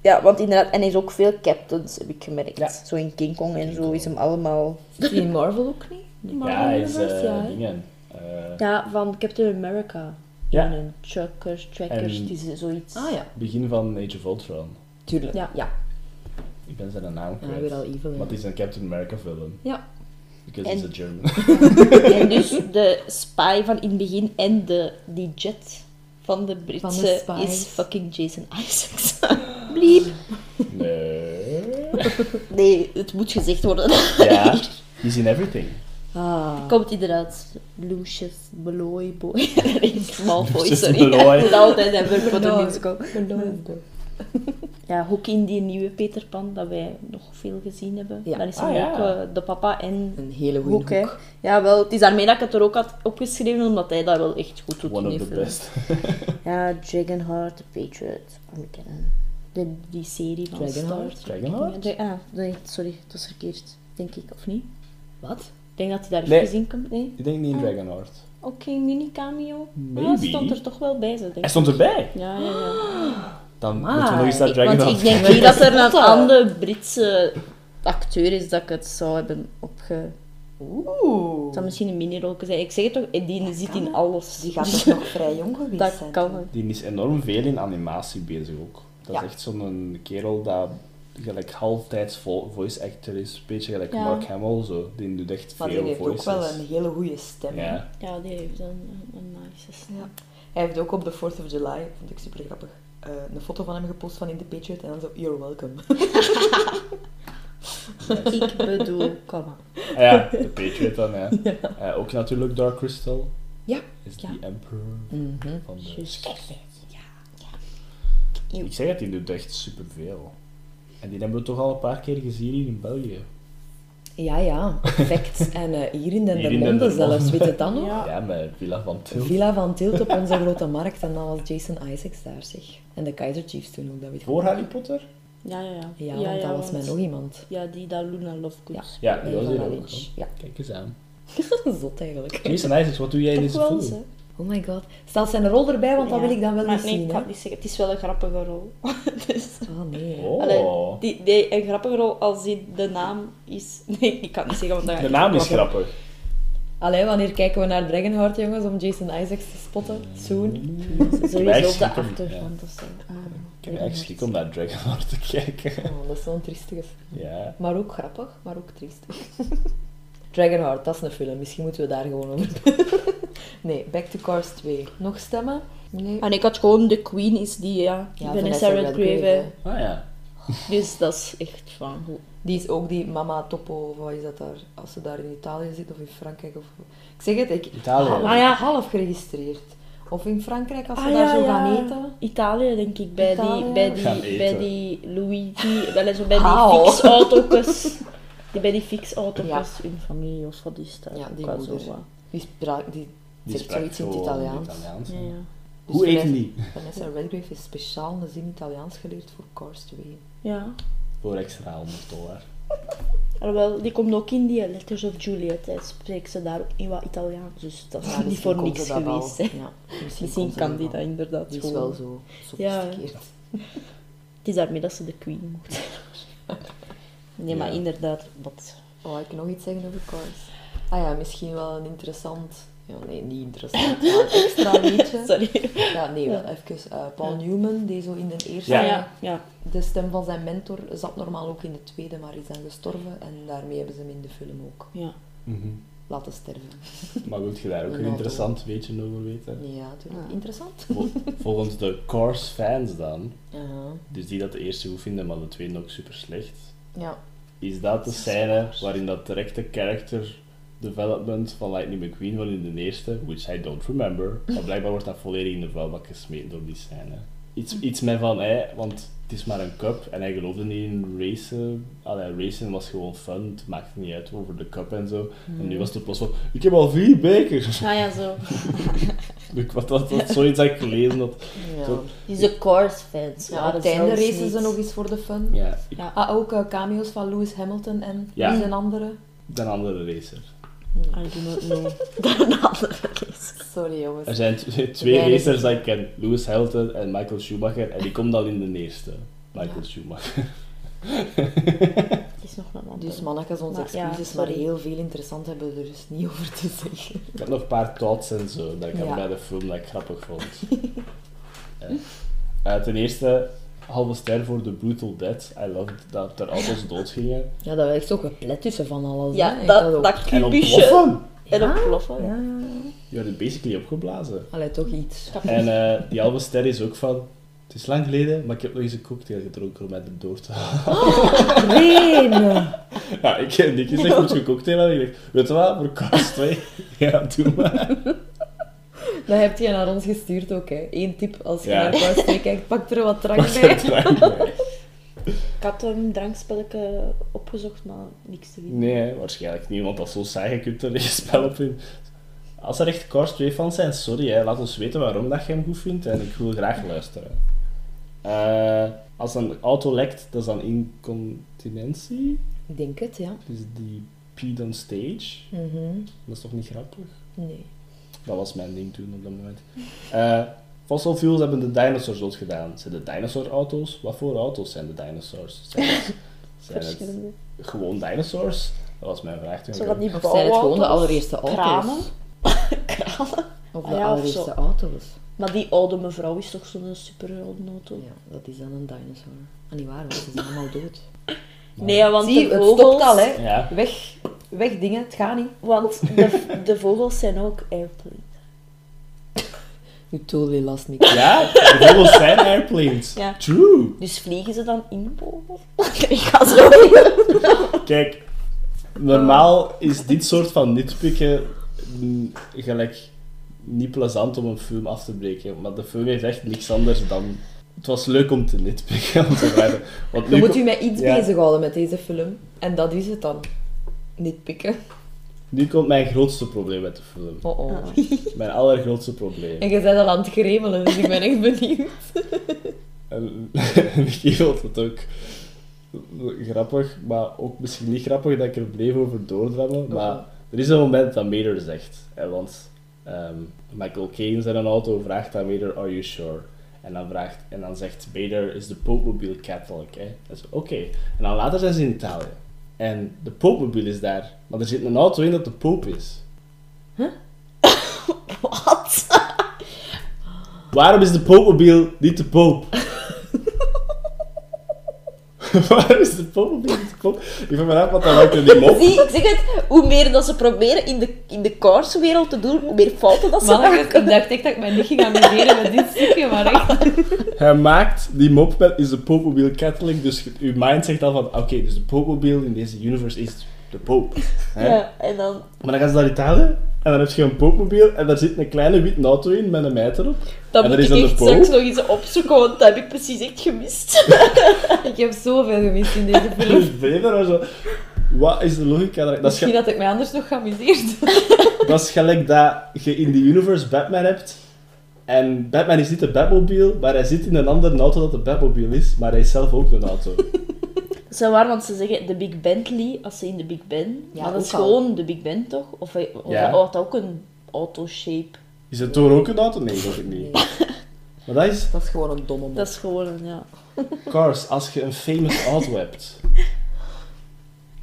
Ja, want inderdaad, en hij is ook veel captains, heb ik gemerkt.
Ja.
Zo in King Kong en
King
zo
Kong.
is hem allemaal...
Is die in Marvel ook niet?
ja, hij is eh,
Universe, ja, hè?
dingen. eh,
Ja, van Captain America.
Ja.
En een Chuckers, Trackers,
En-
die z- zoiets.
Ah ja,
begin van Age of Ultron.
tuurlijk.
Ja, ja.
Ik ben zijn naam
Ja, weer
kwijt.
al evil. hè.
maar het is een Captain America film.
Ja.
Because
En-
he's a German.
En dus de spy van in het begin en de, die jet van de Britse
spies.
is fucking Jason Isaacs. Bliep.
nee.
Nee, het moet gezegd worden.
Ja, he's in everything.
Ah.
Komt inderdaad Lucius Malloy Boy. Nee, Malfoy,
Lucius
sorry.
Malloy.
Ik moet altijd hebben voor de
Malloy.
musical. Ja, ook in die nieuwe Peter Pan, dat wij nog veel gezien hebben.
Ja.
Daar is
Ah,
hem
ja.
ook eh, de papa en
Een hele goede
Hoek, hè. Ja, wel, het is daarmee dat ik het er ook had opgeschreven, omdat hij dat wel echt goed doet
One
in
of
die
the
film.
best.
Ja, Dragonheart, The Patriot, Armageddon. De, die serie van
Dragonheart?
Star
Dragonheart?
Trek. Ja, ah, nee, sorry, het was verkeerd, denk ik, of niet?
Wat?
Ik denk dat hij daar
Nee.
gezien komt. Nee?
Ik denk niet in Dragonheart.
Oké, mini-cameo. Maar
Maybe.
stond er toch wel bij, zo denk
Hij
ik.
stond erbij.
Ja, ja, ja.
Dan
Maar-
moeten we nog eens naar
Ik- Want
Dragonheart
ik denk
kijken.
niet dat er een
Spotten.
andere Britse acteur is dat ik het zou hebben opge...
Oeh.
Het zou misschien een minirol zijn. Ik zeg het toch, eh, die zit in alles.
Die gaat toch nog vrij jong geweest
Dat
zijn.
kan ook.
Die is enorm veel in animatie bezig ook. Dat
Ja.
is echt zo'n kerel dat gelijk halftijds vo- voice actor is. Een beetje gelijk
Ja.
Mark Hamill zo. Die doet echt
Maar die
veel
heeft ook
voices.
wel een hele goede stem. hè.
Ja.
Ja, die heeft een, een nice stem.
Ja. Hij heeft ook op de 4th of July, vond ik super grappig, eh, een foto van hem gepost van in de Patriot en dan zo, you're welcome.
Ik bedoel, kom maar.
Ah ja, de Patriot dan, ja. Eh, ook natuurlijk Dark Crystal.
Ja.
Is
Ja.
die emperor
Mhm.
van de...
Eeuw.
Ik zeg het, die doet echt superveel. En die hebben we toch al een paar keer gezien hier in België.
Ja, ja, perfect. En eh, hier in
Hier in
Dendermonde
Dendermonde.
zelfs, weet je het dan nog?
Ja.
Ja, met Villa van Tilt.
Ah. Villa van Tilt op onze grote markt en dan was Jason Isaacs daar, zeg. En de Kaiser Chiefs toen ook, dat weet ik
Voor
nog.
Harry Potter?
Ja, ja, ja.
Ja, want dat was met nog iemand.
Ja, die daar Luna Lovegood.
Ja, die was
Van
hier ook.
Lynch.
hoor.
Ja,
Kijk eens aan.
zot eigenlijk.
Jason Isaacs, wat doe jij in
Toch
deze
wel eens,
film?
hè?
Oh my god. Stel zijn rol erbij, want dat
Ja.
wil ik dan wel
maar
eens
nee,
zien.
ik
hè.
kan het niet zeggen. Het is wel een grappige rol. dus,
Oh nee.
Oh.
Allee, die, nee, een grappige rol als die de naam is... Nee, ik kan het niet zeggen, want dan ga
De
ik
naam is
klappen.
grappig.
Allee, wanneer kijken we naar Dragonheart, jongens, om Jason Isaacs te spotten? Soon.
Wij
Sowieso op de
schrikken,
achtergrond of zo. Ah,
Ik heb echt schrik om naar Dragonheart te kijken.
Oh, dat is zo'n triestige film.
Ja.
Maar ook grappig, maar ook triestig. Dragonheart, dat is een film. Misschien moeten we daar gewoon over... nee, Back to Cars 2. Nog stemmen? Nee.
En ik had gewoon de queen is Ah, die, ja.
Ja,
ik ben een
Vanessa
Sarah
Redgrave, hè.
Grave.
Ah ja.
Dus dat is echt van hoe.
Die is ook die Mama Topo, of wat is dat daar? Als ze daar in Italië zit of in Frankrijk. Of... Ik zeg het, ik...
Italië.
Half,
Ah,
ja.
half geregistreerd. Of in Frankrijk, als ze
Ah,
daar
ja,
zo
ja.
gaan eten.
Italië, denk ik, bij
Italië.
die, bij
Gaan
die,
eten.
bij die Luigi, wel eens bij
Haal.
die fixautokes. Die bij die fixautokes, hun familie of wat is dat?
Ja, die
Ook wel
moeder.
zo wat.
Die, spra- die,
Die
zegt
sprak
zoiets in het
zo
Italiaans.
Italiaans.
Ja, ja.
Dus
Hoe eten
Vanessa-
die?
Vanessa Redgrave is speciaal een zin Italiaans geleerd voor Cars 2.
ja.
Voor extra 100 dollar.
Alhoewel, die komt ook in die Letters of Juliet. Hij spreekt ze daar ook in wat Italiaans. Dus dat is
Ja,
niet
misschien
voor
kon
niks
ze dat wel.
geweest. hè.
Ja, misschien kon
Misschien
ze
kan die
wel.
dat inderdaad
Die is
gewoon.
wel zo
sophisticated.
sophisticated.
Het is daarmee dat ze de queen moet. Nee, maar
Ja.
inderdaad, wat
Oh, ik nog iets zeggen over Cars? Ah ja, misschien wel een interessant eh, Ja, nee, niet interessant. Maar een extra liedje.
Sorry.
Ja, nee, wel even. eh, Paul Newman, die zo in de eerste...
Ja.
Ah, ja, ja.
De stem van zijn mentor zat normaal ook in de tweede, maar is dan gestorven. En daarmee hebben ze hem in de film ook
ja.
Mhm.
laten sterven.
Maar wilt je daar ook een
Nou,
interessant weetje over weten?
Ja, natuurlijk.
Ah.
Interessant.
Vol- Volgens de Cars fans dan,
Ja.
dus die dat de eerste goed vinden, maar de tweede ook super slecht,
Ja.
is dat de scène waarin dat directe character development van Lightning McQueen, waarin in de eerste, which I don't remember, maar blijkbaar wordt dat volledig in de vuilbak gesmeten door die scène. Iets, iets met van, hè, want het is maar een cup en hij geloofde niet in racen. Allee, racen was gewoon fun, het maakte niet uit over de cup en zo. En
Hm.
nu was het plots van, ik heb al vier bekers.
Ah ja, zo.
Ik wat dat, dat zoiets dat ik gelezen had.
ja.
Zo.
Die zijn Cars fans.
Ja, op het einde racen ze nog eens voor de fun.
Ja, ik
Ja.
Ah, ook eh, cameo's van Lewis Hamilton en
Ja.
wie zijn andere.
ben een andere racer.
I do not know. Daarna
Sorry jongens.
Er zijn twee, twee
Weinig.
racers dat ik ken, Lewis Hamilton en Michael Schumacher, en die komt al in de eerste. Michael Schumacher.
Het is nog een ander.
Dus mannetjes, onze
Maar ja,
excuses, maar
sorry.
heel veel interessant hebben we er dus niet over te zeggen.
Ik had nog een paar thoughts en zo dat ik had
Ja.
bij de film dat ik grappig vond. ja. Eh, ten eerste, halve ster voor de Brutal Dead. I loved dat er auto's dood gingen.
Ja, dat werkt zo geplet tussen van alles.
ja, dat, dat
En
kubusje.
ontploffen!
En ontploffen.
Ja,
Je werd basically opgeblazen.
Allee, toch iets.
En eh, die halve ster is ook van... Het is lang geleden, maar ik heb nog eens een cocktail gedronken om mij er door te halen.
Nee!
Ja, ik ken Nicky zegt, moet je een cocktail hebben? Ik dacht, weet je wat, voor kast 2? Ja, doe maar.
Dat heb je naar ons gestuurd ook, hè. Eén tip, als je
Ja.
naar Paus 2 kijkt, pak er wat drank
Wacht,
bij.
dat draai bij.
Ik had een drankspelletje opgezocht, maar niks te vinden.
Nee, waarschijnlijk niet, want dat is zo saai, je kunt er geen spel op in. Als er echt Cars 2 fans zijn, sorry, hè, laat ons weten waarom dat je hem goed vindt en ik wil graag luisteren. Eh, als een auto lekt, dat is dan incontinentie.
Ik denk het, ja.
Dus die peed on stage.
Mhm.
Dat is toch niet grappig?
Nee.
Dat was mijn ding toen op dat moment. Eh, fossil fuels hebben de dinosaurs dood gedaan. Zijn de dinosaur-auto's? Wat voor auto's zijn de dinosaurs? Zijn het, zijn het
Verschillende.
gewoon dinosaurs? Dat was mijn vraag toen. ik
Zo dat
er-
die
Of zijn het gewoon de
bouwauto's,
allereerste auto's?
Kramen. Kramen.
Of de
Ah ja, of
allereerste
zo.
auto's.
Maar die oude mevrouw is toch zo'n super oude auto?
Ja, dat is dan een dinosaur. Ah, niet waar, want ze zijn allemaal dood.
Nee, want
Zie,
de
het
vogels...
stopt al, hè.
Ja,
Weg, weg dingen, het gaat niet.
Want de, de vogels zijn ook airplane.
You totally lost me.
ja de vogels zijn airplanes.
Ja.
True.
Dus vliegen ze dan in bomen? Ik ga zo weer.
Kijk, normaal is dit soort van nitpikken mm, gelijk niet plezant om een film af te breken. Maar de film heeft echt niks anders dan... Het was leuk om te nitpikken. om te vragen. Want
Je
nu
moet
kom-
u met iets
Ja.
bezighouden met deze film. En dat is het dan. Niet pikken.
Nu komt mijn grootste probleem met de film.
Oh oh.
Mijn allergrootste probleem.
En je bent al aan het gremelen, dus ik ben echt benieuwd.
En Michiel vond het ook grappig, maar ook misschien niet grappig dat ik er bleef over doordrammen. Maar er is een moment dat Mater zegt, hè, want ehm, Michael Caine in een auto vraagt aan Mater, are you sure? En dan, vraagt, en dan zegt Mater, is de Popemobile katholic? Hè? Dat is oké. En dan later zijn ze in Italië. En de Popemobile is daar, maar er zit een auto in dat de Pope is.
Wat?
Waarom is de Popemobile niet de Poop? Waarom is de Popemobile niet de Poop? Ik vraag me af wat dat lijkt in die mop.
Zie, ik zeg het, hoe meer dat ze proberen in de, in de kaarswereld te doen, hoe meer fouten dat ze
Man,
maken.
ik dacht echt dat ik mij niet ging amuseren met dit stukje, maar echt.
Hij maakt die mop met is de Popemobile Catholic, dus je- uw mind zegt al van oké, dus de Popemobile in deze universe is de Poop. Hè?
Ja, en dan...
Maar dan gaan ze naar Italië en dan heb je een Popemobile en daar zit een kleine witte auto in met een meid erop.
Dat moet
en daar
ik
is dan de
echt straks
Pope.
nog eens opzoeken, want dat heb ik precies echt gemist.
Ik heb zoveel gemist in deze film.
Dus verder was zo. Wat is de logica? daar- Dat is,
Misschien
ge-
dat ik mij anders nog geamuseerd.
dat is gelijk dat je in die universe Batman hebt. En Batman is niet de Batmobile, maar hij zit in een andere auto dat de Batmobile is, maar hij is zelf ook een auto.
Dat is wel waar, want ze zeggen de Big Bentley als ze in de Big Ben.
Ja,
maar dat
ook
is
al.
gewoon de Big Ben, toch? Of, hij- of
Ja.
hij had ook een auto-shape.
Is het door ook een auto? Nee, dat ik niet. Maar dat is
Dat is gewoon een domme mop.
Dat is gewoon een, ja...
Cars, als je een famous auto hebt,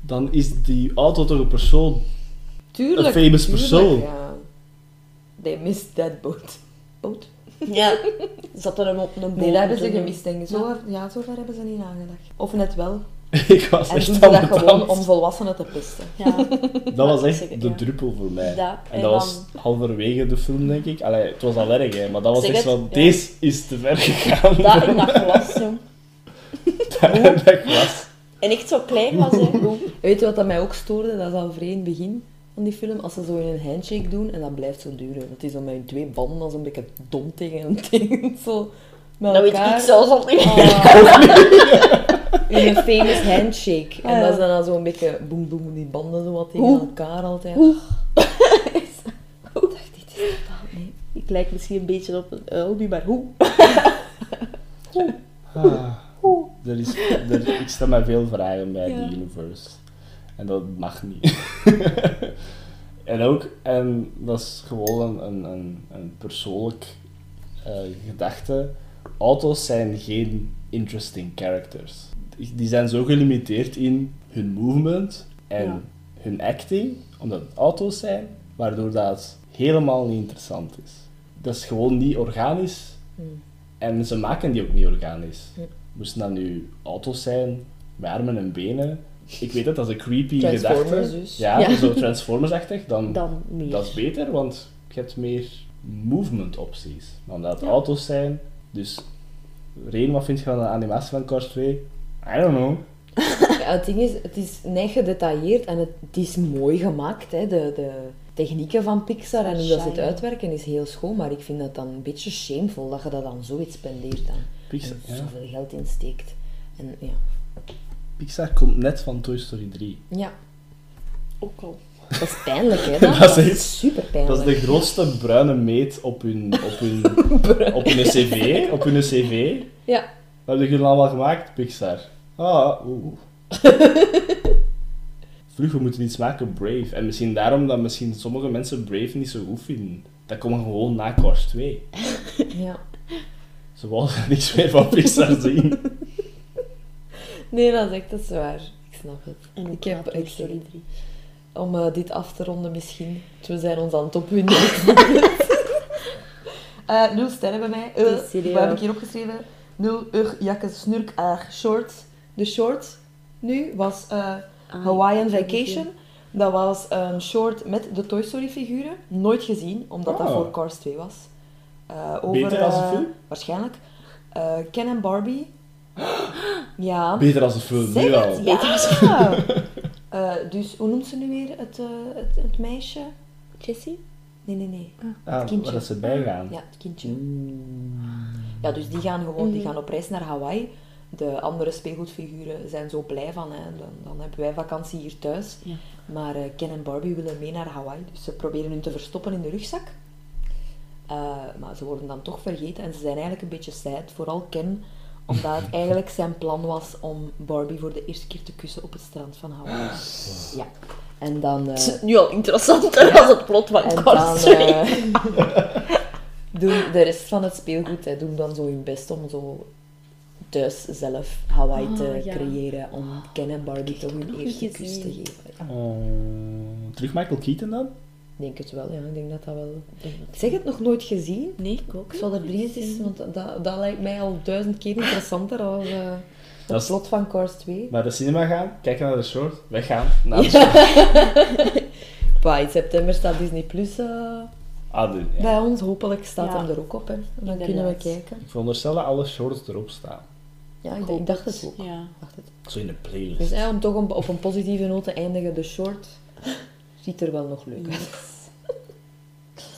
dan is die auto toch een persoon.
Tuurlijk.
Een famous
tuurlijk,
persoon.
Ja. They missed that boat. Boat?
Ja. Zat er hem op een boot.
Nee, dat hebben ze
en-
gemist, denk ik. Zo, ja. zo ver hebben ze niet nagedacht. Of net wel.
ik was
En
echt
doen ze
aan
dat
het
gewoon
dansen.
om volwassenen te pesten.
Ja.
Dat was
Zeker,
echt de
ja.
druppel voor mij.
Ja,
en
en
dat
dan-
was halverwege de film, denk ik. Allee, het was al erg, hè, maar dat was
Zeg
echt
het,
van,
ja.
deze is te ver gegaan.
Dat in dat glas, jong.
dat, dat was.
En echt zo klein was, hè.
Weet je wat dat mij ook stoorde? Dat is al vrij in het begin van die film. Als ze zo in een handshake doen en dat blijft zo duren. Dat is dan met hun twee banden als een beetje dom tegen een tegen. Zo met
Dat Nou weet
elkaar. Oh.
ik zelfs al niet.
In een famous handshake.
Ah,
En
ja.
dat is dan al zo'n beetje boem boem, die banden zo wat tegen
Hoe?
elkaar altijd. Ik dacht, dit is bepaald niet.
Ik lijk misschien een beetje op een uil nu, maar hoe?
Er is, er- ik stel mij veel vragen bij
Ja.
de universe. En dat mag niet. en ook, en dat is gewoon een, een, een, een persoonlijk eh, gedachte. Auto's zijn geen interesting characters. Die zijn zo gelimiteerd in hun movement en
Ja.
hun acting, omdat het auto's zijn, waardoor dat helemaal niet interessant is. Dat is gewoon niet organisch. En ze maken die ook niet organisch. Moesten dat nu auto's zijn, met armen en benen? Ik weet het, dat is een creepy
Transformers
gedachte.
dus.
Ja,
Ja.
zo Transformers-achtig, dan,
Dan meer.
dat is beter, want je hebt meer movement opties. Maar omdat het auto's zijn, dus... Reen, wat vind je van de animatie van Cars 2? I don't know.
Ja, het ding is, het is net gedetailleerd en het, het is mooi gemaakt. Hè. De, de technieken van Pixar en hoe dat ze het
Shiny.
uitwerken is heel schoon, maar ik vind dat dan een beetje shameful dat je dat dan zoiets spendeert aan.
Pixar,
En
ja.
zoveel geld insteekt. En ja.
Pixar komt net van Toy Story 3.
ja,
Ook al.
dat is pijnlijk hè. Dat,
Dat is echt-
super pijnlijk.
Dat is de grootste bruine meet op hun, op hun, op hun cv. Op hun cv.
Ja.
Wat hebben jullie allemaal gemaakt, Pixar? Ah, oeh. Vlug, we moeten iets maken, Brave. En misschien daarom dat misschien sommige mensen Brave niet zo goed vinden. Dat komt gewoon na Cars 2.
Ja.
Ze wilden niks meer van Pixar zien.
Nee, dat is echt dat is waar. Ik snap het.
En ook
Ik heb-
na Toy
ik-
Story 3.
Om eh, dit af te ronden misschien. want We zijn ons aan het opwinden. Eh, nul sterren bij mij. Eh,
Het is serieus.
wat heb ik hier opgeschreven? Nul ugh, jakken, snurk, aar, short. De short nu was eh,
Ah,
Hawaiian
ik heb het
Vacation. Dat was een short met de Toy Story figuren. Nooit gezien, omdat dat
Ah.
voor Cars 2 was. Eh, over,
Beter als een
eh,
film?
Waarschijnlijk. Eh, Ken en Barbie. ja.
Beter als de film,
Zeg
nu
het,
al.
ja. Eh, dus hoe noemt ze nu weer het, eh, het, het meisje?
Jessie?
Nee, nee, nee.
Ah,
kindje.
waar dat ze bijgaan.
Ja, het kindje. Ja, dus die gaan gewoon die gaan op reis naar Hawaii. De andere speelgoedfiguren zijn zo blij van. Hè. Dan, dan hebben wij vakantie hier thuis.
Ja.
Maar eh, Ken en Barbie willen mee naar Hawaii. Dus ze proberen hun te verstoppen in de rugzak. Eh, maar ze worden dan toch vergeten. En ze zijn eigenlijk een beetje sad. Vooral Ken. Omdat het eigenlijk zijn plan was om Barbie voor de eerste keer te kussen op het strand van Hawaii. Ja. En dan... eh,
Het is nu al interessanter als het plot van
en dan
Cars 2.
eh, doen de rest van het speelgoed, hè, doen dan zo hun best om zo thuis zelf Hawaii
Ah,
te
ja.
creëren om Ken en Barbie toch hun
nog
eerste
niet
kus te
gezien.
geven.
Eh, Oh. terug Michael Keaton dan?
Ik denk het wel, ja. Ik denk dat dat wel... Ik zeg het nog nooit gezien.
Nee, ik ook.
Ik zal er drie eens, eens- want dat, dat lijkt mij al duizend keer interessanter dan eh
Dat
het
is-
plot van Cars 2.
Naar de cinema gaan, kijken naar de short, weggaan, naar de short.
Bah, in september staat Disney Plus eh,
Ah, de- ja.
bij ons. Hopelijk staat
Ja.
hem er ook op, hè. Dan kunnen we
Inderdaad.
kijken.
Ik veronderstel dat alle shorts erop staan.
Ja, ik, ik dacht het ook.
Ja.
Ik dacht het
Zo in de playlist.
Dus hè, om toch op, op een positieve noot te eindigen, de short ziet er wel nog leuk uit.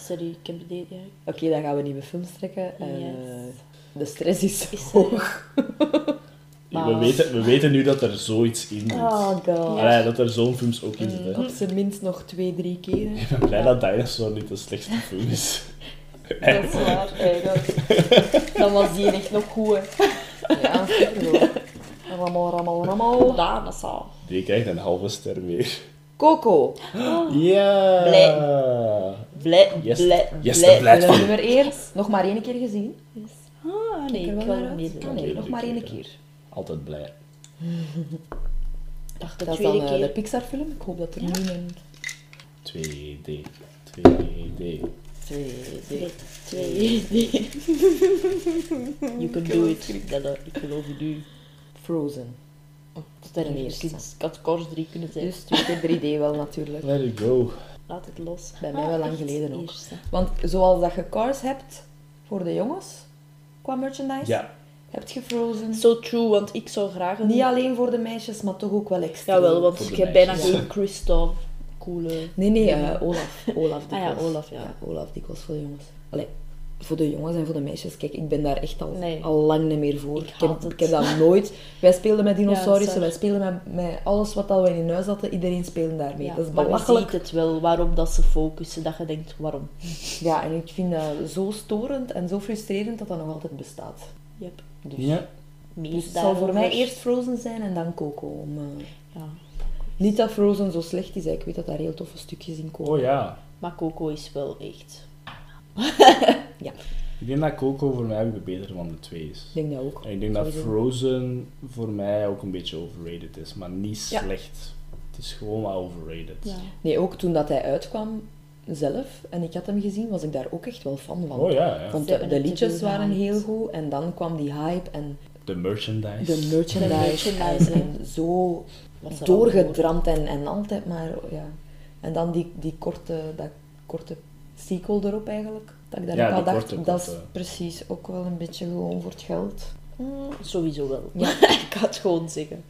Sorry, ik heb dit ja.
Oké, dan gaan we nieuwe films trekken. En,
Yes.
eh, de stress is,
Is er-
hoog.
We, weten, we weten nu dat er zoiets in zit.
Oh god.
Ja.
Allee, dat er zo'n films ook in
Mm,
zitten.
Op zijn minst nog twee, drie keren.
Ik ben blij dat Dinosaur niet de slechtste film is.
Dat is waar, eigenlijk. Dan was die echt nog goed, hè.
Ja, zeker wel. Rammel, rammel, rammel.
Gedaan, dat zal.
Die krijgt een halve ster meer.
Coco.
Ja!
Blij. Blij,
Yes.
blij,
Yes,
blij.
dat blijft
Film
film.
nummer 1. Nog maar één keer gezien.
Ah,
Kijk
nee, ik
er
wil
wel naar
hem
uit.
niet.
Ah, nee, nog maar één keer.
Altijd blij.
Dacht de
Dat is dan
tweede
eh, de
keer.
Pixar film. Ik hoop dat er nu een
2D. 2D.
twee, drie.
3, 2, 1. You can do it. Della, ik geloof in u.
Frozen. Tot
Daar
de eerste.
Ik had kors 3 kunnen zijn.
Dus twee keer 3D wel natuurlijk.
Let it go.
Dus Laat het los.
Bij mij wel lang geleden ook.
Eerste.
Want zoals dat je cars hebt voor de jongens, qua merchandise,
Ja.
heb je Frozen.
So true, want ik zou graag een...
Niet alleen voor de meisjes, maar toch ook wel extra.
Jawel, want
Voor de
ik heb bijna
meisjes.
geen Christophe. Coole...
Nee, nee, eh, Olaf. Olaf
Ah ja,
dikwijls.
Olaf, ja.
Olaf dikwijls voor de jongens. Allee, voor de jongens en voor de meisjes. Kijk, ik ben daar echt al,
Nee.
al lang niet meer voor.
Ik
heb,
haat het.
ik heb dat nooit... Wij speelden met
Ja,
dinosaurussen,
dat
wij
is
spelen met, met alles wat dat we in huis hadden. Iedereen speelde daarmee.
Ja,
dat is
maar je
belachelijk.
ziet het wel waarom dat ze focussen, dat je denkt waarom.
Ja, en ik vind dat zo storend en zo frustrerend dat dat nog altijd bestaat.
Yep.
Ja.
Meer
Dus het zal voor
daarover.
mij eerst Frozen zijn en dan Coco. om, eh,
Ja.
Niet dat Frozen zo slecht is, hè. ik weet dat daar heel toffe stukjes in komen.
Oh ja.
Maar Coco is wel echt.
Ik denk dat Coco voor mij ook de betere van de twee is.
Ik denk dat ook.
En ik denk dat
Sowieso.
Frozen voor mij ook een beetje overrated is, maar niet
Ja.
slecht. Het is gewoon maar overrated.
Nee, ook toen dat hij uitkwam zelf en ik had hem gezien, was ik daar ook echt wel fan van.
Oh ja, ja.
Want de,
Ze hebben
de
het
liedjes
te veel
waren
gehaald.
heel goed en dan kwam die hype en
De merchandise.
de merchandise.
De merchandise,
en, en zo
Wat ze
doorgedramd en, en altijd maar. Ja. En dan die, die korte, dat korte sequel erop eigenlijk. Dat ik dan
Ja,
ook al
die
dacht,
korte,
dat is
korte.
precies ook wel een beetje gewoon voor het geld.
allemaal- Sowieso wel.
Ja.
ik ga het gewoon zeggen.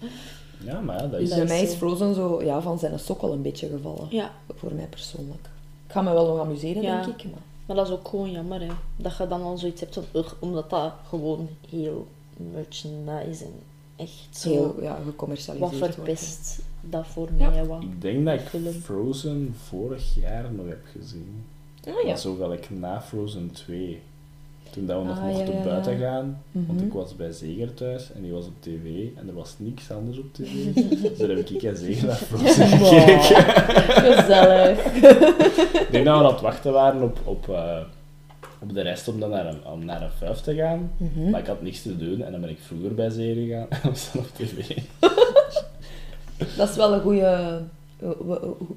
Ja, maar ja, dat
Dus
is...
bij
Dat is
mij is
zo.
Frozen zo ja, van zijn sokkel een beetje gevallen.
Ja.
Voor mij persoonlijk. Ik ga me wel nog amuseren,
Ja.
denk ik. Maar...
Maar dat is ook gewoon jammer, hè. Dat je dan al zoiets hebt van... "Ugh," omdat dat gewoon heel merchandise en echt zo...
Heel ja,
wat
gecommercialiseerd wordt.
verpest dat voor
Ja. Mm.
mij was.
Ik denk dat ik
Film.
Frozen vorig jaar nog heb gezien.
Ah, ja.
Maar zo gelijk na Frozen 2. Toen dat we nog
Ah,
mochten
ja, ja, ja.
buiten gaan. Want
Mhm.
ik was bij Zeger thuis en die was op tv. En er was niks anders op tv. dus daar heb ik en Zeger naar Frozen gekeken.
Gezellig.
Ik denk dat we aan het wachten waren op, op, eh, op de rest om dan naar een, om naar een vuif te
Mhm.
gaan. Maar ik had niks te doen en dan ben ik vroeger bij Zeger gegaan. En was dan op tv.
Dat is wel een goede.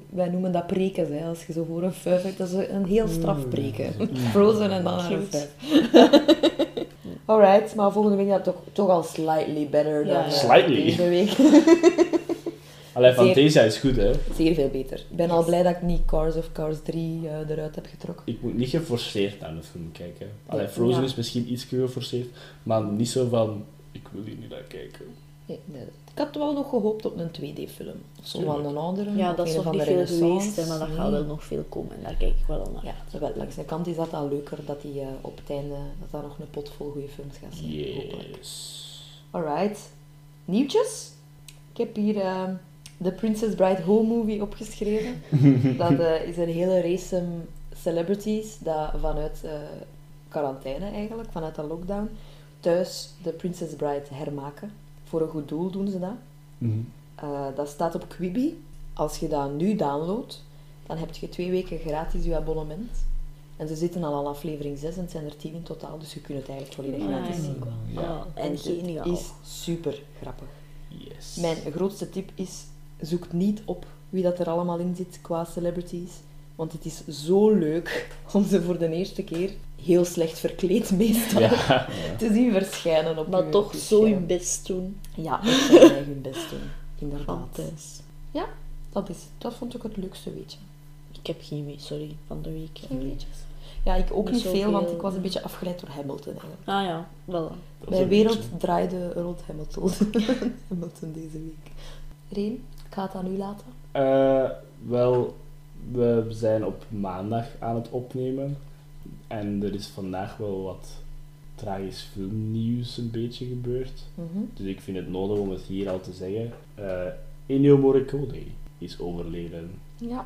Wij noemen dat preken, hè. als je zo voor een vijf hebt. Dat is een heel straf preken. Frozen en dan naar een
Mm. Cute.
vijf. Alright, maar volgende week dat toch, toch al slightly better
Ja,
dan
ja.
eh,
Slightly.
deze week.
Allee,
Zeer-
Fantasia is goed hè.
Zeer veel beter. Ik ben al blij dat ik niet Cars of Cars 3 eh, eruit heb getrokken.
Ik moet niet geforceerd aan de film kijken. Allee,
Ja.
Frozen
Ja.
is misschien iets geforceerd, maar niet zo van... Ik wil hier niet naar kijken.
Nee, nee. Ik had wel nog gehoopt op een 2D-film. Of zo van
Tuurlijk.
een oudere.
Ja,
of
dat is
een
nog
van
niet
de
veel
Renaissance.
geweest, hè, maar dat
Nee.
gaat wel nog veel komen. En daar kijk ik wel al naar.
Ja, terwijl langs de kant is dat dan leuker dat die eh, op het einde dat daar nog een pot vol goede films gaat zijn. Hopelijk.
Yes.
Alright. Nieuwtjes? Ik heb hier eh, de Princess Bride Home Movie opgeschreven. dat eh, is een hele race ehm, celebrities dat vanuit eh, quarantaine eigenlijk, vanuit de lockdown, thuis de Princess Bride hermaken. Voor een goed doel doen ze dat.
Mhm.
Eh, dat staat op Quibi. Als je dat nu downloadt, dan heb je twee weken gratis je abonnement. En ze zitten al aan aflevering 6 en het zijn er 10 in totaal, dus je kunt het eigenlijk volledig gratis
Nice.
zien.
Ja.
Ah,
En
en
het
geniaal.
is super grappig.
Yes.
Mijn grootste tip is, zoek niet op wie dat er allemaal in zit qua celebrities. Want het is zo leuk om ze voor de eerste keer heel slecht verkleed meestal
Ja. ja.
te zien verschijnen op
Maar
je- op
toch
je
zo je
scherm.
best doen.
Ja, ik zou mij hun best doen. Inderdaad.
Fantastisch.
eh, Dat, is, dat vond ik het leukste weetje.
Ik heb geen weet, sorry, van de week.
Ja, ik ook
Niet
niet veel,
zoveel.
want ik was een beetje afgeleid door Hamilton eigenlijk.
Ah ja, wel.
Dat is
Mijn
een
wereld
beetje-
draaide rond Hamilton. Hamilton deze week. Reen, ik ga het aan u laten.
Eh, wel, we zijn op maandag aan het opnemen. En er is vandaag wel wat tragisch filmnieuws een beetje gebeurd.
Mhm.
Dus ik vind het nodig om het hier al te zeggen. Eh Ennio Morricone is overleden
Ja,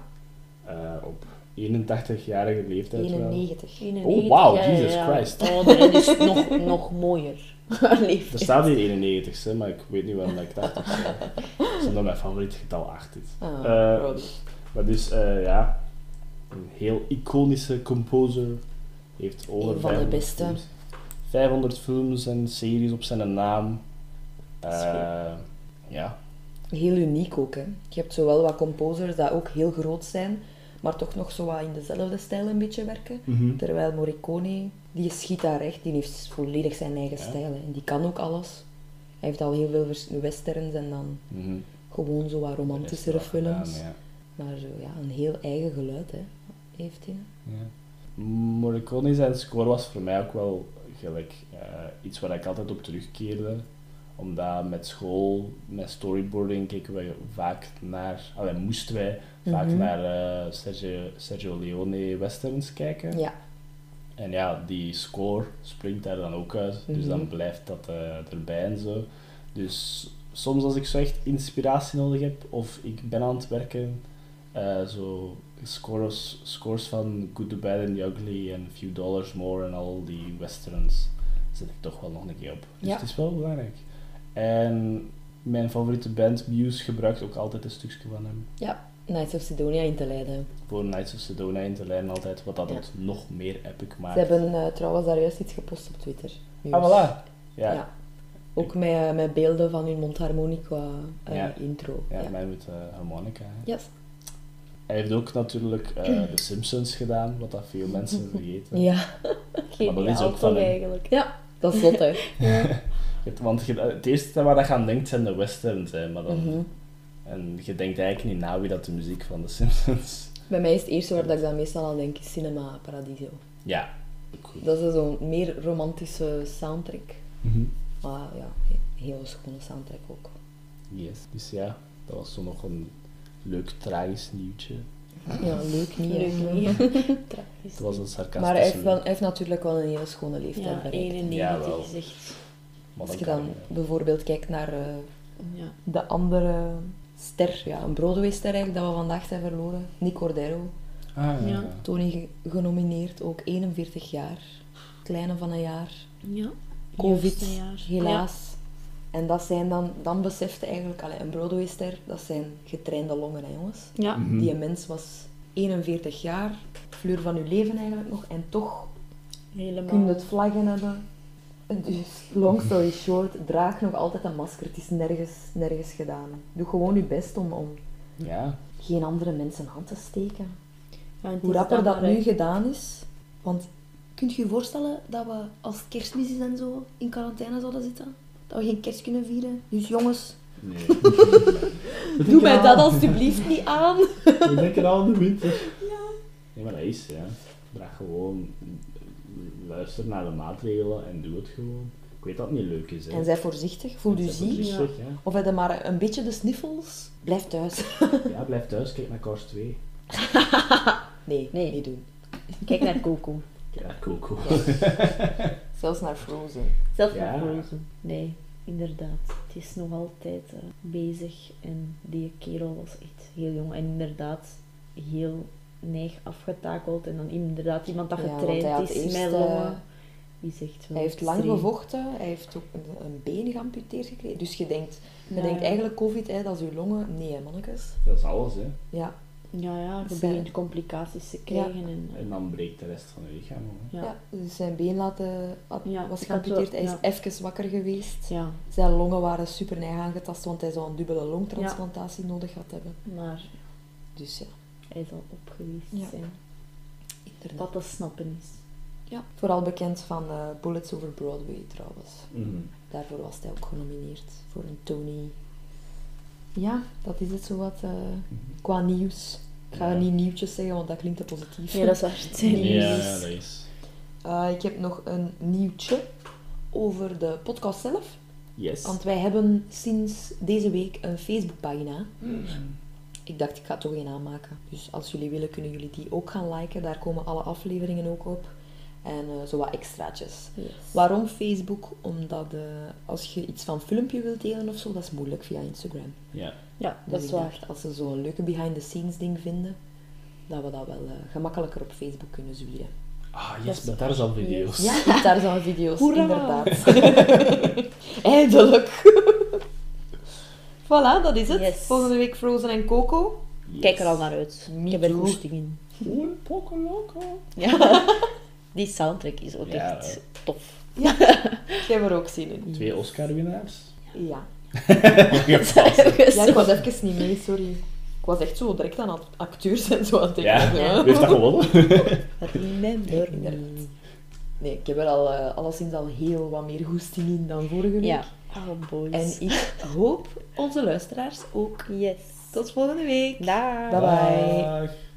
eh, op 81-jarige leeftijd. wel.
91.
Oh, wauw, Jesus Christ.
Oh, nee, dat is nog, nog mooier. Leef.
Er staat hier 91, hè, maar ik weet niet waarom dat ik 80 zei. Dat is omdat mijn favoriete getal 8 is.
Ah,
Eh,
Brody.
Maar dus, eh, ja, een heel iconische composer. Heeft over
Een van de
500
beste.
films- 500 films en series op zijn naam. Eh, ja,
Heel uniek ook, hè. Je hebt zowel wat composers dat ook heel groot zijn, maar toch nog zo wat in dezelfde stijl een beetje werken.
Mhm.
Terwijl Morricone, die schiet daar echt, die heeft volledig zijn eigen stijl. hè. En die kan ook alles. Hij heeft al heel veel vers- westerns en dan
Mhm.
gewoon zo wat romantischere
Heeft hij wel
films.
gedaan, ja.
Maar zo, ja, een heel eigen geluid hè, heeft hij.
Ja. Morricone zijn score was voor mij ook wel gelijk eh, iets waar ik altijd op terugkeerde. Omdat met school, met storyboarding, keken we vaak naar, allee, moesten wij vaak
Mhm.
naar eh, Sergio, Sergio Leone westerns kijken.
Ja,
En ja, die score springt daar dan ook uit. Dus
Mhm.
dan blijft dat eh, erbij en zo. Dus soms als ik zo echt inspiratie nodig heb of ik ben aan het werken, eh, zo scores, scores van Good, the Bad and the Ugly en Few Dollars More en al die westerns zet ik toch wel nog een keer op. Dus
Ja.
het is wel belangrijk. En mijn favoriete band, Muse, gebruikt ook altijd een stukje van hem.
ja. Nights of Sidonia in te leiden.
Voor Nights of Sedona in te lijnen altijd, wat dat
Ja.
het nog meer epic maakt.
Ze hebben eh, trouwens daar juist iets gepost op Twitter.
Ah, voilà. Ja,
Ja. Ook met, eh, met beelden van hun mondharmonica eh,
Ja.
intro.
Ja,
Ja.
mij met eh harmonica. hè.
Yes.
Hij heeft ook natuurlijk eh, The Simpsons gedaan, wat dat veel mensen vergeten.
ja,
Geen
dat is ook van
toch
hem.
eigenlijk.
dat is zot hè.
Het- Want je- het eerste waar je aan denkt zijn de westerns, hè, maar dan,
Mhm.
en je denkt eigenlijk niet na wie dat de muziek van The Simpsons...
Bij mij is het eerste waar dat ik dan meestal aan denk, is Cinema Paradiso.
Ja, ook goed.
Dat is zo'n meer romantische soundtrack.
Mhm.
Maar ja, een hele schone soundtrack ook.
Yes. Dus ja, dat was zo nog een leuk tragisch nieuwtje.
Ja, leuk niet. hè.
Leuk niet. Tragisch.
Het was een sarcastische...
Maar hij heeft, wel, hij heeft natuurlijk wel een hele schone leeftijd
Ja,
bereikt.
91
Jawel.
is echt...
Maar
Als
dat
je
kan
dan
niet, hè.
bijvoorbeeld kijkt naar eh,
Ja.
de andere ster, ja, een Broadway-ster eigenlijk, dat we vandaag zijn verloren, Nick Cordero.
Ah, ja.
Ja.
ja.
Tony ge- genomineerd, ook 41 jaar. Kleine van een jaar.
ja.
Covid,
Juist een jaar.
helaas. En dat zijn dan, dan besefte eigenlijk, allee, een Broadwayster, dat zijn getrainde longen, hè, jongens.
Ja. ja.
Mhm.
Die mens was 41 jaar, fleur van uw leven eigenlijk nog, en toch
Helemaal.
kun je het vlaggen hebben. Dus, long story short, draag nog altijd een masker. Het is nergens, nergens gedaan. Doe gewoon je best om, om
Ja.
geen andere mensen aan te steken.
Ja, het
Hoe
is
rapper dat
dan maar,
nu gedaan is. Want kunt je je voorstellen dat we als het kerstmis is en zo in quarantaine zouden zitten? Dat we geen kerst kunnen vieren? Dus jongens,
Nee.
doe mij dat alstublieft niet aan.
We denken al de winter. Ja. Nee, maar dat is, ja. Draag gewoon, luister naar de maatregelen en doe het gewoon. Ik weet dat het niet leuk is, hè.
En zij voorzichtig, voel je
Zijn
ziek.
voorzichtig, ja.
Of heb je maar een beetje de sniffels? Blijf thuis.
Ja, blijf thuis, kijk naar Cars 2.
Nee,
Nee.
niet doen.
hè. Kijk naar Coco.
Kijk naar Coco.
Zelfs naar Frozen.
Zelf
Ja.
naar Frozen. Nee, inderdaad. Het is nog altijd eh, bezig. En die kerel was echt heel jong. En inderdaad heel neig afgetakeld. En dan inderdaad iemand dat
Ja, want
getraind
hij had
is
eerst,
met
eh,
longen. Die zegt wel
Hij heeft lang
extreem.
gevochten, hij heeft ook een, een been geamputeerd gekregen. Dus je denkt, je
Ja,
denkt
ja.
eigenlijk COVID, hè, dat is uw longen. Nee, hè, mannetjes.
Dat is alles, hè.
Ja,
Ja, ja. Je
Zij-
begint complicaties te krijgen. En, eh,
En dan breekt de rest van je lichaam, hoor.
ja.
ja.
dus zijn been laten, had-
Ja,
was
ik had wel-
geamputeerd. Hij is
ja.
even wakker geweest.
Ja,
Zijn longen waren super neig aangetast, want hij zou een dubbele longtransplantatie nodig had hebben.
maar
Dus ja,
hij zal op geweest
Ja.
zijn.
inderdaad.
Dat dat snappen is.
Ja. Vooral bekend van eh, Bullets Over Broadway trouwens.
Mhm.
Daarvoor was hij ook genomineerd voor een Tony. Ja, dat is het zowat eh qua nieuws. Ik ga
Ja.
niet nieuwtjes zeggen, want dat klinkt te positief.
Ja, dat is waar. Het zijn
Nee.
Ja,
nieuws.
ja, dat is...
Eh, ik heb nog een nieuwtje over de podcast zelf.
Yes.
Want wij hebben sinds deze week een Facebookpagina.
Hmm.
Ik dacht, ik ga toch een aanmaken. Dus als jullie willen, kunnen jullie die ook gaan liken. Daar komen alle afleveringen ook op. En eh, zo wat extraatjes.
Yes.
Waarom Facebook? Omdat eh, als je iets van een filmpje wilt delen of zo, dat is moeilijk via Instagram.
Ja.
Ja,
Dus
dat is
ik
waar.
dacht, Als ze zo'n leuke behind-the-scenes ding vinden, dat we dat wel eh, gemakkelijker op Facebook kunnen zwieren.
Ah, yes, maar daar is al video's.
Ja, met daar zijn video's,
Hoera!
inderdaad. Eindelijk. voilà, dat is het.
Yes.
Volgende week Frozen en Coco.
Yes.
Kijk er al naar uit.
Me
ik heb er
too.
goesting in.
Oeh, poco loco.
Die soundtrack is ook
Ja,
echt
hè.
tof.
Ik heb er ook zin in.
Twee Oscar-winnaars.
Ja.
Ja,
Ja, ik was even niet mee, sorry. Ik was echt zo direct aan act- acteurs en zo aan het denken.
Ja,
Zo, hè.
wie heeft dat gewonnen?
Remember me.
Inderdaad. Nee, ik heb er al eh, alleszins al heel wat meer goesting in dan vorige week.
Ja. Oh, boys.
En ik hoop onze luisteraars ook.
Yes.
Tot volgende week.
Daag.
Bye bye.
Dag.